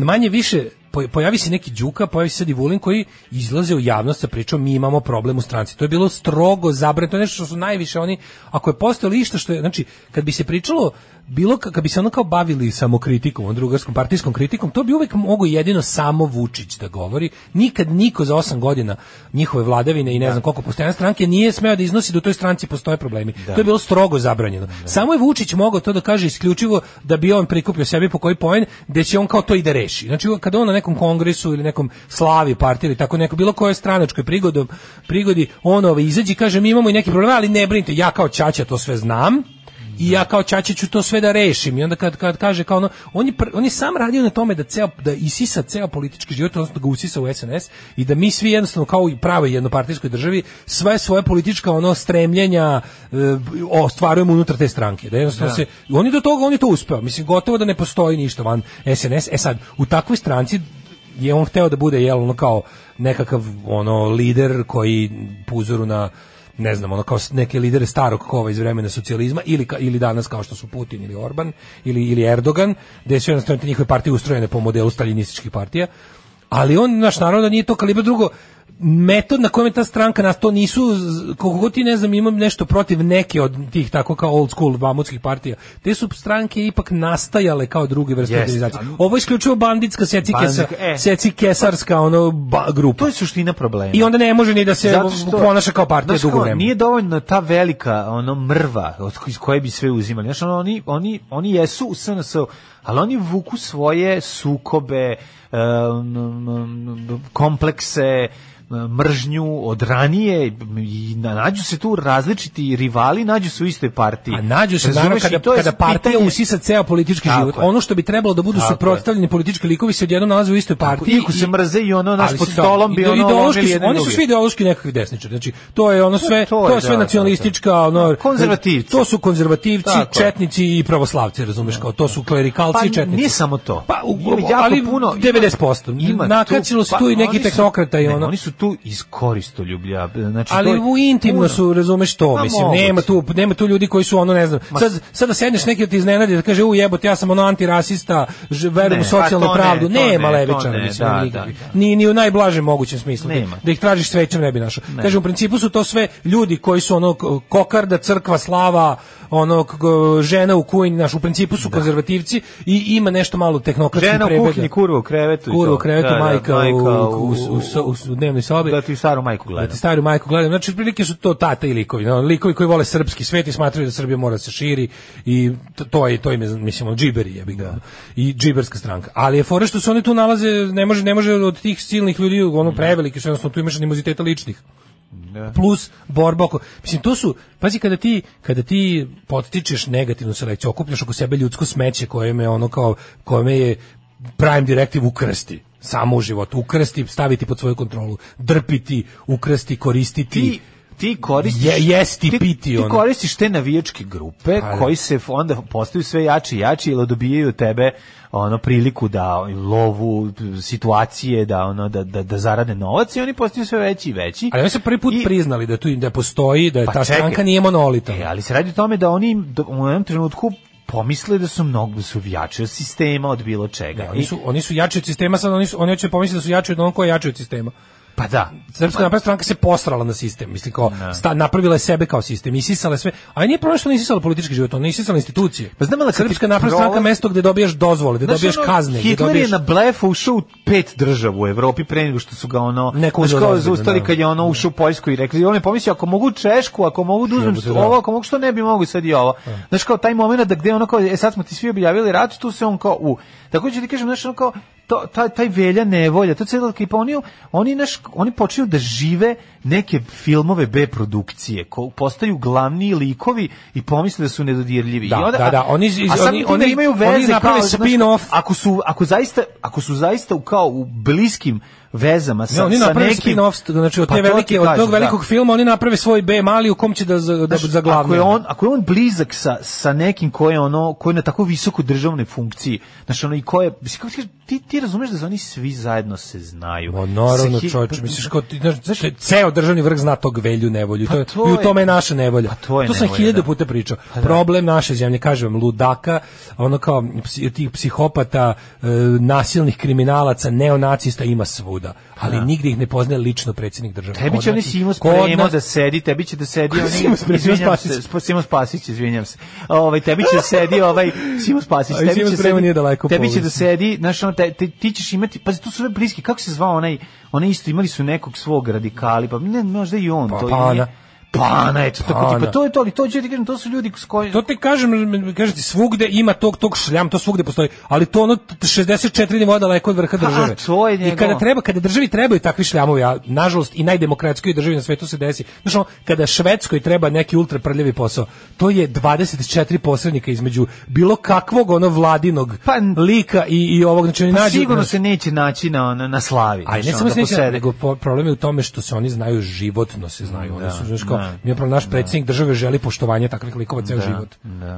manje više po- pojavi se neki Đuka, pojavi se sad i Vulin koji izlaze u javnost sa pričom mi imamo problem u stranci. To je bilo strogo zabranjeno, to je nešto što su najviše oni, ako je postojalo išta što je, znači, kad bi se pričalo, bilo ka- kad bi se ono kao bavili samokritikom, ono drugarskom partijskom kritikom, to bi uvek mogo jedino samo Vučić da govori. Nikad niko za osam godina njihove vladavine i ne znam koliko postojanja stranke nije smeo da iznosi da u toj stranci postoje problemi. To je bilo strogo zabranjeno. Samo je Vučić mogao to da kaže isključivo da bi on prikupio sebi po koji poen, gde će on kao to i da reši. Znači kada on na nekom kongresu ili nekom slavi partije ili tako neko bilo koje stranačkoj prigodom, prigodi on ove izađe i kaže mi imamo i neki problem, ali ne brinite, ja kao ćaća to sve znam i ja kao Ćaćić ću to sve da rešim i onda kad, kad kaže kao ono on je, pr- on je sam radio na tome da ceo da isisa ceo politički život odnosno da ga usisa u SNS i da mi svi jednostavno kao i pravoj jednopartijskoj državi sve svoje politička ono stremljenja e, ostvarujemo unutar te stranke da jednostavno se oni do toga oni to uspeo mislim gotovo da ne postoji ništa van SNS e sad u takvoj stranci je on hteo da bude jel ono kao nekakav ono lider koji po uzoru na ne znam, ono kao s- neke lidere starog kova iz vremena socijalizma ili ka- ili danas kao što su Putin ili Orban ili ili Erdogan, gde su jednostavno te njihove partije ustrojene po modelu staljinističkih partija. Ali on naš naravno da nije to kalibar drugo metod na kojem je ta stranka nas to nisu z- koliko god ti ne znam imam nešto protiv neke od tih tako kao old school vamutskih partija te su stranke ipak nastajale kao druge vrste Jeste, organizacije ali- ovo je isključivo banditska seci Banzik, kesa- e. seci kesarska ono ba, grupa. To je suština problema. I onda ne može ni da se Zato što- ponaša kao partija Znaš dugo kao, vremena. Nije dovoljno ta velika ono mrva od ko- iz koje bi sve uzimali. Znaš, ono, oni, oni, oni jesu u SNS, ali oni vuku svoje sukobe, eh, em, em, komplekse, em, mržnju od ranije i na- nađu se tu različiti rivali, nađu se u istoj partiji. A Pa nađu se Razumeš? naravno I kada, to je kada partija pitanje- usisa ceo politički Tako život. je. Ono što bi trebalo da budu Tako je. suprotstavljeni politički likovi se odjednom nalaze u istoj partiji. iako se i- mrze i ono, naš, Ali pod su da, stolom bi ide- ono ideološki lomili su- jedni Oni su druge. svi ideološki nekakvi desničari. Znači, to je ono sve, to je, to je sve da, nacionalistička, ono... Konzervativci. To su konzervativci, Tako je. Pa četnici i pravoslavci, razumeš, kao to su klerikalci i četnici. nije samo to. Pa, u- Ima jako ali puno, ima- 90%. ima tu- Nakačilo se pa, tu i neki oni su- tehnokrata i ne, ono. Oni su tu iz koristoljublja. Znači, to ali je u intimno puno. su, razumeš to, Ma, mislim, moguće. nema tu, nema tu ljudi koji su ono, ne znam, Ma, sad, sad da sedneš neki da ti iznenadi da kaže, u jebote, ja sam ono antirasista, ž- verujem Ne, u socijalnu pa to ne, pravdu, to nema ne, to levičara, ne, mislim, da, nikakvih. da, ni, ni u najblažem mogućem smislu, Nema. da ih tražiš svećem ne bi našao. Kažem, u principu su to sve ljudi koji su ono, k- kokarda, crkva, slava, ono, k- g- žena u kujni, naš, u principu su konzervativci i ima nešto malo tehnokratskih Da. Žena u prebega. kuhinji, kurva u krevetu. i Kurva u to. krevetu, Da, da, majka, u, u, u- u, so- u, u dnevnoj sobi. Da ti staru majku Da ti gledam. stariju majku gledam. Znači, prilike su to tata i likovi. No, likovi koji vole srpski svet i smatraju da Srbija mora da se širi i to, to je, to im je, mislim, ono, džiberi je Da. ga. I džiberska stranka. Ali je fora što se oni tu nalaze, ne može, ne može od tih silnih ljudi, ono, Da. prevelike, što jednostavno tu imaš animoziteta ličnih plus borba oko mislim to su pazi kada ti kada ti podstičeš negativnu selekciju okupljaš oko sebe ljudsko smeće koje me ono kao kome je prime direktiv ukrsti samo u životu ukrsti staviti pod svoju kontrolu drpiti ukrsti koristiti Ti ti koristiš Je- jesti, ti- piti, ti ono. koristiš te navijačke grupe Pa da. koji se f- onda postaju sve jači i jači ili dobijaju tebe ono priliku da lovu situacije da ono da da da zarade novac i oni postaju sve veći i veći ali oni su prvi put I- priznali da tu da postoji da je Pa ta čekaj. stranka nije monolitan E, ali se radi o tome da oni do- u jednom trenutku pomisle da su mnogo da su jači od sistema, od bilo čega. Da, Oni su oni su jači od sistema, sad oni su oni hoće pomisliti da su jači od onog koji je jači od sistema. Pa da. Srpska napredna stranka se posrala na sistem, mislim kao sta, napravila je sebe kao sistem, isisala je sve. A nije problem što ne isisala politički život, ona je isisala institucije. Pa znam, ali kad Srpska ti napredna prole- stranka mesto gde dobijaš dozvole, gde Znaš, dobijaš ono, kazne, gde Hitler dobijaš je na blefu ušao u pet država u Evropi pre nego što su ga ono Neko znaš, uzeo kao da ozbiljno, zaustali da. kad je ono ušao u Poljsku i rekli on je pomislio ako mogu Češku, ako mogu da uzmem Jebote, da. ovo, ako mogu što ne bi mogu sad i ovo. Znaš kao taj momenat da gde ono kao e sad smo ti svi objavili rat, tu se on kao u. Tako ću ti kažem znaš ono kao to, taj, taj velja nevolja, to cijela ekipa, pa oni, oni, naš, oni počinju da žive neke filmove B produkcije, ko, postaju glavni likovi i pomisle da su nedodirljivi. Da, I onda, da, da, oni iz- iz- a samim oni- time oni- imaju oni veze naprave kao, znaš, spin-off. ako su ako zaista ako su zaista u kao u bliskim vezama sa Ne, oni sa naprave nekim spin-off, znači od, Pa te to ti velike, od kažem, tog da. velikog filma oni naprave svoj B mali u kom će da, za- da, Znaš, za glavni. Ako je on, ako je on blizak sa, sa nekim ko je ono, ko je na tako visoko državnoj funkciji, znači ono i ko je, mislim, kako ti kažem, ti, ti razumeš da se oni svi zajedno se znaju. Ma naravno, Se hi- pa čoveče, misliš kao ti, znaš, znaš, ceo državni vrh zna tog velju nevolju, Pa to, je- to i u tome je naša nevolja. Pa to je sam nevolja, hiljadu da. puta pričao. Problem naše zemlje, kažem vam, ludaka, ono kao psi- tih psihopata, e, nasilnih kriminalaca, neonacista ima svuda, ali nigdje ih ne poznaje lično predsjednik države. Pa da. Tebi Kod će oni nas- Simo kod Spremo nas- da sedi, tebi će da sedi oni... Simo Spremo, izvinjam Spasić. se, sp- Simo Spasić, izvinjam se. Ovaj, tebi će da sedi ovaj Simo Spasić. Ali Simo će Spremo sedi- nije daleko Tebi po će da ulici. sedi, znaš, ono, te, te- ti ćeš imati... Pazi, tu su sve bliski. Kako se zvao onaj... Onaj isto, imali su nekog svog radikali, pa ne, možda i on. Pa, to i Pana. nije- Pana, eto, tako Pana. tipa, to je to, ali to ću ti kažem, to su ljudi s kojim... To te kažem, kažete, svugde ima tog, tog šljam, to svugde postoji, ali to ono 64 nivoa daleko od vrha Pa, države. to je I njegovo. kada treba, kada državi trebaju takvi šljamovi, a nažalost i najdemokratskoj državi na svetu se desi, znaš ono, kada Švedskoj treba neki ultra prljavi posao, to je 24 posrednika između bilo kakvog ono vladinog Pa, lika i, i ovog, znači oni Pa nađu- sigurno se neće naći na, na, na slavi. Aj, ne znaš, samo ono, se da neće, posede. nego po- problem je u tome što se oni znaju životno se znaju. Oni su, znaš, kao, da, da. mi je problem, naš predsjednik države želi poštovanje takvih likova ceo život.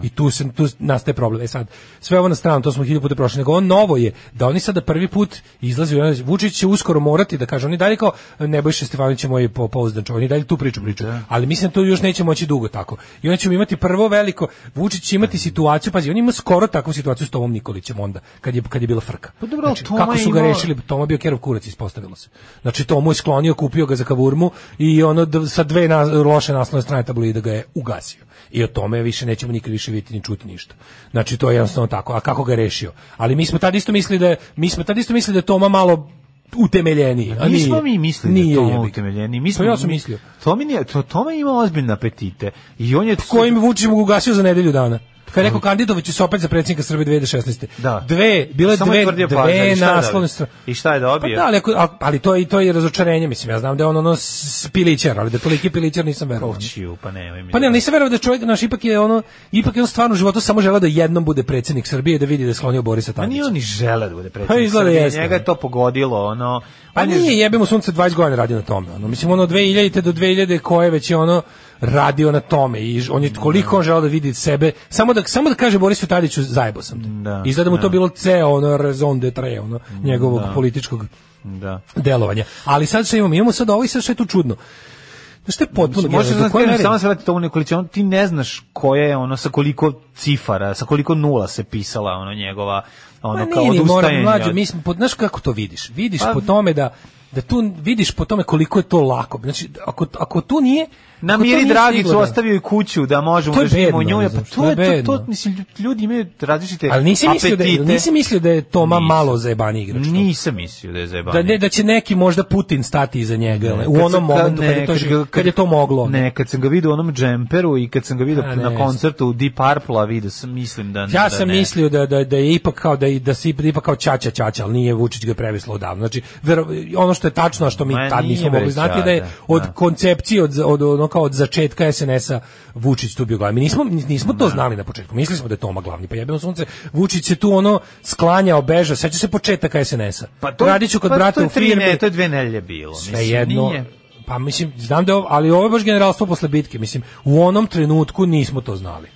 I tu, se, tu nastaje problem. E sad, sve ovo na stranu, to smo hilju puta prošli, nego on novo je, da oni sada prvi put izlazi, ono, Vučić će uskoro morati da kaže, oni dalje kao, Nebojša Stefanović je moj po- pouzdan čovjek, oni dalje tu priču priču. Da. Ali mislim, da to još neće moći dugo tako. I onda ćemo imati prvo veliko, Vučić će imati situaciju, pazi, on ima skoro takvu situaciju s Tomom Nikolićem onda, kad je, kad je bila frka. Pa dobro, ali Znači, Toma kako je su ga imao- rešili bi Toma bio kerov kurac ispostavilo se. Znači Tomu je sklonio, kupio ga za kavurmu i ono d- sa dve na, loše naslovne strane tabloida ga je ugasio. I o tome više nećemo nikad više vidjeti ni čuti ništa. Znači to je jednostavno tako. A kako ga je rešio? Ali mi smo tad isto mislili da je, mi smo tad isto mislili da je Toma malo utemeljeniji. A Mi smo mi nije. mislili Nije, da je jebi to ga. utemeljeni. Mi Pa smo, ja sam mi- mislio. Tomi, nije, to, Tome ima ozbiljne apetite. I on je... Kojim Vučić mu ga ugasio za nedelju dana. Kad je rekao kandidovaću se opet za predsjednika Srbije 2016. Da. Dve, bile Samo je dve, tvrdio dve partner, i šta je naslovne dobio? strane. I šta je Pa dobio? da, ali, ako- a- ali to, je, to je razočarenje, mislim, ja znam da je on ono s- pilićar, ali da je toliki pilićar nisam verovao. Očiju, pa nemoj mi. Pa ne, da- ali nisam verovao da čovjek, naš, ipak je ono, ipak je on stvarno u životu samo želeo da jednom bude predsjednik Srbije i da vidi da je sklonio Borisa Pa nije Tadića. on ni žele da bude predsjednik. Pa izgleda Srbije, jeste. Njega je to pogodilo, ono... Pa on je- nije, jebe mu sunce 20 godina radi na tome. Ono, mislim, ono 2000 do 2000 koje već je ono radio na tome i ž- on je koliko on želeo da vidi sebe, samo da, samo da kaže Borisu Tadiću zajebo sam te. Da, Izgleda mu to bilo ceo ono raison de tre, ono, njegovog političkog Da. delovanja. Ali sad što imamo, imamo sad ovo i sad što je tu čudno. Znaš što je potpuno Možeš genijalno, da do koje znači, mere- samo se vrati tomu Nikolića, on, ti ne znaš koje je ono, sa koliko cifara, sa koliko nula se pisala ono njegova, ono, Pa kao nije ni moram odustajanje. mlađe, od- mislim, pod, znaš kako to vidiš? Vidiš Pa- po tome da da tu vidiš po tome koliko je to lako. Znači, ako, ako tu nije... Na ako to miri nije Dragicu stiglo da- ostavio i kuću da možemo To da je živimo u bedno, njoj. ne Pa znam, to to je je to, to, bedno. mislim, ljudi imaju različite Ali nisi mislio da, apetite. nisi mislio da je Toma Nisam. malo zajebani igrač. to? Nisam mislio da je zajebanje. Znači, Da, ne, da će neki možda Putin stati iza njega ne, Kad u onom sam- kad- momentu ne, kad je to, kad ga- živ- kad je to moglo. Ne, kad sam ga vidio u onom džemperu i kad sam ga vidio A, na ne. koncertu u Deep Purple-a, vidio sam, mislim da Ja da sam ne. mislio da, da, da je ipak kao da, i- da se ipak kao čača čača, ali nije Vučić ga previslo odavno. Znači, vero, ono što je tačno, a što mi Ma, tad nije nismo mogli bre, znati, da je Čača, od da. koncepcije, od, od, ono kao od začetka SNS-a Vučić tu bio glavni. Mi nismo, nismo to znali na početku, mislili smo da je Toma glavni, pa jebeno sunce, Vučić se tu ono sklanjao, bežao, seća se početaka SNS-a. Pa to, Radit ću kod pa brata to je u tri firmi. Ne, to je dve nelje bilo. sve mislim, jedno nije. pa mislim znam da je ovo, ali ovo je baš generalstvo posle bitke mislim u onom trenutku nismo to znali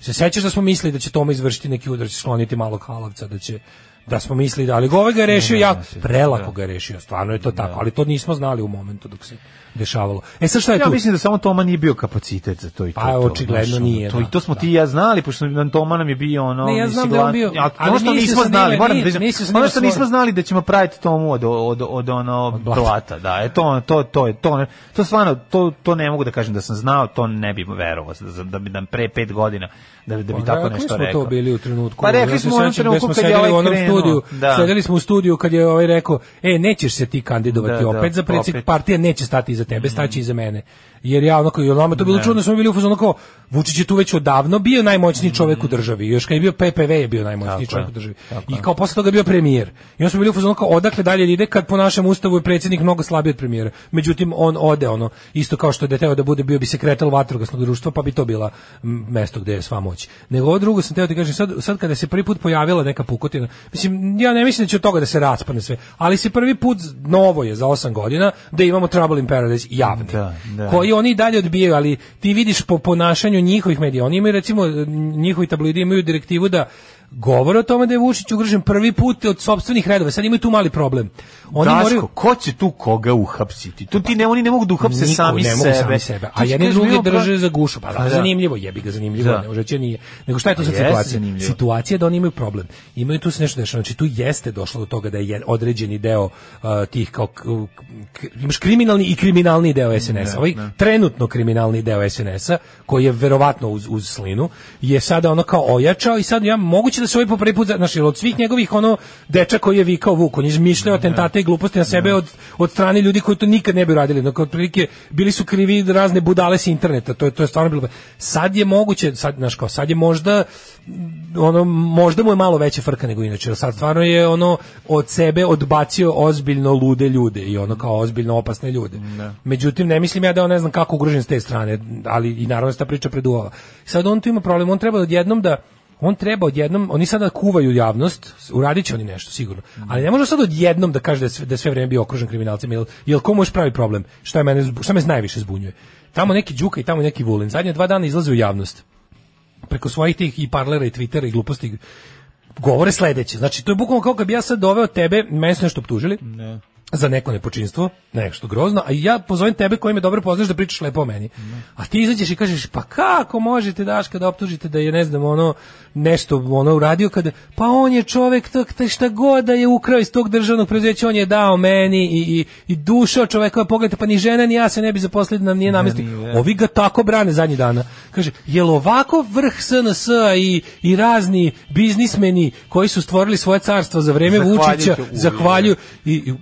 se sećaš da smo mislili da će Toma izvršiti neki udar, će skloniti malog halavca, da će da smo mislili da, ali ovaj ga je rešio Ne, ja, ne, ne, da. prelako ga je rešio, stvarno je to tako, ali to nismo znali u momentu dok se dešavalo. E sad šta je Ja tu? mislim da samo Toma nije bio kapacitet za to i to. Pa, to, očigledno znaš, ono, nije, To, da, I to smo da. ti i ja znali, pošto nam Toma nam je bio ono... Ne, ja nisi znam da je on gladni. bio, A, ali ono što mislio nismo sam da znali, ima- moram da nije- priznam, mislio sam da ono ima što svoj- nismo znali da ćemo praviti Tomu od, od, od, ono blata. blata. da. E, to, to, to, je- to, ne- to stvarno, to, to ne mogu da kažem da sam znao, to ne bi verovao, da, da bi nam pre pet godina, da, bi- da bi Pa tako rekli nešto smo rekao. to bili u trenutku. Pa rekli Ja se smo u onom sećam gde trenutku smo kad je sedeli ovaj u onom krenuo. studiju. Da. Sedeli smo u studiju kad je ovaj rekao: "E, nećeš se ti kandidovati Da, da, opet za predsjednik opet. partije, neće stati iza tebe, staći iza mene." Jer ja onako i nama je to bilo čudno, da smo bili u fazonu kao Vučić je tu već odavno bio najmoćniji čovjek u državi. Još kad je bio PPV je bio najmoćniji Tako čovjek je. u državi. Tako I je. kao posle toga je bio premijer. I onda smo bili u fazonu kao odakle dalje da ide kad po našem ustavu je predsjednik mnogo slabiji od premijera. Međutim on ode ono isto kao što je deteo da bude bio bi sekretar vatrogasnog društva pa bi to bila m, mesto gdje je sva moć. Nego ovo drugo sam teo da ti kažem sad sad kada se prvi put pojavila neka pukotina. Mislim ja ne mislim da će od toga da se raspadne sve, ali se prvi put novo je za osam godina da imamo Trouble in Paradise javni. Da, da. Koji oni i dalje odbijaju, ali ti vidiš po ponašanju njihovih medija. Oni imaju recimo njihovi tabloidi imaju direktivu da govore o tome da je Vučić ugrožen prvi put od sopstvenih redova. Sad imaju tu mali problem. Oni Daško, moraju ko će tu koga uhapsiti? Tu ti ne, oni ne mogu da uhapse Niko, sami ne mogu sebe. sami sebe. Tu A jedni kažeš, drugi imamo pra- drže za gušu. Pa da, Pa da. zanimljivo, jebi ga zanimljivo, Da. ne može će nije. Nego šta je to sad Pa jeste situacija? zanimljivo. Situacija je da oni imaju problem. Imaju tu se nešto dešava. Znači tu jeste došlo do toga da je određeni deo uh, tih kao k- k- imaš kriminalni i kriminalni deo Da, SNS-a. Ovaj trenutno kriminalni deo SNS-a koji je verovatno uz, uz slinu je sada ono kao ojačao i sad ja moguće da se ovaj po prvi put za- znači od svih njegovih ono deča koji je vikao Vuk, on je izmišljao atentate i gluposti na Da. sebe od, od strane ljudi koji to nikad ne bi radili. Dakle, otprilike bili su krivi razne budale s interneta. To je to je stvarno bilo. Sad je moguće, sad znaš kao, sad je možda ono možda mu je malo veća frka nego inače. jer Sad stvarno je ono od sebe odbacio ozbiljno lude ljude i ono kao ozbiljno opasne ljude. Međutim ne mislim ja da on ne znam kako ugrožen s te strane, ali i naravno se ta priča preduvala. Sad on tu ima problem, on treba odjednom da on treba odjednom, oni sada kuvaju javnost, uradit će oni nešto sigurno, ali ne može sad odjednom da kaže da je sve, da je sve vreme bio okružen kriminalcima, jel, jel ko može pravi problem? Šta, je mene, zbu- šta me najviše zbunjuje? Tamo neki Đuka i tamo neki Vulin, zadnje dva dana izlaze u javnost preko svojih tih i parlera i twittera i gluposti govore sledeće. Znači, to je bukvalno kao kad bi ja sad doveo tebe, mene su nešto optužili, za neko nepočinstvo, nešto grozno, a ja pozovem tebe koji me dobro poznaš da pričaš lepo o meni. A ti izađeš i kažeš, pa kako možete daš kada optužite da je, ne znam, ono, nešto ono uradio, kada, pa on je čovek, tak, tak, šta god da je ukrao iz tog državnog preduzeća, on je dao meni i, i, i dušao čoveka, pogledajte, pa ni žena ni ja se ne bi zaposlili da nam nije namestio. Ovi ga tako brane zadnjih dana. Kaže, jel ovako vrh SNS i, i razni biznismeni koji su stvorili svoje carstvo za vreme Zahvaljujući Vučića, Vulinu. zahvaljuju i, i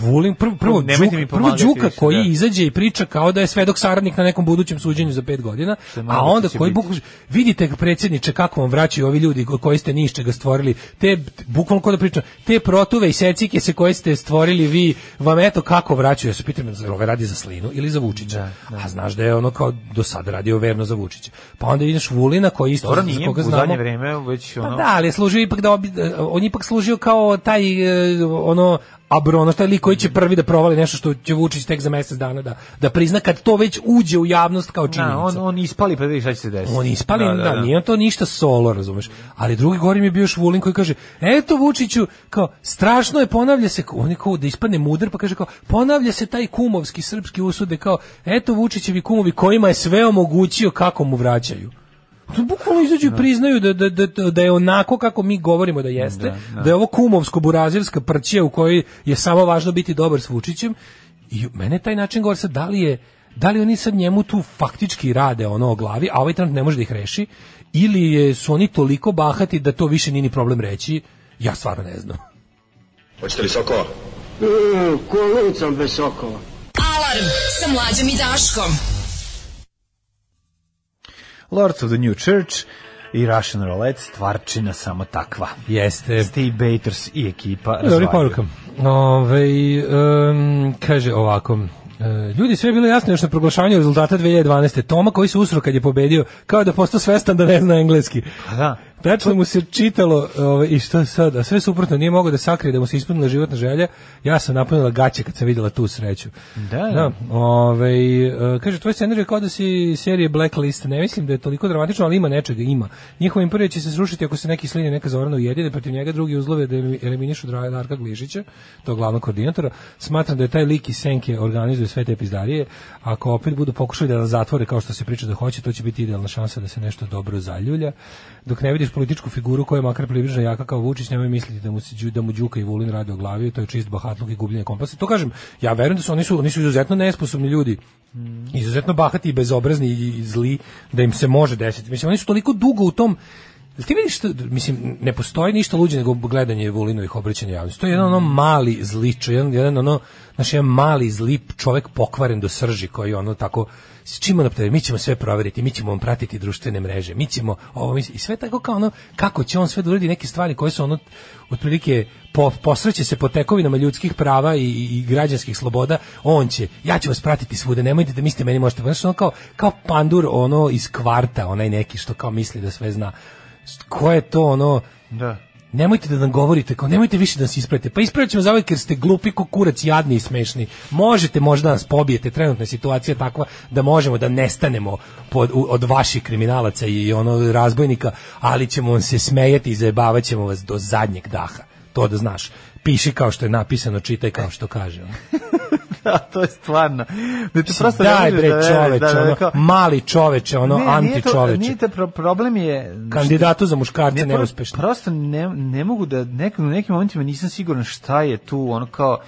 Vulin, prvo, prvo, Nemojte Đuka- mi prvo pomagati Đuka više, koji da. izađe i priča kao da je svedok saradnik na nekom budućem suđenju za pet godina, je a moguće onda će koji biti. bukvalno vidite predsjedniče kako vam vraćaju ovi ljudi ko- koji ste ni iz čega stvorili, te bukvalno kao da pričam, te protuve i secike se koje ste stvorili vi, vam eto kako vraćaju, ja se pitam, zar ove radi za Slinu ili za Vučića, a znaš da je ono kao do sada radio verno za Vučića. Pa onda vidiš Vulina koji isto, Dobro, za nije, koga u znamo, zadnje vreme već pa ono... da, ali je služio ipak da obi, on je ipak služio kao taj e, ono abro, ono taj lik koji će prvi da provali nešto što će Vučić tek za mjesec dana da, da prizna kad to već uđe u javnost kao činjenica. Da, on, on ispali pa da vidi šta će se desiti. On ispali, da, nije on to ništa solo, razumeš. Ali drugi gorim je bio još Vulin koji kaže, eto Vučiću, kao, strašno je, ponavlja se, on je kao da ispadne mudar, pa kaže kao, ponavlja se taj kumovski srpski usude, kao, eto Vučićevi kumovi kojima je sve omogućio kako mu vraćaju. To bukvalno izađu i priznaju da, da, da, da je onako kako mi govorimo da jeste, da, je ovo kumovsko-burazirska prćija u kojoj je samo važno biti dobar s Vučićem. I mene taj način govori sad da li je da li oni sad njemu tu faktički rade ono o glavi, a ovaj trenut ne može da ih reši, ili je, su oni toliko bahati da to više nije ni problem reći, ja stvarno ne znam. Hoćete li sokova? Kolicom bez sokova. Alarm sa mlađom i Daškom. Lords of the New Church i Russian Roulette, stvarčina samo takva. Jeste. Steve Bators i ekipa Dobri razvaljuju. poruka. Ove, em, kaže ovako, e, Ljudi, sve je bilo jasno još na proglašavanju rezultata 2012. Toma koji se usro kad je pobedio, kao da je postao svestan da ne zna engleski. Pa da. Tačno mu se čitalo ovaj, i što sad, a sve suprotno, nije mogao da sakrije da mu se ispunila životna želja. Ja sam napunila gaće kad sam vidjela tu sreću. Da. ovaj, e, kaže, tvoj scenarij je kao da si serije Blacklist. Ne mislim da je toliko dramatično, ali ima nečega, ima. Njihova imperija će se srušiti ako se neki slini neka Zorana ujedine, protiv njega drugi uzlove da elimi- eliminišu Dra- Darka Glišića, tog glavnog koordinatora. Smatram da je taj lik i Senke organizuju sve te pizdarije. Ako opet budu pokušali da nas zatvore kao što se priča da hoće, to će biti idealna šansa da se nešto dobro zaljulja. Dok ne vidiš političku figuru koja je makar približno jaka kao Vučić, nemoj misliti da mu, se, Đu- da mu Đuka i Vulin rade o glavi, to je čist bahatluk i gubljenje kompasa. To kažem, ja verujem da su oni su, oni su izuzetno nesposobni ljudi, izuzetno bahati i bezobrazni i, i zli, da im se može desiti. Mislim, oni su toliko dugo u tom Jel Ti vidiš, što, mislim, ne postoji ništa luđe nego gledanje Vulinovih obraćanja javnosti. To je jedan ono mali zličo, jedan, jedan ono, znači jedan mali zli čovek pokvaren do srži koji ono tako s čim ono mi ćemo sve proveriti, mi ćemo vam pratiti društvene mreže, mi ćemo ovo, mi, i sve tako kao ono, kako će on sve da uradi neke stvari koje su ono, otprilike po, posreće se po tekovinama ljudskih prava i, i, i građanskih sloboda, on će, ja ću vas pratiti svuda, nemojte da mislite meni možete, znači ono kao, kao pandur ono iz kvarta, onaj neki što kao misli da sve zna ko je to ono Da. nemojte da nam govorite, kao nemojte više da nas ispravite. Pa ispravit ćemo zauvek jer ste glupi kukurac, jadni i smešni. Možete možda da nas pobijete, trenutna je situacija takva da možemo da nestanemo pod, u- od vaših kriminalaca i ono razbojnika, ali ćemo vam se smejati i zajebavat ćemo vas do zadnjeg daha. To da znaš. Piši kao što je napisano, čitaj kao što kaže. ono. Da, to je stvarno. Da ti prosto ne Daj možeš bre da veruješ, čoveče, da, da, ono, kao- mali čoveče, ono, Ne, nije anti to- čoveče. Nije to pro- problem je... Kandidatu za muškarce Ne, E, pro- neuspešno. Prosto ne, ne mogu da, nek, u nekim momentima nisam siguran šta je tu, ono kao,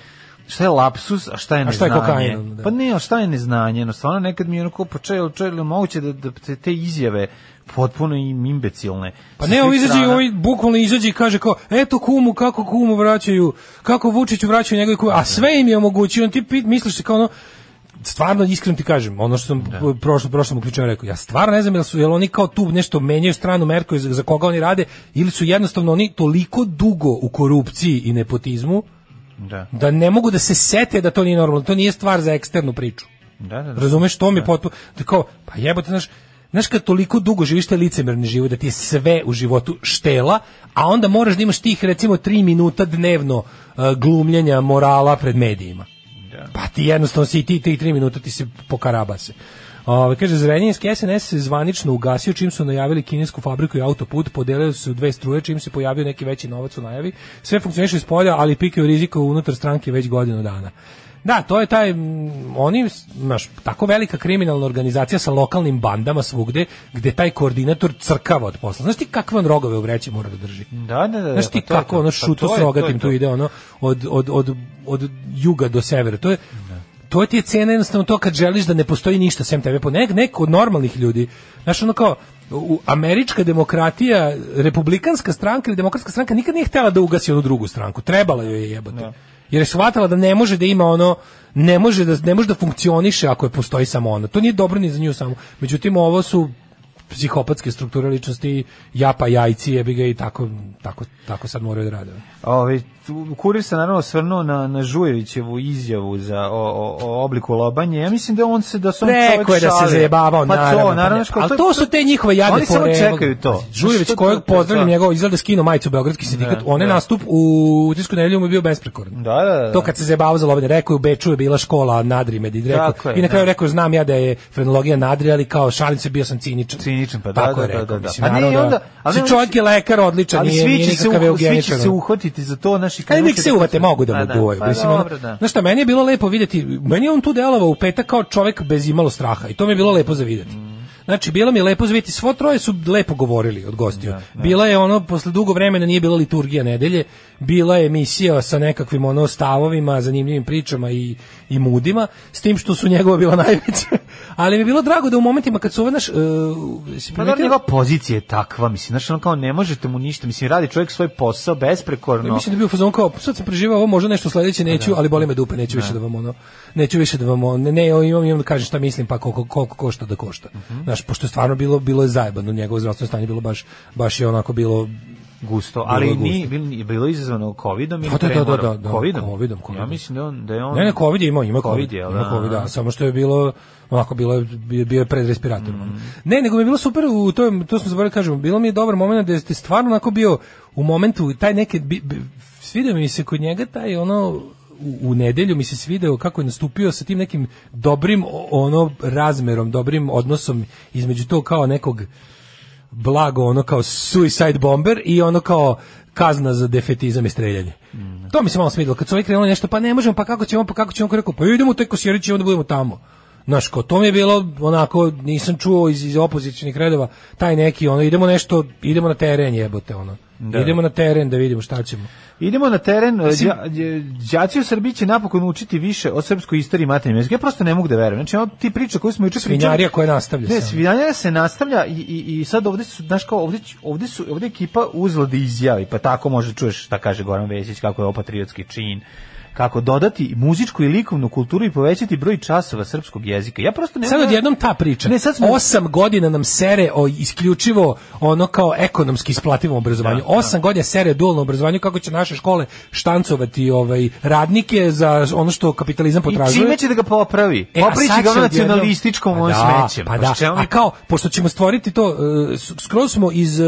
šta je lapsus, a šta je A neznanje. šta je kokain, ono, da. Pa ne, a šta je neznanje, no stvarno nekad mi je ono kao, pa čaj, čaj, je li moguće da, da te, te izjave potpuno im imbecilne. Pa Sa ne, svih on izađe i strana. ovaj bukvalno izađe i kaže kao, eto kumu, kako kumu vraćaju, kako Vučiću vraćaju njegove kume, a sve im je omogućio, ti pit, misliš se kao ono, stvarno iskreno ti kažem, ono što sam da. prošlo prošlom uključenju rekao, ja stvarno ne znam jel su jel oni kao tu nešto menjaju stranu Merkovi za, za koga oni rade ili su jednostavno oni toliko dugo u korupciji i nepotizmu Da, da ne mogu da se sete da to nije normalno, to nije stvar za eksternu priču. da, da. da. Razumeš, to mi je potpuno, da kao, pa jebote, znaš, znaš kad toliko dugo živiš te licemerni život, da ti je sve u životu štela, a onda moraš da imaš tih recimo tri minuta dnevno e, glumljenja morala pred medijima. Pa ti jednostavno si i ti tri, tri minuta ti se pokarabase. Ove, kaže, Zrenjanski SNS se zvanično ugasio čim su najavili kinesku fabriku i autoput, podelili su se u dve struje čim se pojavio neki veći novac u najavi. Sve funkcioniše iz polja, ali pikaju rizika unutar stranke već godinu dana. Da, to je taj, mm, oni, znaš, tako velika kriminalna organizacija sa lokalnim bandama svugde, gde taj koordinator crkava od posla. Znaš ti kakve on rogove u vreći mora da drži? Da, da, da. Znaš ti pa to je kako to, ono pa šuto to je- s to je rogatim to. tu ide ono od, od, od, od juga do severa. To je, to ti je cena jednostavno to kad želiš da ne postoji ništa sem tebe. Po nek, nek od normalnih ljudi. Znaš ono kao, u američka demokratija, republikanska stranka ili demokratska stranka nikad nije htjela da ugasi onu drugu stranku. Trebala joj je jebote. Jer je shvatala da ne može da ima ono ne može da ne može da funkcioniše ako je postoji samo ona. To nije dobro ni za nju samu. Međutim ovo su psihopatske strukture ličnosti, ja pa jajci, jebi ga i tako, tako, tako sad moraju da rade. Ove, ovaj, tu- kurir se naravno svrnuo na, na Žujevićevu izjavu za, o, o, o obliku lobanje. Ja mislim da on se da se on Neko je čovjek da se šalio. zajebavao, pa naravno. To, naravno, pa ne. Ali to su te njihove jade Oni samo fore, čekaju evo, to. Žujević Što to- kojeg pozdravljam to- njegov izgleda skino majicu Beogradski sindikat, Da, on je da. nastup u utisku nedelju mu je bio besprekoran. Da, da, da. To kad se zajebavao za lobanje, rekao je u Beču je bila škola nadrimed i Tako rekao, je, i na kraju da. rekao znam ja da je frenologija nadri, ali kao šalim se bio sam ciničan. Ciničan, pa da, Tako je da, da, rekao, da, da. mislim, Pa ne, naravno i onda- da- ali Mislim, ne, čovjek je lekar, odličan, Ali nije, svi nije će, se, nikakav uh, svi će eugeničar, se ono. uhvatiti za to, naši Ajde, nek se uvate, mogu da mu duvaju. Pa, Mislim, ono, dobro, da. Znaš šta, meni je bilo lepo vidjeti, meni je on tu delovao u petak kao čovjek bez imalo straha i to mi je bilo lepo za vidjeti. Mm. Znači, bilo mi je lepo za vidjeti, svo troje su lepo govorili od gostiju. Da, Bila je ono, posle dugo vremena nije bila liturgija nedelje, bila je emisija sa nekakvim ono stavovima, zanimljivim pričama i, i mudima, s tim što su njegova bila najveća. Ali mi je bilo drago da u momentima kad su ovo, znaš, e, si Pa da, primetio- njegova pozicija je takva, mislim, znaš, ono kao ne možete mu ništa, mislim, radi čovjek svoj posao besprekorno. Mislim da bi u fazonu kao sad sam preživao ovo, možda nešto sledeće neću, ali boli me dupe, neću više da vam ono. Neću više da vam ono, ne, ne, imam imam da kažem šta mislim, pa koliko koliko košta da košta. Znaš, pošto je stvarno bilo bilo je zajebano, njegovo zdravstveno stanje je bilo baš baš je onako bilo gusto, ali Bilo je ni gusto. bilo je bilo izazvano covidom ili Pa da, da, da, tremorom? da, da, covidom. covidom, covidom. Ja mislim da on da je on Ne, ne, COVID je imao, ima COVID. je, ima COVID, da, samo što je bilo onako bilo je bio bio je pred respiratorom. ono. Ne, nego mi je bilo super u tom to smo zaboravili da kažemo, bilo mi je dobar momenat da ste stvarno onako bio u momentu taj neki bi, bi, svidio mi se kod njega taj ono u, u nedelju mi se svideo kako je nastupio sa tim nekim dobrim o- ono razmerom, dobrim odnosom između to kao nekog blago ono kao suicide bomber i ono kao kazna za defetizam i streljanje. To mi se malo smidilo. Kad su ovi krenuli nešto, pa ne možemo, pa kako ćemo, pa kako ćemo, kako rekao, pa idemo u taj Kosjerić i onda budemo tamo. Znaš, kao to mi je bilo onako, nisam čuo iz, iz opozicijalnih redova, taj neki, ono, idemo nešto, idemo na teren jebote, ono. Idemo na teren da vidimo šta ćemo. Idemo na teren, eh, đa- đe- đaci u Srbiji će napokon učiti više o srpskoj istoriji i maternjem jeziku. Ja prosto ne mogu da verujem. Znači, ovo ti priča koju smo juče pričali... Svinjarija koja nastavlja Ne, samo. svinjarija se nastavlja i, i, i sad ovde su, znaš kao, ovde, ć- ovde su, ovde ekipa uzla da izjavi, pa tako može čuješ šta kaže Goran Vesić, kako je ovo patriotski čin, kako dodati muzičku i likovnu kulturu i povećati broj časova srpskog jezika. Ja prosto ne Sad mogu da- odjednom ta priča. Ne, sad smo- Osam godina nam sere o isključivo ono kao ekonomski isplativom obrazovanju. Da, Osam godina sere dualno obrazovanju kako će naše škole štancovati ovaj, radnike za ono što kapitalizam I potražuje. čime će da ga popravi? E, a Popriči ga sad će ono odjednom- nacionalističkom Pa ono da, smećem. Pa Pa da, s čemu mi- a kao, pošto ćemo stvoriti to, e, s- skroz smo iz, e,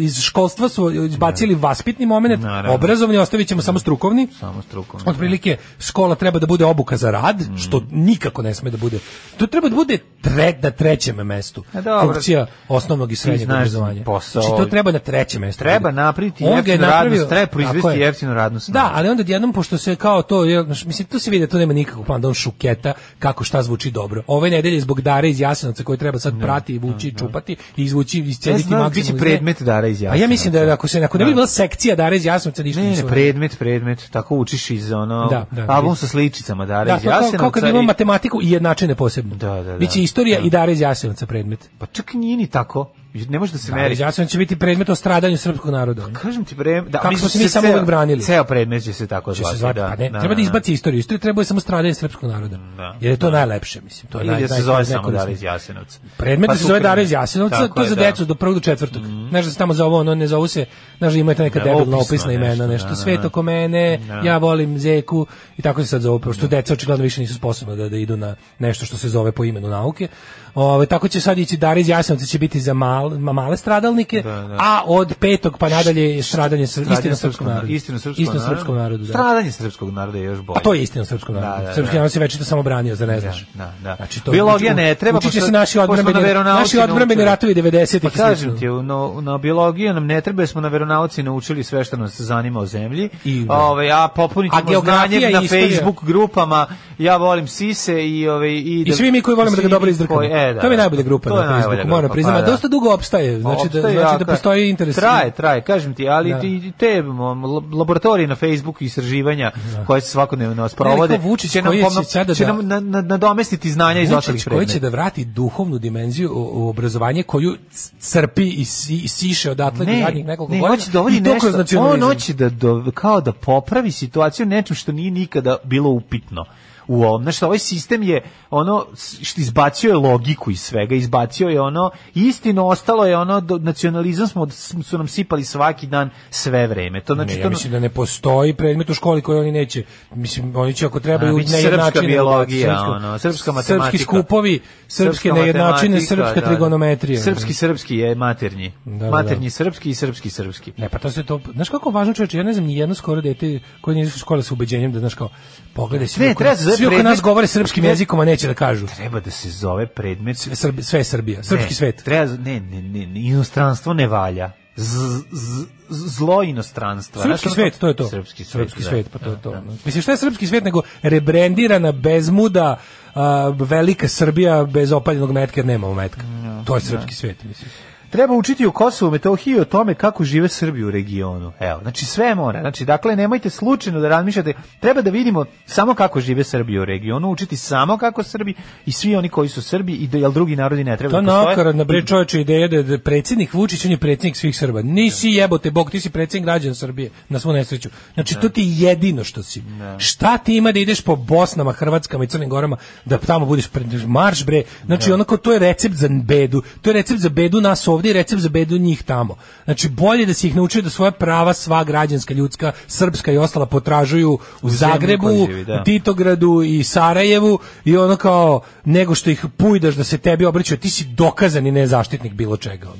iz školstva su izbacili vaspitni moment, Da. Naravno. obrazovni, ostavit ćemo samo strukovni. Samo strukovni, da. Mm. Otprilike, škola treba da bude obuka za rad, što nikako ne sme da bude. To treba da bude tre, na trećem mestu. A dobro. Funkcija osnovnog i srednjeg znaš obrazovanja. posao. Znači, to treba na trećem mestu. Treba napraviti On ga je jeftinu radnu napravio- snagu, treba proizvesti Tako je. jeftinu radnu snagu. Da, ali onda odjednom, pošto se kao to, je, znaš, mislim, tu se vidi da to nema nikakvog plana, da on šuketa kako šta zvuči dobro. Ove nedelje zbog Dare iz Jasenovca koji treba sad prati i vući i čupati i izvući i Ja iscediti da, znam, maksimalno. bit će iz nje. predmet Dara iz A Jasenovca. ja mislim da ako se ako ne bi Da. bila sekcija Dare iz Jasenovca ništa Ne, nisu ne, uradili. predmet, predmet, tako učiš iz ono, Da, da, album vidim. sa sličicama Dara Da, iz to kao, Jasenovca. kao kad imamo i- matematiku i jednačine posebno. Da, da, da. Biće istorija i Dare iz Jasenovca predmet. Pa čak nije ni tako, ne može da se Dare meri. iz Jasenovca će biti predmet o stradanju srpskog naroda. Kažem ti bre, da, Kako mislim, smo se mi se samo ceo- uvek branili. Ceo predmet će se tako Će zvati. se zvati, da, Da. pa ne, treba da izbaci istoriju. Istorija treba je samo stradanje srpskog naroda. Jer je to najlepše, mislim. To je Ili naj, da se zove najkorisnije. samo Dara iz Jasenovca. Predmet Pa da se zove super. Dara iz Jasenovca, Tako to je za da. Mhm. decu do prvog do četvrtog. Znaš da se tamo zove ono, ne zovu se, znaš da imate neka Da, debilna opisno opisna nešto, imena, da, nešto da, sve to da. ko mene, Da. ja volim Zeku i tako se sad zove, pošto deca očigledno više nisu sposobna da, da idu na nešto što se zove po imenu nauke. Ove, tako će sad ići Dara iz Jasenovca će biti za mal, ma- male stradalnike, Da, a od petog pa nadalje je stradanje, stradanje istina srpskom narodu. Istina srpskom Istina narodu. srpskom narodu, da. Stradanje srpskog naroda je još bolje. A Pa to je istina srpskom narodu. Da, da, da. Srpski narod se večito samo branio, za ne znaš. da, da. Znači to Biologija uči- ne treba, Uči će pošto- se naši pošto na odbrambeni veronauci naši naučili. odbrambeni ratovi 90-ih. Pa i slično. kažem ti, na, na biologiju nam ne treba, jer smo na veronauci naučili sve što nas zanima o zemlji, I da. Ove, a popunit A ćemo geografija znanjem i na istorija. Facebook grupama, ja volim sise i... Ove, i, I svi mi koji volimo da ga svi dobro mi izdrkamo. koji- e, da, to mi je da. najbolja grupa To je na najbolja Facebooku, moram grupa, priznati. pa A dosta dugo opstaje, znači, da, Opstaje, znači da jaka. postoji interes. Da. Traje, traje, kažem ti, ali ti te m, lab- laboratorije na Facebooku istraživanja koje se svakodnevno sprovode, kao Da. Vučić će nam, koji će pomno- sada će da- nam na- na- nadomestiti znanja iz ostalih Vučić koji predmeta. će da vrati duhovnu dimenziju u, u obrazovanje koju c- crpi i, si, i siše odatle ne, da- zadnjih nekoliko ne, godina. hoće da uvodi i to nešto, kroz on nacionalizam. hoće da do- kao da popravi situaciju nečem što nije nikada bilo upitno u ovom. Znaš, ovaj sistem je ono, s- što izbacio je logiku iz svega, izbacio je ono, istino ostalo je ono, do, nacionalizam smo, su nam sipali svaki dan sve vreme. To znači, Ne, ja to, mislim da ne postoji predmet u školi koji oni neće. Mislim, oni će ako trebaju A, bit će srpska biologija, ono, srpska da, Srpski matematika. skupovi, srpske Srpska nejednačine, matematika, srpska da, da. trigonometrija. Srpski, srpski je maternji. Da, da, maternji da. srpski i srpski srpski. Ne, pa to se to, znaš kako je važno čoveče, ja ne znam ni jedno skoro dete koje nije išlo u škole sa ubeđenjem da znaš kao pogledaj svi, Ne, oko, treba se zove svi oko nas predmet- govore srpskim Ne. jezikom, a neće da kažu. Treba da se zove predmet Srbi, sve je Srbija, srpski ne, svet. Treba, ne, ne, ne, ne, inostranstvo ne valja. Z, z, z- zlo inostranstva. Znaš Srpski ono svet, to je to. Srpski svet, Srpski da. svet, pa to je to. Mislim, šta je srpski svet nego rebrendirana, bezmuda, a, velika Srbija bez opaljenog metka jer nemamo metka. To da. je srpski svet, mislim. Treba učiti o Kosovu, Metohiji i o tome kako žive Srbi u regionu. Evo, znači sve mora. Znači, dakle, nemojte slučajno da razmišljate. Treba da vidimo samo kako žive Srbi u regionu, učiti samo kako Srbi i svi oni koji su Srbi i da, jel drugi narodi ne treba To je da postoje. nakaradna bre čoveče ideja da je da je predsjednik Vučić, on je predsjednik svih Srba. Nisi Da. jebote Bog, ti si predsjednik građana Srbije, na svu nesreću. Znači, Da. to ti je jedino što si. Šta ti ima da ideš po Bosnama, Hrvatskama i Crnim Gorama, Da. da tamo budeš pred marš bre. Znači, onako, to je recept za bedu. To je recept za bedu nas ovdje i recept za bedu njih tamo. Znači, bolje da si ih naučio da svoja prava sva građanska, ljudska, srpska i ostala potražuju zemlji u u kojoj Zagrebu, živi, živi, da. Titogradu i Sarajevu i ono kao, nego što ih pujdaš da se tebi obraćaju, ti si dokazani nezaštitnik bilo čega. Ono.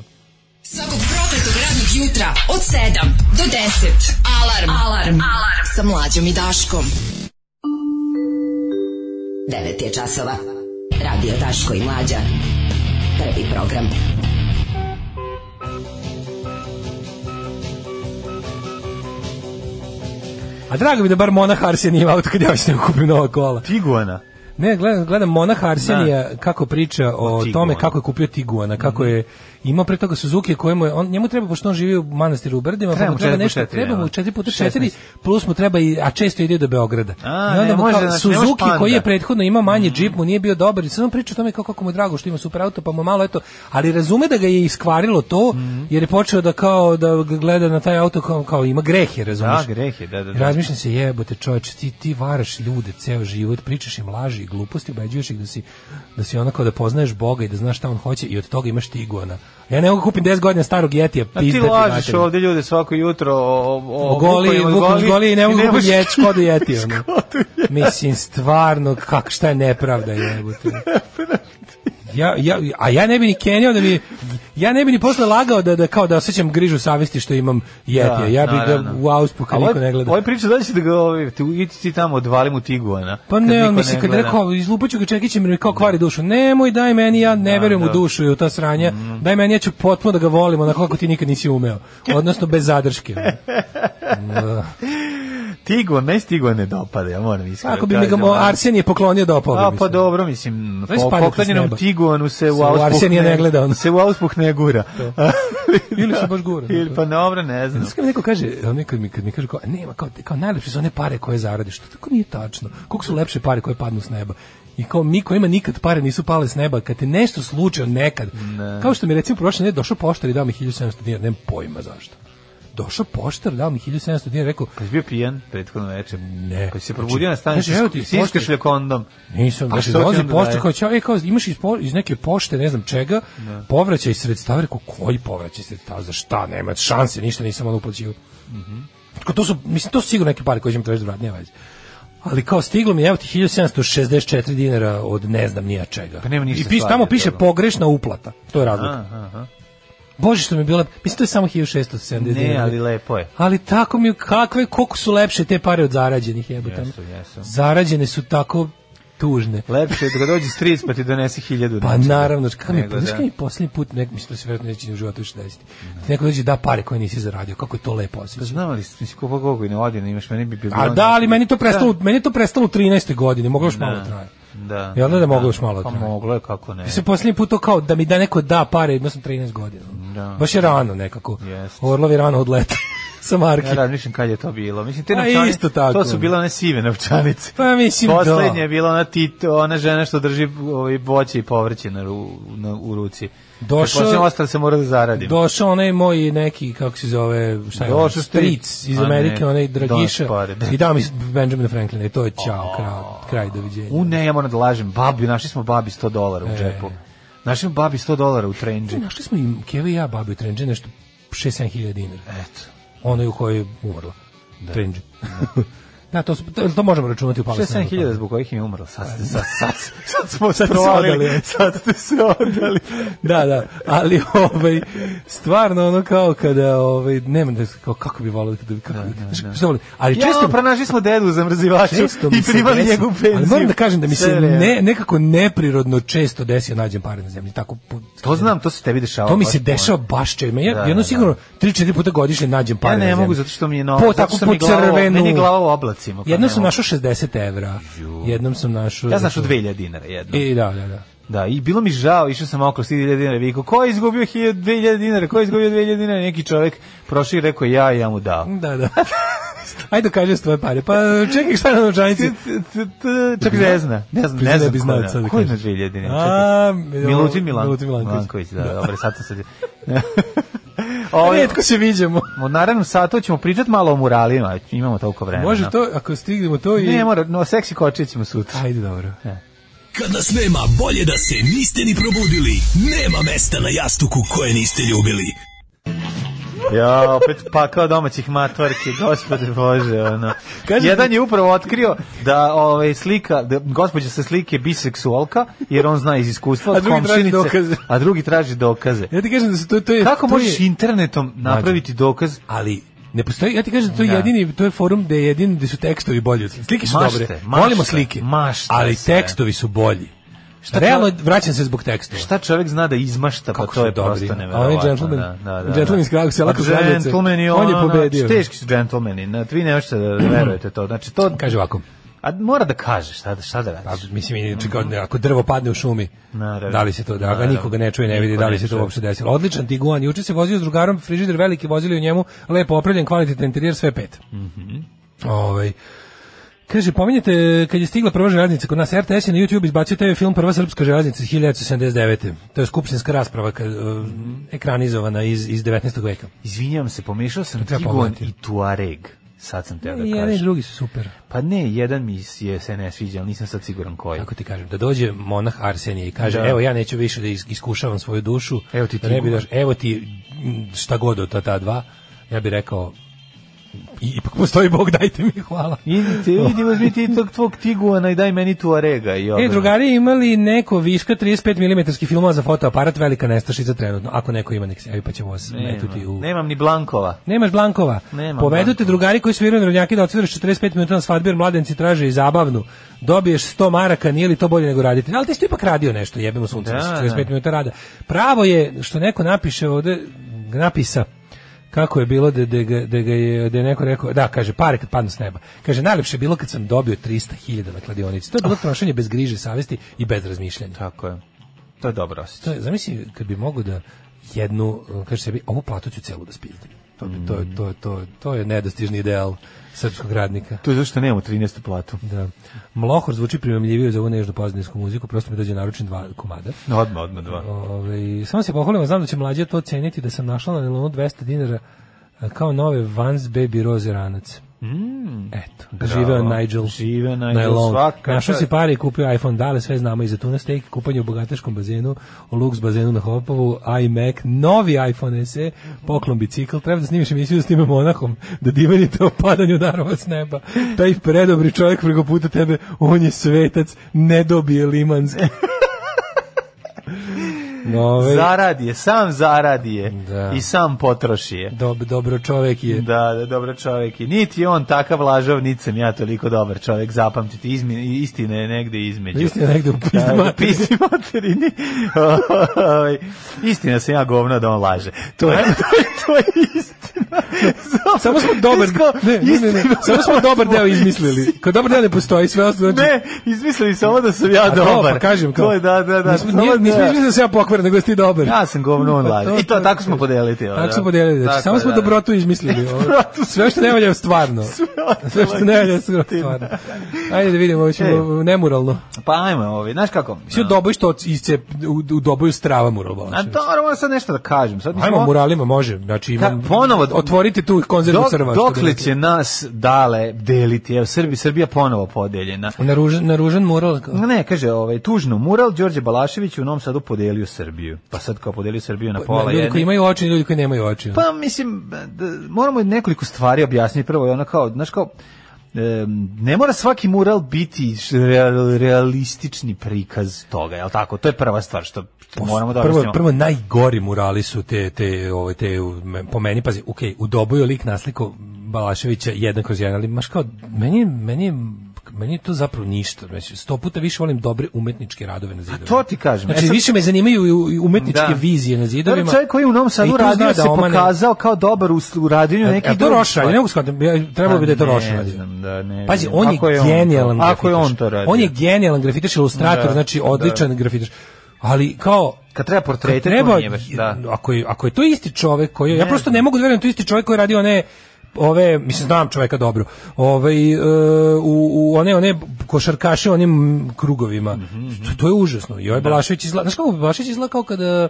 Svakog prokletog radnog jutra od 7 do 10. Alarm. Alarm. Alarm. Sa mlađom i Daškom. 9 je časova. Radio Daško i Mlađa. Prvi program. A drago mi da bar Monah Arsija nije imao kad ja već ne kupim nova kola. Tiguana. Ne, gledam, gledam Monah Arsenija kako priča o, Da. Tiguanu. Mhm. tome kako je kupio Tiguana, kako je imao pre toga Suzuki kojemu je, on, njemu treba, pošto on živi u manastiru u Brdima, Treba pa mu mu treba četiri nešto, puta četiri, treba mu jel? 4 puta 4, 16. plus mu treba, i, a često ide do Beograda. A, I onda ne, mu može, kao, znači, nemaš Suzuki Panda. koji je prethodno imao manji džip, mu nije bio dobar, i sad on priča o tome kako, kako mu je drago što ima super auto, pa mu malo eto, ali razume da ga je iskvarilo to, Mhm. jer je počeo da kao, da gleda na taj auto kao, kao ima grehe, razumiješ? Da, greh je, da, da, da. Razmišljam se, jebote čoveče, ti, ti varaš ljude ceo život, pričaš im laži i gluposti, ubeđuješ ih da si, da si onako da poznaješ Boga i da znaš šta on hoće i od toga imaš tiguana. Ja ne mogu kupim 10 godina starog jetija, A ti pizda ti lažeš materinu. ovde ljude svako jutro o, o, o O goli, vukovima, vukom goli i ne mogu kupiti možeš- jet, škodu jetija. ono. Mislim, stvarno, kak, šta je nepravda jebote. Ja, ja, a ja ne bi ni kenjao da bi ja ne bi ni posle lagao da, da kao da osjećam grižu savesti što imam jetija. ja bi ga Da, naravno. u auspuka A niko ovaj- ne gleda. Ovaj priča da će da ga ovaj, ti idi ti tamo odvali mu Tiguana. Pa kad ne, niko on misli, kad je gleda. rekao, izlupaću ga čekićem, jer mi kao kvari dušu. Nemoj, daj meni, ja ne verujem da. Mhm. u dušu i u ta sranja. Daj meni, ja ću potpuno da ga volim, onako kako ti nikad nisi umeo. Odnosno, bez zadrške. Da. Tiguan, meni se Tiguan ne dopada, ja moram iskreno. da Ako bi mi ga kažem, mo, ali- Arsen je poklonio da opao. A pa dobro, mislim, Znaš, po spadate s poklonjenom neba. Tiguanu se u Se u auspuh Arsenija ne gleda, ono. Se u auspuh ne gura. Ili se baš gura, Ili da. pa dobro, ne znam. Znaš kad mi neko kaže, a neko mi, kad mi kaže kao, nema, kao, kao najlepše su one pare koje zaradiš, to tako nije tačno. Koliko su lepše pare koje padnu s neba? I kao mi kojima nikad pare nisu pale s neba, kad te nešto slučaj nekad, kao što mi je, recimo prošle nedelje došao poštar i dao mi 1700 dinara, nemam pojma zašto. Došao poštar, dao mi 1700 dinara, rekao, Kad Pa si bio pijan prethodno večer? Ne. Kad si se Znači, probudio na stanici, znači, evo ti, si poštar- iskršlja kondom. Nisam, Pa znači, što ti dolazi onda pošta daje? kao, ćao, e, kao, imaš iz, po- iz neke pošte, ne znam čega, Da. povraćaj sredstava, rekao, koji povraćaj sredstava, za šta, nema šanse, ništa nisam ono uplaćio. Mhm. Tako, to su, mislim, to su sigurno neke pare koje ćemo tražiti da vratim, nema veze. Ali kao stiglo mi, evo ti 1764 dinara od ne znam nija čega. Pa nema ništa I piš, stvari, tamo piše dobro. pogrešna uplata, to je razlika. Aha, aha. Bože što mi je bilo, mislim to je samo 1670 dinara. Ne, ali lepo je. Ali tako mi, kakve, koliko su lepše te pare od zarađenih jebote. Jesu, jesu. Zarađene su tako tužne. Lepše je da dođe stric pa ti donese hiljadu. Pa nečega. naravno, kako mi, Nego znaš da. kada mi posljednji put, nek, mislim da se vjerojatno neće ni u životu više desiti, ti neko dođe da pare koje nisi zaradio, kako je to lepo Pa osjećaj. znam ali, mislim, ko pa koliko i ne odi, ne imaš, meni bi bilo... A da, ali meni je to prestalo, meni je to prestalo u 13. godini, moglo još malo traje. Da. I onda da moglo još malo Pa traje. moglo je, kako ne. Ja sam posljednji put to kao da mi da neko da pare, imao sam 13 godina. Da. Baš je rano nekako. Jeste. Orlov je rano odleta sa Marki. Ja da. razmišljam kad je to bilo. Mislim, te Pa novčanice, isto tako. to su bile one sive novčanice. Pa mislim da. Poslednje je bila ona, Tito, ona žena što drži ovaj, voće i povrće na, ru, na, u ruci. Došao- Došao... ostale se mora da zaradim. Došao onaj moj neki, kako se zove, šta je, Došao ono, stric stric. iz A ne, Amerike, onaj Dragiša, donos pare, da. i dao mi Benjamin Franklina, i to je čao, kraj, kraj doviđenja. U ne, ja moram da lažem. Babi, našli smo babi 100 dolara u E. džepu. Našli smo babi 100 dolara u trenđi. E, Našli smo im Keva i ja babi u Trenđe nešto 6-7 hiljada dinara. Eto. Ono je u kojoj je umrla. Da. Trenđe. da, to, su, to, to možemo računati u Palestinu. 6-7 zbog kojih im je umrlo. Sad, ste, sad, sad, sad smo se Sad se provalili. odali. Sad ste se odali. da, da, ali ovaj stvarno ono kao kada ovaj nema da kao kako bi voleo da kako bi, znaš, što volim. ali često Često pronašli smo dedu u zamrzivaču često mi i se primali desi- njegovu penziju. Ali moram da kažem da mi Sve se vreme. ne, nekako neprirodno često desi da nađem pare na zemlji. Tako, po- To znam, to se tebi dešava. To mi se baš dešava baš često. Ja Da, jedno da, sigurno 3-4 puta godišnje nađem puno. pare. Ja na ne zemlji. mogu zato što mi je novo. Po, zato tako što po mi je glava- crvenu. Meni je glava u oblacima. pa Jednom ne sam mogu. našao 60 evra. Jednom sam našao... Ja sam našao 2000 dinara jedno. I da, da, da. Da, i bilo mi žao, išao sam oko 1000 dinara i vikao, ko je izgubio 1000 2000 dinara, ko je izgubio 2000 dinara, neki čovjek prošao i rekao ja, i ja mu dao. Da, da. Ajde kaže s tvoje pare. Pa čekaj šta je na novčanici? T- t- t- t- Čak ne zna, ne znam, ne Priznao znam bi ko znao da. sad da Ko je na kažeš. 2000 dinara? A, Čekaj. Milutin Milan- Milutin Milanković. Milanković, da, Da. dobro, sad sam se... Ovaj, Rijetko se viđamo. u naravnom satu ćemo pričati malo o muralima, imamo toliko vremena. Može to, ako stignemo to i... Ne, mora, no, seksi kočije ćemo sutra. Ajde, dobro. Kad nas nema, bolje da se niste ni probudili. Nema mesta na jastuku koje niste ljubili. Ja, opet pakao domaćih matvarki, gospode bože, ono. Kaže- Jedan je upravo otkrio da ovaj slika, da gospođa sa slike biseksualka, jer on zna iz iskustva A od drugi traži komšinice, dokaze. a drugi traži dokaze. Ja ti kažem da se to, to je... Kako to možeš je- internetom napraviti dokaz? ali ne postoji, ja ti kažem, to je Da. jedini, to je forum gde je jedini gde su tekstovi bolji. od slike. Slike su Mašte, dobre. mašte, Volimo slike. mašte ali sve. tekstovi su bolji. Realno vraćam se zbog tekstova. Šta čovjek zna da izmašta, Kako pa su to je dobri. prosto A neverovatno. onaj gentleman, da, da, da, da. gentleman iz Kragujevca, Jelako A Kragujevce, gentleman je on je ono, pobedio. Teški su džentlmeni, na, vi ne možete da verujete to. Znači, to, Kaže ovako, a mora da kažeš, šta, da- šta da pa, radiš? mislim, inače, kao, ako drvo padne u šumi, Naravno. da li se to, da ga Naravno. nikoga ne čuje, ne vidi, Niko da li ne se to čuje. uopšte desilo. Odličan Tiguan, juče se vozio s drugarom, frižider veliki, vozili u njemu, lepo opravljen, kvalitetan interijer, sve pet. Ovaj, Kaže, pominjate e, kad je stigla prva železnica kod nas, RTS je na YouTube izbacio TV film Prva srpska železnica iz 1979. To je skupštinska rasprava kad, e, ekranizovana iz, iz 19. veka. Izvinjavam se, pomešao sam treba Tiguan pogledati. i Tuareg. Sad sam teo da I jedan i kažem. drugi su super. Pa ne, jedan mi je se ne sviđa, ali nisam sad siguran koji. Kako ti kažem, da dođe monah Arsenije i kaže, Da. evo ja neću više da is- iskušavam svoju dušu, Evo ti da ne bi Tiguan. daš, evo ti m, šta god od ta, ta dva, ja bih rekao, "I- ipak postoji Bog, dajte mi hvala. E, Idite, idi, uzmi ti tog tvog Tiguana i daj meni Tuarega. I Oh. E, obrnuto. drugari, imali neko viška 35 mm filmova za fotoaparat, velika nestašica trenutno. Ako neko ima, nek se javi pa ćemo vas metuti u... Nemam, nemam ni Blankova. Nemaš Blankova. Nemam Povedu te Blankova. drugari koji sviraju na rovnjaki da odsviraš 45 minuta na svadbi jer mladenci traže i zabavnu. Dobiješ 100 maraka, nije li to bolje nego raditi? Ali ti si tu ipak radio nešto, jebimo sunce, Da, mislim, 45 da. minuta rada. Pravo je što neko napiše ovde, napisa, kako je bilo da, da, ga, da, ga je, da je neko rekao, da, kaže, pare kad padnu s neba. Kaže, najlepše je bilo kad sam dobio 300.000 na kladionici. To je bilo Oh. trošenje bez griže, savesti i bez razmišljanja. Tako je. To je dobro To osjećaj. je, zamisli kad bi mogu da jednu, uh, kaže sebi, ovu platu ću celu da spizdim. To, bi, to, je- to, je- to, je- to je nedostižni ideal srpskog radnika. To je zašto nemamo 13. platu. Da. Mlohor zvuči primamljivije za ovu nežnu pozadinsku muziku, prosto mi dođe naručen dva komada. Odmah, odmah dva. Ove, samo se pohvalimo, znam da će mlađe to ceniti da sam našla na Nelonu 200 dinara a, kao nove Vans Baby Rose ranac. Eto, Mm. bravo. živeo Nigel. Živeo Nigel, Nylon. svaka Našao si čast. pare i kupio iPhone, dale sve znamo i za tuna steak, kupanje u bogateškom bazenu, u Lux bazenu na Hopovu, iMac, novi iPhone SE, poklon bicikl, treba da snimiš emisiju s time monahom, da divanite o padanju darova s neba. Taj predobri čovjek preko puta tebe, on je svetac, ne dobije limanski. Ove, Zaradi je, sam zaradi je. Da. I sam potroši je. dob, dobro čovjek je. Da, da, dobro čovjek. I niti je on takav lažov, niti sam ja toliko dobar čovjek, zapamtite, izmi, istina je negde između. Istina je negde u pizdu Da, materinu. pisni materini. Ovaj, istina sam ja govno da on laže. To je, to je, to je istina. Samo, Samo smo dobar, ne, ne, ne, ne, samo smo dobar deo izmislili. Kao dobar deo ne postoji, sve ostalo znači Ne, izmislili samo da sam ja A to, dobar. pa kažem kao. To je, da, da, da. Nismo, samo nije- da- nismo mislili da se ja pokvaren, nego da si ti dobar. Ja sam govno, on Pa laže. I to tako smo podeliti. ovo, Tako da. smo podelili. Znači, Tako samo je, smo da. dobrotu izmislili. ovo. Dobrotu Sve što ne valja stvarno. ostalo Sve što ne je valja istina. stvarno. Ajde da vidimo, ovo ćemo nemuralno. Pa ajmo, ovaj, znaš kako? Sve dobo što isce u, u doboju strava mural A Balašević. to moramo sad nešto da kažem. Sad mi Ajmo smo- muralima, može. Znači, imam, Ka- ponovo- otvorite tu konzervu Dok- crva. da što bi dokle rekli. će nas dale deliti? Evo, Srbi, Srbija ponovo podeljena. Pa Na ružan, na ružan mural. kao- Ne, kaže, ovaj, tužno, mural Đorđe Balašević u Novom Sadu podelio Srbiju. Pa sad kao podelio Srbiju na pola ljudi jedne. koji imaju oči i ljudi koji nemaju oči. Pa mislim, da, moramo nekoliko stvari objasniti. Prvo je ono kao, znaš kao, em, ne mora svaki mural biti š- real- realistični prikaz toga, jel tako? To je prva stvar što što moramo da prvo, objasnimo. prvo najgori murali su te, te, ovaj, te u- me- po meni, pazi, ok, u dobu je lik nasliku Balaševića jedan kroz jedan, ali maš kao, meni, je- meni, je- meni je to zapravo ništa. Znači, sto puta više volim dobre umetničke radove na zidovima. to ti kažem. Znači, E sad- više me zanimaju i- i umetničke Da. vizije na zidovima. Dobar čovjek koji je u Novom Sadu I tu radio zna da se omane- pokazao kao dobar u, u radinju E, nekih a to drugih Roša, ja ne stvari. mogu shvatiti, ja- trebalo bi da je to Pa ne Roša radio. znam, da, ne Pazi, znam. on je, Ako je on to- genijalan grafitaš. ako je on to radio. On je genijalan grafitaš, ilustrator, Da, znači odličan grafitaš. Ali kao, Kad treba portrete, Kad treba, to nije baš, da. Ako je, ako je to isti čovjek koji je- ja Ne prosto znam. ne mogu da verujem da je to isti čovjek koji je radio one ove mislim znam čovjeka dobro. Ovaj e, u, u one one košarkaše u Mhm, onim krugovima. to, to je užasno. I ovaj Balašević izgleda, znaš kako Balašević izgleda kao kada Balašević-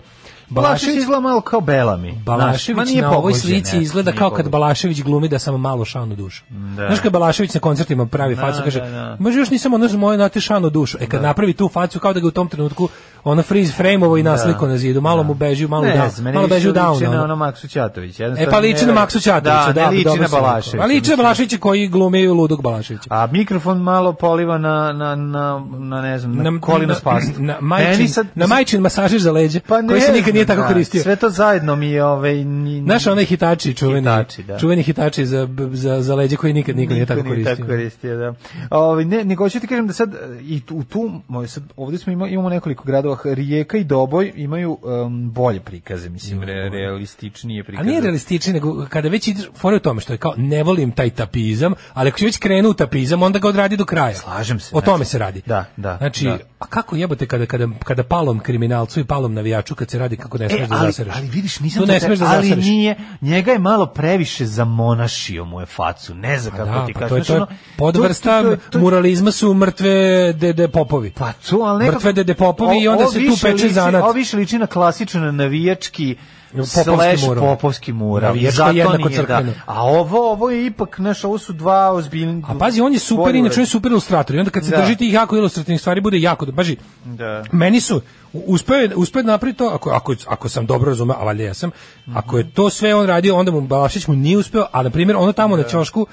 Da. Balašević izgleda malo kao Belami. Balašević na ovoj slici izgleda kao kad Balašević Balašević glumi da sam malo šanu dušu. Da. Znaš kad Balašević na koncertima pravi Da, facu, kaže, da, da. može još nisam ono moje nate šanu dušu. E kad napravi tu facu, kao da ga u tom trenutku ono freeze frame-ovo i nasliko na zidu, malo mu beži, malo, Da. ne, down, znam, meni da- malo više beži u down. liči na ono. ono Maksu Ćatović. E jednostavno pa liči ne- na Maksu Ćatovića, da, da, ne liči dobro na sam rekao. Balaševića. A liči na mislim. Balaševića koji glumi ludog Balaševića. A mikrofon malo poliva na, na, na, na ne znam, na, kolino s pastom. Na, Meni majčin, sad- na majčin masažiš za leđe, Pa ne koji se nikad nije znam, da, tako koristio. Sve to zajedno mi je ovaj... Ni, Znaš onaj hitači čuveni, Hitači, da. čuveni hitači za, za, za leđe koji nikad niko nije tako Niko nije koristio. tako koristio, da. Ovaj ne, nego hoću ti kažem da sad e, i tu- u tu moj sad ovde smo ima, imamo nekoliko gradova Rijeka i Doboj imaju em, bolje prikaze, mislim re, realističnije A prikaze. nije realistični, nego kada već ideš, fora je u tome što je kao, ne volim taj tapizam, ali ako si već krenu u tapizam, onda ga odradi do kraja. Slažem se, O tome znači. se radi. Da, da, Znači, da. a kako jebote kada, kada, kada palom kriminalcu i palom navijaču, kad se radi kako ne smeš E, da ali, zasereš? ali vidiš, nisam Tu to ne te- smeš da ali zasereš. nije, njega je malo previše zamonašio mu je facu, ne znam Pa kako da, ti pa kažem. to je, to znaš, je ono, podvrsta to- to- to- to- muralizma su mrtve dede popovi. Pa to, ali nekako... Mrtve dede popovi i O- onda ovo se tu više peče liči- zanat. Ovo više liči na klasičan navijački Popovski slash mural. popovski mural. Navijačko Zato jednako nije, da. crkveno. A ovo, ovo je ipak, znaš, ovo su dva ozbiljni... A pazi, on je super, bolje inače on je uređena. super ilustrator. I onda kad se Da. drži tih jako ilustrativnih stvari, bude jako dobro. Pazi, Da. meni su u- uspeo je- uspeo je napraviti to ako ako ako sam dobro razumeo, a valjda jesam. Ako je to sve on radio, onda mu Balašić mu nije uspeo, a na primjer ono tamo Da. na ćošku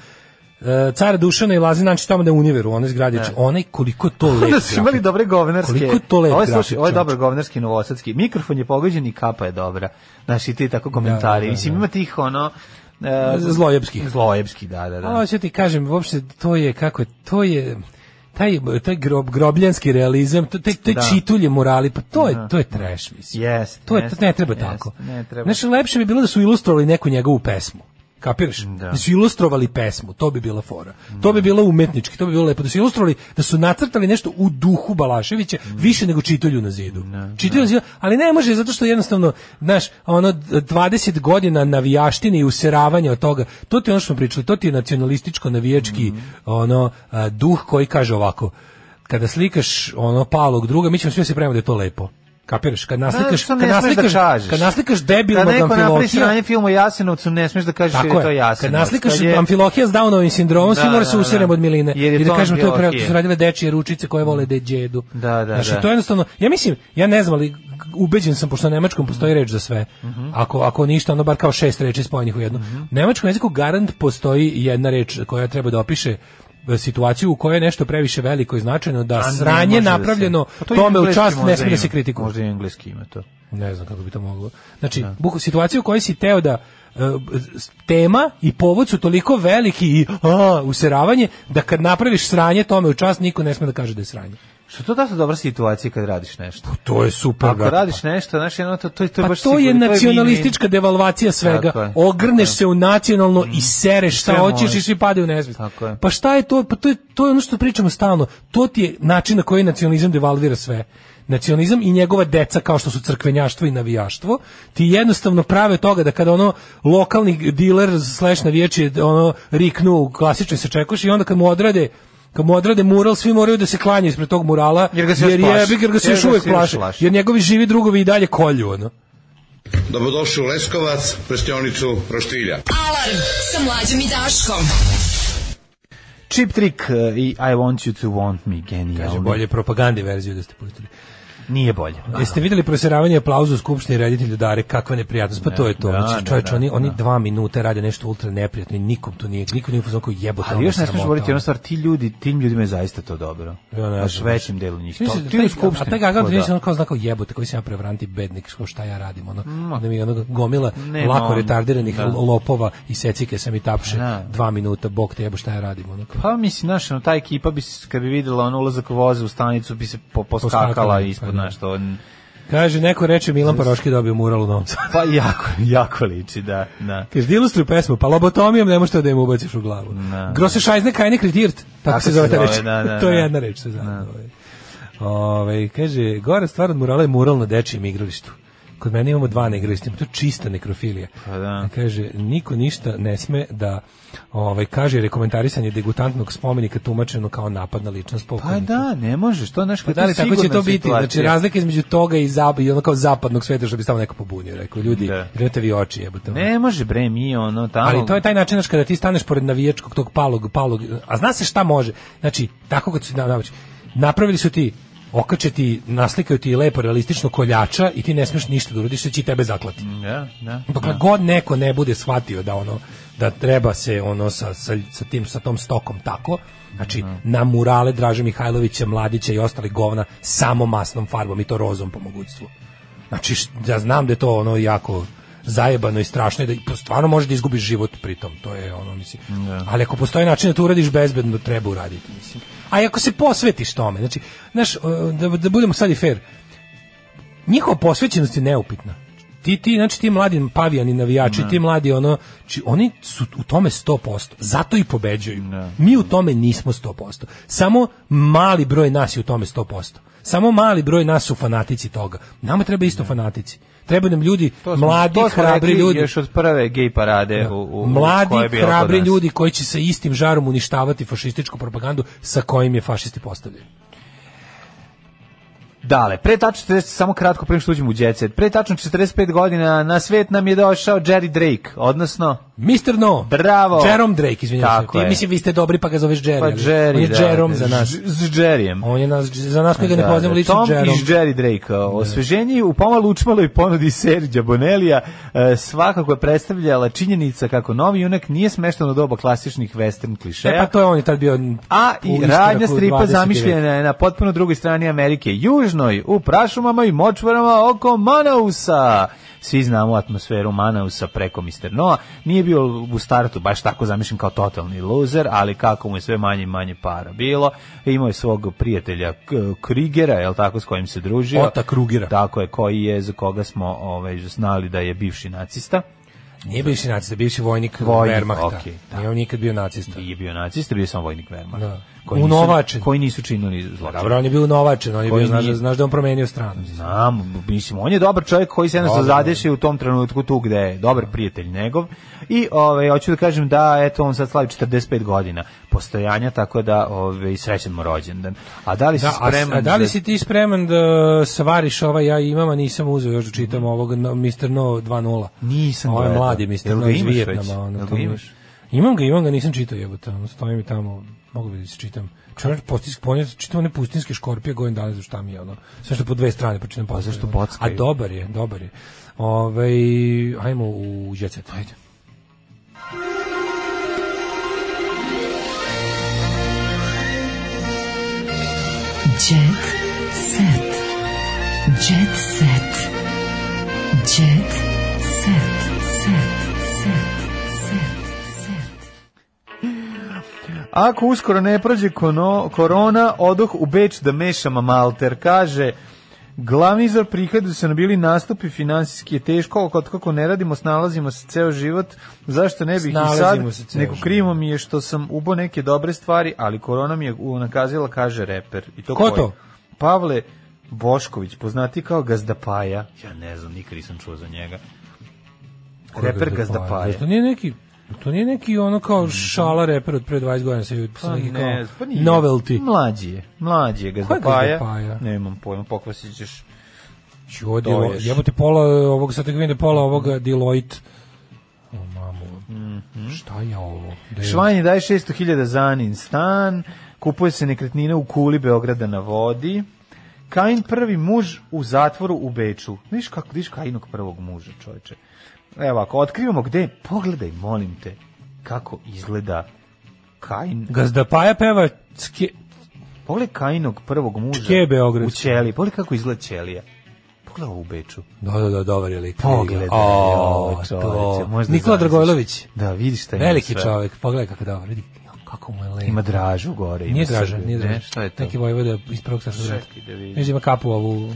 e, cara Dušana i Lazin Ančić tamo da je univeru, onaj zgradić, onaj koliko je to lepo. Onda Da su imali dobre govnarske. Koliko je to lep Ovo je, grafik, slušaj, ovo je čovječe. dobar govnarski novosadski. Mikrofon je pogođen i kapa je dobra. Znaš, i ti tako komentari. da, da, Mislim, da. ima tih, ono... e, Zlojevskih. Zlojevski, da, da, da. A hoću ti kažem, uopšte to je kako je, to je taj taj grob grobljanski realizam, to te te Da. čitulje morali, pa to je to je trash mislim. Jest, To je to jest, ne treba jest, tako. ne treba. Znači lepše bi bilo da su ilustrovali neku njegovu pesmu. Kapiraš? Da. su ilustrovali pesmu, to bi bila fora. To bi bilo umetnički, to bi bilo lepo da su ilustrovali, da su nacrtali nešto u duhu Balaševića, više nego čitulju na zidu. Da, čitulju na zidu, ali ne može zato što jednostavno, znaš, ono 20 godina navijaštine i useravanja od toga. To ti je ono što smo pričali, to ti je nacionalističko navijački ono a, duh koji kaže ovako: kada slikaš ono palog druga, mi ćemo sve se pravimo da je to lepo. Kapiraš? Kad naslikaš, Da, što kad ne smeš naslikaš, da kažeš. kad naslikaš Da debilnog neko napravi amfilohija, sranje film o Jasenovcu, ne smeš da kažeš jer Tako je to je. Jasenovac. Kad naslikaš je- amfilohija s Downovim sindromom, Da, svi mora da, se da. usirem od miline. Jer je I da to kažemo, to je pre, to amfilohija. su radile dečije ručice koje vole deđedu. Da, da, znači, da. to je jednostavno, ja mislim, ja ne znam, ali ubeđen sam, pošto na nemačkom postoji reč za sve. Mhm. Ako, ako ništa, ono bar kao šest reči spojenih u jednu. U nemačkom jeziku garant postoji jedna reč koja treba da opiše e, situaciju u kojoj je nešto previše veliko i značajno da A ne, sranje može da se- napravljeno Pa to i tome u engleski čast ne možda smije da ima. se kritikuje Možda i engleski ima to. ne znam kako bi to moglo. Znači, buku situaciju u kojoj si teo da e, s- tema i povod su toliko veliki i a, useravanje da kad napraviš sranje tome u čast niko ne sme da kaže da je sranje. Što to da su dobra situacija kad radiš nešto? To je super. Ako radiš nešto, znaš, jedno, to, to, je- to je pa baš to je sigurno, mini- nacionalistička devalvacija Tako svega. je. Mm. Ogrneš se u nacionalno i sereš šta Sve hoćeš i možeš. svi padaju u nezvijest. Tako je. Pa šta je to? Pa to je, to je ono što pričamo stalno. To ti je način na koji nacionalizam devalvira sve. Nacionalizam i njegova deca kao što su crkvenjaštvo i navijaštvo, ti jednostavno prave od toga da kada ono lokalni diler slash navijač je ono riknu u klasičnoj se čekoš i onda kad mu odrade kad mu odrade mural, svi moraju da se klanjaju ispred tog murala, Jer ga se još jer, plaše. jebi ga, jer ga se još uvek plaše, plaše. jer njegovi živi drugovi i dalje kolju, ono. Dobrodošli u Leskovac, prštionicu Roštilja. Alarm sa mlađom i Daškom. Cheap Trick e, i I Want You To Want Me, Kaže, genijalno. bolje propagandi verziju da ste pustili. Nije bolje. Jeste vidjeli proseravanje aplauza u skupštini reditelju Dare, kakva neprijatnost, pa to je to. da, znači, da, čovječ, da, oni, oni da. dva minute rade nešto ultra neprijatno i nikom to nije, nikom nije uzmano koji jebota. Ali još ono ne smiješ sramota, govoriti ono. jednu stvar, ti ljudi, tim ljudima je zaista to dobro. Ja ne Baš znam. većim delu njih. Mislim, To- da ti u taj- skupštini, A taj Gaga ko da. Andrić on kao znao kao jebote koji sam ja prevaranti bednik, što šta ja radim, ono, da mi je ono gomila Nema lako on, retardiranih da. lopova i secike sam i tapše Da. dva minuta, bog te jebo šta ja radim, ono kao. Pa mislim, znaš, ono, ta ekipa bi, se, kad bi videla on ulazak voza u stanicu, bi se po, poskakala Poskakala, ispod, pa da. znaš, to... Kaže, neko reče Milan Paroški dobio mural u Novom Sadu. Pa jako, jako liči, da, da. Kaže, ilustruj pesmu, pa lobotomijom ne možete da im ubaciš u glavu. Ne. Grose šajzne kajne kredirt, tako, da. Tako se zove se ta zove, reč. da, da, to je da. jedna reč se zove. Ove, kaže, gore stvar od murala je mural na dečijem igralištu. kod mene imamo dva na igralištima, to je čista nekrofilija. Pa da. Kaže, niko ništa ne sme da ovaj, kaže rekomentarisanje degutantnog spomenika tumačeno kao napad na ličnost Pa pokojnika. da, ne možeš, to znaš Pa kad da li tako će to biti? Znači, razlika između toga i, zap, i ono kao zapadnog sveta, što bi tamo neko pobunio, rekao, ljudi, Da. idete vi oči, jebote. ono. Ne može bre, mi ono tamo. Ali to je taj način znaš, kada ti staneš pored navijačkog tog palog, palog, a zna se šta može. Znači, tako kad su ti na- navući. napravili su ti okače ti, naslikaju ti lepo realistično koljača i ti ne smeš ništa da uradiš, jer će i tebe zaklati. Da, da. Dokle da. god neko ne bude shvatio da ono da treba se ono sa, sa, sa tim sa tom stokom tako, znači na murale Draže Mihajlovića, Mladića i ostali govna samo masnom farbom i to rozom po mogućstvu. Znači š- ja znam da je to ono jako zajebano i strašno i da i po- stvarno možeš da izgubiš život pritom, to je ono mislim. Ali ako postoji način da to uradiš bezbedno, treba uraditi, mislim. A i ako se posvetiš tome, znači, znaš, e, da, da budemo sad i fair, njihova posvećenost je neupitna. Ti, ti, znači ti mladi pavijani navijači, Da. ti mladi ono, či oni su u tome 100%, zato i pobeđuju. Da. Mi u tome nismo 100%. Samo mali broj nas je u tome 100%. Samo mali broj nas su fanatici toga. Nama treba isto fanatici. Trebaju nam ljudi, Da. To smo- mladi, to smo hrabri rekli ljudi. Da. Još od prve gej parade u, u, u- koja je Mladi, bila kod hrabri nas. ljudi koji će sa istim žarom uništavati fašističku propagandu sa kojim je fašisti postavljaju. Dale, pre tačno 40, samo kratko prije što uđemo u Jet Set, pre tačno 45 godina na svet nam je došao Jerry Drake, odnosno Mr. No. Bravo. Jerome Drake, izvinjavam se. Tako Ti, je. mislim, vi ste dobri, pa ga zoveš Jerry. pa ali Jerry, On je da, Jerome da, za nas. ž- S Jerryjem. On je nas, za nas koji ga ne Da, poznamo Da. da, lično Tom Jerome. iz Jerry Drake. Osveženje u pomalo učmaloj ponudi Serđa Bonelija e, svakako je predstavljala činjenica kako novi junak nije smešten u doba klasičnih western klišeja. E, pa to je on je tad bio... A u i istoraku radnja u 20. stripa veka. zamišljena je na potpuno drugoj strani Amerike, južnoj, u prašumama i močvarama oko Manausa. Svi znamo atmosferu Manausa preko Mr. Noa. Nije bio u startu baš tako zamišljen kao totalni loser, ali kako mu je sve manje i manje para bilo. Imao je svog prijatelja K- Krigera, je tako, s kojim se družio. Ota Krugera. Tako je, koji je, za koga smo ovaj, znali da je bivši nacista. Nije bivši nacista, bivši vojnik, Vojnik, vojnik Wehrmachta. okej, da. Nije on nikad bio nacista. Nije bio nacista, bio je samo vojnik Wehrmacht. Da. Koji nisu- Unovačen. Koji nisu činili zločine. Dobro, on je bio unovačen, on je Koji bio, znaš, nije- da- znaš da on promenio stranu. Znam, mislim, on je dobar čovjek koji se jednostavno Dobar, da. zadeši u tom trenutku tu gde je dobar prijatelj njegov. I ovaj, hoću da kažem da, eto, on sad slavi 45 godina postojanja, tako da ovaj, srećan mu rođendan. A da li si Da, a, spreman? a da li za- si ti spreman da svariš ova ja imam, a nisam uzeo još da čitam ovog no, Mr. No 2.0. Nisam Ovo je gledao. mladi Mr. Jel ga No iz imaš već? Vijetnama. Ono, Jel to ga mi- imaš? Imam ga, imam ga, nisam čitao jebote. Ono, stoji mi tamo, mogu bi da se čitam. Čovjek postinski ponijeti, čitam one pustinske škorpije godin dana za šta mi je ono. Sve što po dve strane pročitam. Pa zašto A bockaju? dobar je, dobar je. Ove, ajmo u Jet Set. Ajde. Jet set. Jet set. Jet set. Set. Set. Ako uskoro ne prođe kono- korona, odoh u Beč da mešam malter, kaže... Glavni izvor prihoda su nam bili nastupi, finansijski je teško, ali kod kako ne radimo, snalazimo se ceo život, zašto ne bih i sad, Snalazimo se ceo neko život. krivo mi je što sam ubo neke dobre stvari, ali korona mi je unakazila, kaže reper. I to Ko koji? to? Pavle Bošković, poznati kao Gazdapaja. Ja ne znam, nikad nisam čuo za njega. Reper Gazdapaja. To nije neki To nije neki ono kao šala reper od pre 20 godina sa Pa neki kao ne, pa nije. novelty. Mlađi je, mlađi je Ko je Gazdapaja. Gazdapaja? Nemam pojma, pokvasit ćeš. Čuo To Deloitte. još. Jebote pola e, ovog, sad tako vidim da je pola ovoga Deloitte. O, mamu. Mhm. Šta je ovo? Da je- Švajn je daje 600.000 za Anin stan, kupuje se nekretnina u kuli Beograda na vodi. Kain prvi muž u zatvoru u Beču. Viš kako, viš Kainog prvog muža, čoveče. Evo ako otkrivamo gde, pogledaj, molim te, kako izgleda Kain. Gazdapaja peva ske... Pogledaj Kainog prvog muža Čke Beogradski. u Ćeliji. Pogledaj kako izgleda Ćelija. Pogledaj ovo u Beču. Da, da, da, dobar je lik. Pogledaj, O, joj, čoveče, to. možda Nikola zamisliš. Dragojlović. Da, vidiš šta ima Veliki sve. čovjek. Pogledaj kako je dobar. Vidi kako mu je lep. Ima dražu gore. ima Nije draža, Srbiju, nije ne? draža. Šta je to? Neki vojvoda iz prvog svetskog rata. Čekaj da vidim. Viš da ima kapu ovu...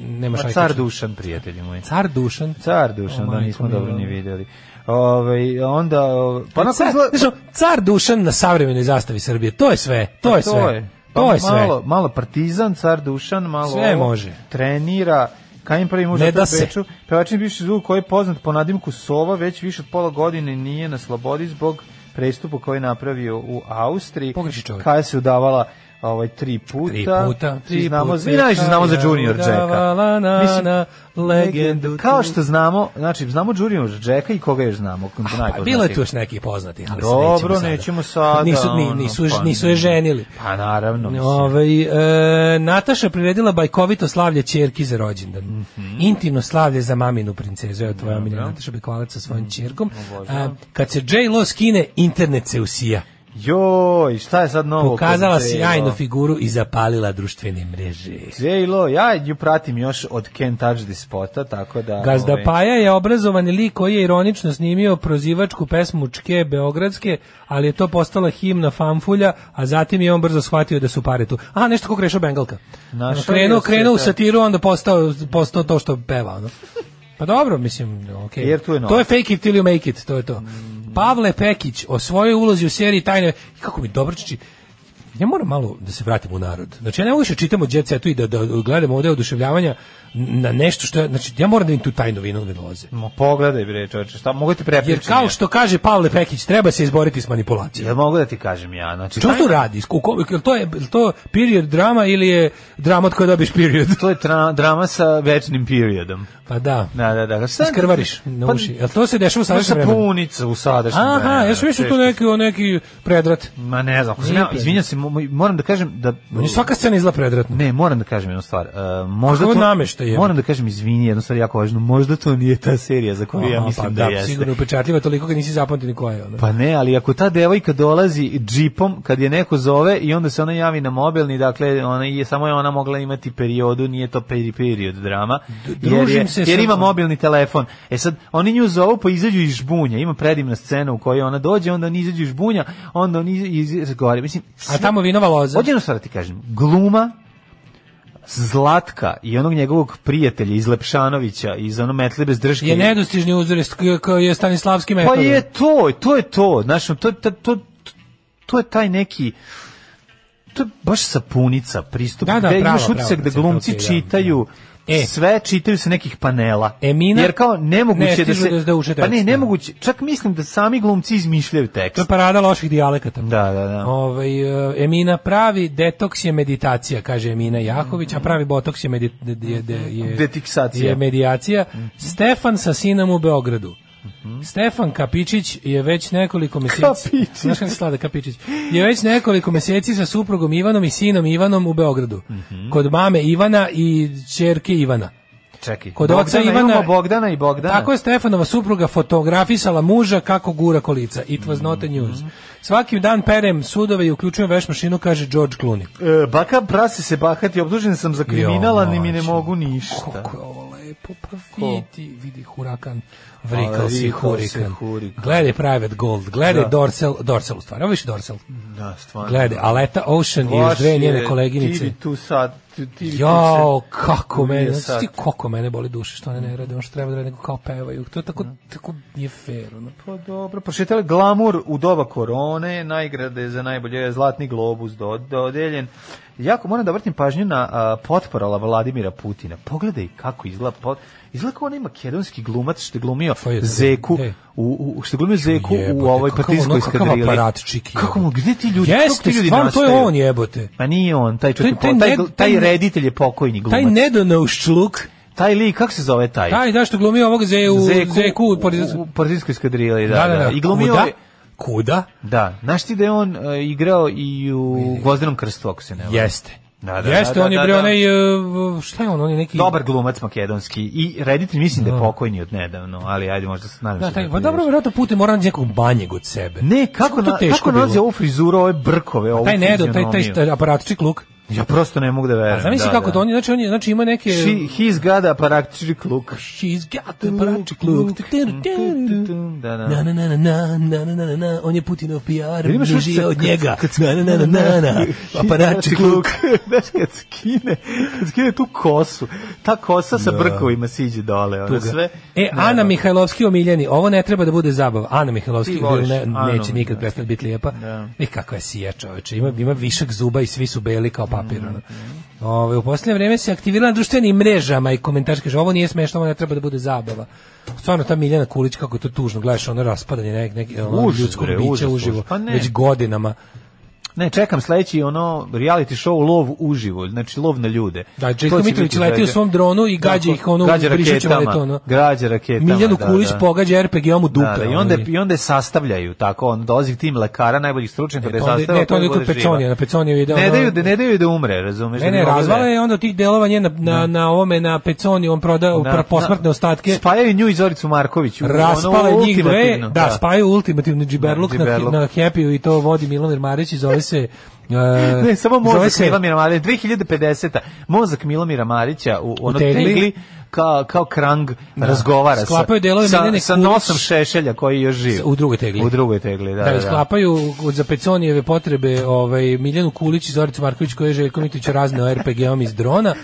Nema Ma šajkača. car Dušan, prijatelji moji. Car Dušan. Car Dušan, O, da majko nismo mila. dobro ni videli. Ove, onda, ove, pa onako car, izgleda... znaš, car Dušan na savremenoj zastavi Srbije. To je sve. To je sve. Pa To je sve. Malo, malo partizan, car Dušan, malo Sve ovo, može. Trenira, Kajin pravi muž Ne ne da da se. Beču, pevačin bivši zvuk koji je poznat po nadimku Sova, već više od pola godine nije na slobodi zbog prestupu koji je napravio u Austriji. Pogreši čovjek. Kaja se udavala ovaj tri puta. Tri puta, Svi tri znamo, puta Da, mi najviše znamo za je Junior Jacka. udavala na- Mislim, na legendu Kao tu. što znamo, znači znamo Junior Jacka i koga još znamo. Pa bilo je tu još neki poznati, ali se Dobro, sada. nećemo sada, Nisu, ni, ono, nisu, pa nisu ne. je ženili. Pa naravno. mislim. Ovaj, e, Nataša priredila bajkovito slavlje ćerki za rođendan. Mhm. Intimno slavlje za maminu princezu, evo tvoja omiljena Nataša Bekvalac sa Mhm. svojim ćerkom. A, kad se J-Lo skine, internet se usija. Joj, šta je sad novo? Pokazala kod J-Lo? sjajnu figuru i zapalila društvene mreže. J-Lo, ja ju pratim još od Can't Touch This Spota, tako da... Gazda pa- ovaj, Paja je obrazovani lik koji je ironično snimio prozivačku pesmu Čke Beogradske, ali je to postala himna fanfulja, a zatim je on brzo shvatio da su pare tu. A, nešto ko Krešo Bengalka. Našao krenuo, je krenuo u se, da. satiru, onda postao, postao to što peva. Ono. Pa dobro, mislim, okej. Jer tu je novac. Mm. to je fake it till you make it, to je to. Pavle Pekić o svojoj ulozi u seriji Tajne... Kako mi dobro čiči, ja moram malo da se vratim u narod. Znači, ja ne mogu više čitamo Jet Setu i da, da gledamo ovde oduševljavanja na nešto što je... Znači, ja moram da im tu tajnu vinu ne dolaze. Ma pogledaj bre, čoveče, šta mogu da ti prepričati? Jer kao što kaže Pavle Pekić, treba se izboriti s manipulacijom. Jel mogu da ti kažem ja, znači... Što taj- to radi? U ko- jel to je jel to period drama ili je drama od koje dobiš period? To je tra- drama sa večnim periodom. Pa da. Da, da, da. Šta- Iskrvariš na uši. Jel to se dešava u Ima sadašnjem vremenu? sapunica u sadašnjem Aha, vremenu, jesu više tu teško- neki, o neki predrat. Ma ne znam, ako sam ja, Nije izvinjam se, mo- mo- moram da kažem da... Meni svaka scena izla predratno. Ne, moram da kažem jednu stvar. E, možda Kako to nameštaj je? Moram da kažem izvini, jednu stvar jako važnu. Možda to nije ta serija za koju ja Aha, mislim pa da, jeste. sigurno je upečatljiva, toliko ga nisi zapamtili koja je. Ona. Pa ne, ali ako ta devojka dolazi džipom kad je neko zove i onda se ona javi na mobilni, dakle ona je samo je ona mogla imati periodu, nije to peri period drama. Jer, je, družim se jer sa- ima mobilni telefon. E sad oni nju zovu pa izađu iz žbunja. Ima predivna scena u kojoj ona dođe, onda oni izađu iz žbunja, onda oni iz, iz, gore. Mislim, A tamo vinova loza. Hoću jednu stvar da ti kažem. Gluma Zlatka i onog njegovog prijatelja iz Lepšanovića, iz ono metli bez drške. je nedostižni uzorist koji je Stanislavski metod. Pa je to, to je to, znaš, to, to, to, to je taj neki to je baš sapunica pristup, Da, gde da, pravo, imaš pravo, utisak da procenta, glumci okej, da, čitaju da. E. sve čitaju se nekih panela. Emina- Jer kao Ne nemoguće da stižu se da- da uče Pa ne, tekst, da. nemoguće. Čak mislim da sami glumci izmišljaju To je pa- tekst. parada loših dijalekata. Da, da, da. Ovaj, e, Emina pravi detoks je meditacija, kaže Emina Jahović, a pravi botoks je, medi, de, de, de, je, Detiksacija. Mhm. je medijacija. Stefan sa sinom u Beogradu. Stefan Kapičić je već nekoliko meseci Kapičić. Znaš kako se slada Kapičić je već nekoliko meseci sa suprugom Ivanom i sinom Ivanom u Beogradu Mhm. kod mame Ivana i ćerke Ivana Čekaj. Kod Bogdana, oca Ivana- imamo Bogdana i Bogdana. Tako je Stefanova supruga fotografisala muža kako gura kolica. It was not a news. Mhm. Svaki dan perem sudove i uključujem veš mašinu, kaže George Clooney. E, baka prase se bahati, obdužen sam za kriminalan i mi ne mlađo. mogu ništa. Kako je ovo lepo, pa Ko? vidi, vidi hurakan, vrikal Ale, si vrikal si hurikan. hurikan. Gledaj Private Gold, gledaj Da. Dorsel, Dorsel u stvari, ovo je više Dorsel. Da, stvarno. Gledaj, Aleta Ocean i još Baš dve je, njene Ti koleginice. bi tu sad, ti, ti bi tu Jao, sad- kako mene, ubije znači sad. ti koliko mene boli duše što one ne rade, ono što treba da rade, nego kao pevaju. To je tako, Da. tako nije fair, ono. Pa dobro, prošetali glamur u doba korone, najgrade za najbolje zlatni globus do, dodeljen. Jako moram da vrtim pažnju na a, potporala Vladimira Putina. Pogledaj kako izgleda. Pot... Izgleda kao onaj makedonski glumac što je glumio Pa je, Zeku, ej. u, u, što je glumio Zeku Jebote, u ovoj kakav partizanskoj ono, kakav skadrili. aparat čiki, Kako jebote. mu, gde ti ljudi, kako ti Jeste, ljudi stvarno, to je nastaju? on jebote. Ma nije on, taj, čovjek, je taj po- taj, ned- gl- taj taj ne- reditelj je pokojni glumac. E. Taj nedonoščluk, Taj lik, kako se zove taj? taj da što glumio ovog Zeku, Zeku, u Parizu. u Partizanskoj skadrili, da, da, I glumio kuda? je, Kuda? da, znaš ti da je on e, igrao i u Gvozdenom krstu, ako se ne varam. Jeste. Da, da, Jeste, da, on je da, bio da. onaj, e, šta je on, on je neki... Dobar glumac makedonski i reditelj mislim da je pokojni od nedavno, ali ajde možda se nadam Da, se taj, da pa ti dobro, vidiš. vjerojatno put je mora naći nekog banjeg od sebe. Ne, kako, to na, teško kako bilo? Pa nalaze ovu frizuru, ove brkove, ovu Taj nedo, taj, taj, fizionomiju? taj aparatčik luk. Ja prosto ne mogu da verujem. A zamisli da, kako da. to, on je, znači, on je, znači ima neke... She, he's got a paraktičik look. She's got the aparatčik luk. Da, da. Na na na na na na na na na na on je Putinov PR, imaš bliži utisak je od kad- njega. kad- Na na na na na Pa na, aparatčik luk. znači Znaš, kad skine, kad skine tu kosu, ta kosa sa brkovima siđe dole, ono Tuga. sve. Da. E, Ne, Ana da. Mihajlovski omiljeni, ovo ne treba da bude zabava. Ana Mihajlovski Ti voliš ne, Anu, neće nikad da. E, prestati biti lijepa. I kako je sija čoveče, ima, ima višak zuba i svi su beli kao Mhm. papir. ono. Ovaj, u posljednje vreme se aktivirala na društvenim mrežama i komentarske kaže ovo nije smešno, ovo ne treba da bude zabava. Stvarno ta Miljana Kulić kako je to tužno, gledaš ono raspadanje nek, nek, ono, Užas, ljudskog bre, bića užas, uživo, užas. Pa ne. već godinama. Ne, čekam sledeći ono reality show Lov uživo, znači Lov na ljude. Da, Željko To će Mitrović biti leti u sledeće. svom dronu i gađa Tako, ih, ono, gađa brišećem raketama, leto, ono. Gađa raketama. Miljanu da, Kulić da. pogađa RPG-om u dupe. Da, da, i ono, onda i- i onda je sastavljaju tako, on dolazi tim lekara najboljih stručnjaka da je to E, pa onda- sastavlja. ne, to onda koja kod bude živa. Peconija, na Peconiju ide Ne ono- daju da ne daju da umre, razumeš? Ne, da ne, mogu da- razvala je onda od tih delova njena na, na ovome, na peconi, on prodao Na- na- Da, posmrtne ostatke. Spajaju Da, nju i Zoricu Marković. Raspale njih dve, da, da. spaju ultimativni džiberluk, Da, na, džiberluk. na happy i to vodi Milomir Marić i zove se... e, Ne, samo da zove mozak se- Milomira Marića, 2050. Mozak Milomira Marića u ono tegli. tegli, kao, kao krang Da. razgovara Sklapaju delove sa, Miljane sa Kulić. nosom šešelja koji još živi. U drugoj tegli. U drugoj tegli, da. da, da, sklapaju od za Peconijeve potrebe ovaj, Miljanu Kulić i Zoricu Marković koje je Željko Mitrović razneo RPG-om iz drona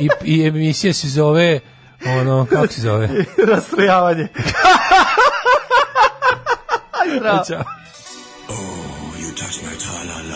i, i emisija se zove ono, kako se zove? Rastrojavanje. Da. Ćao.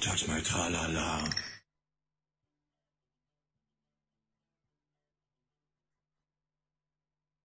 touch my tra-la-la.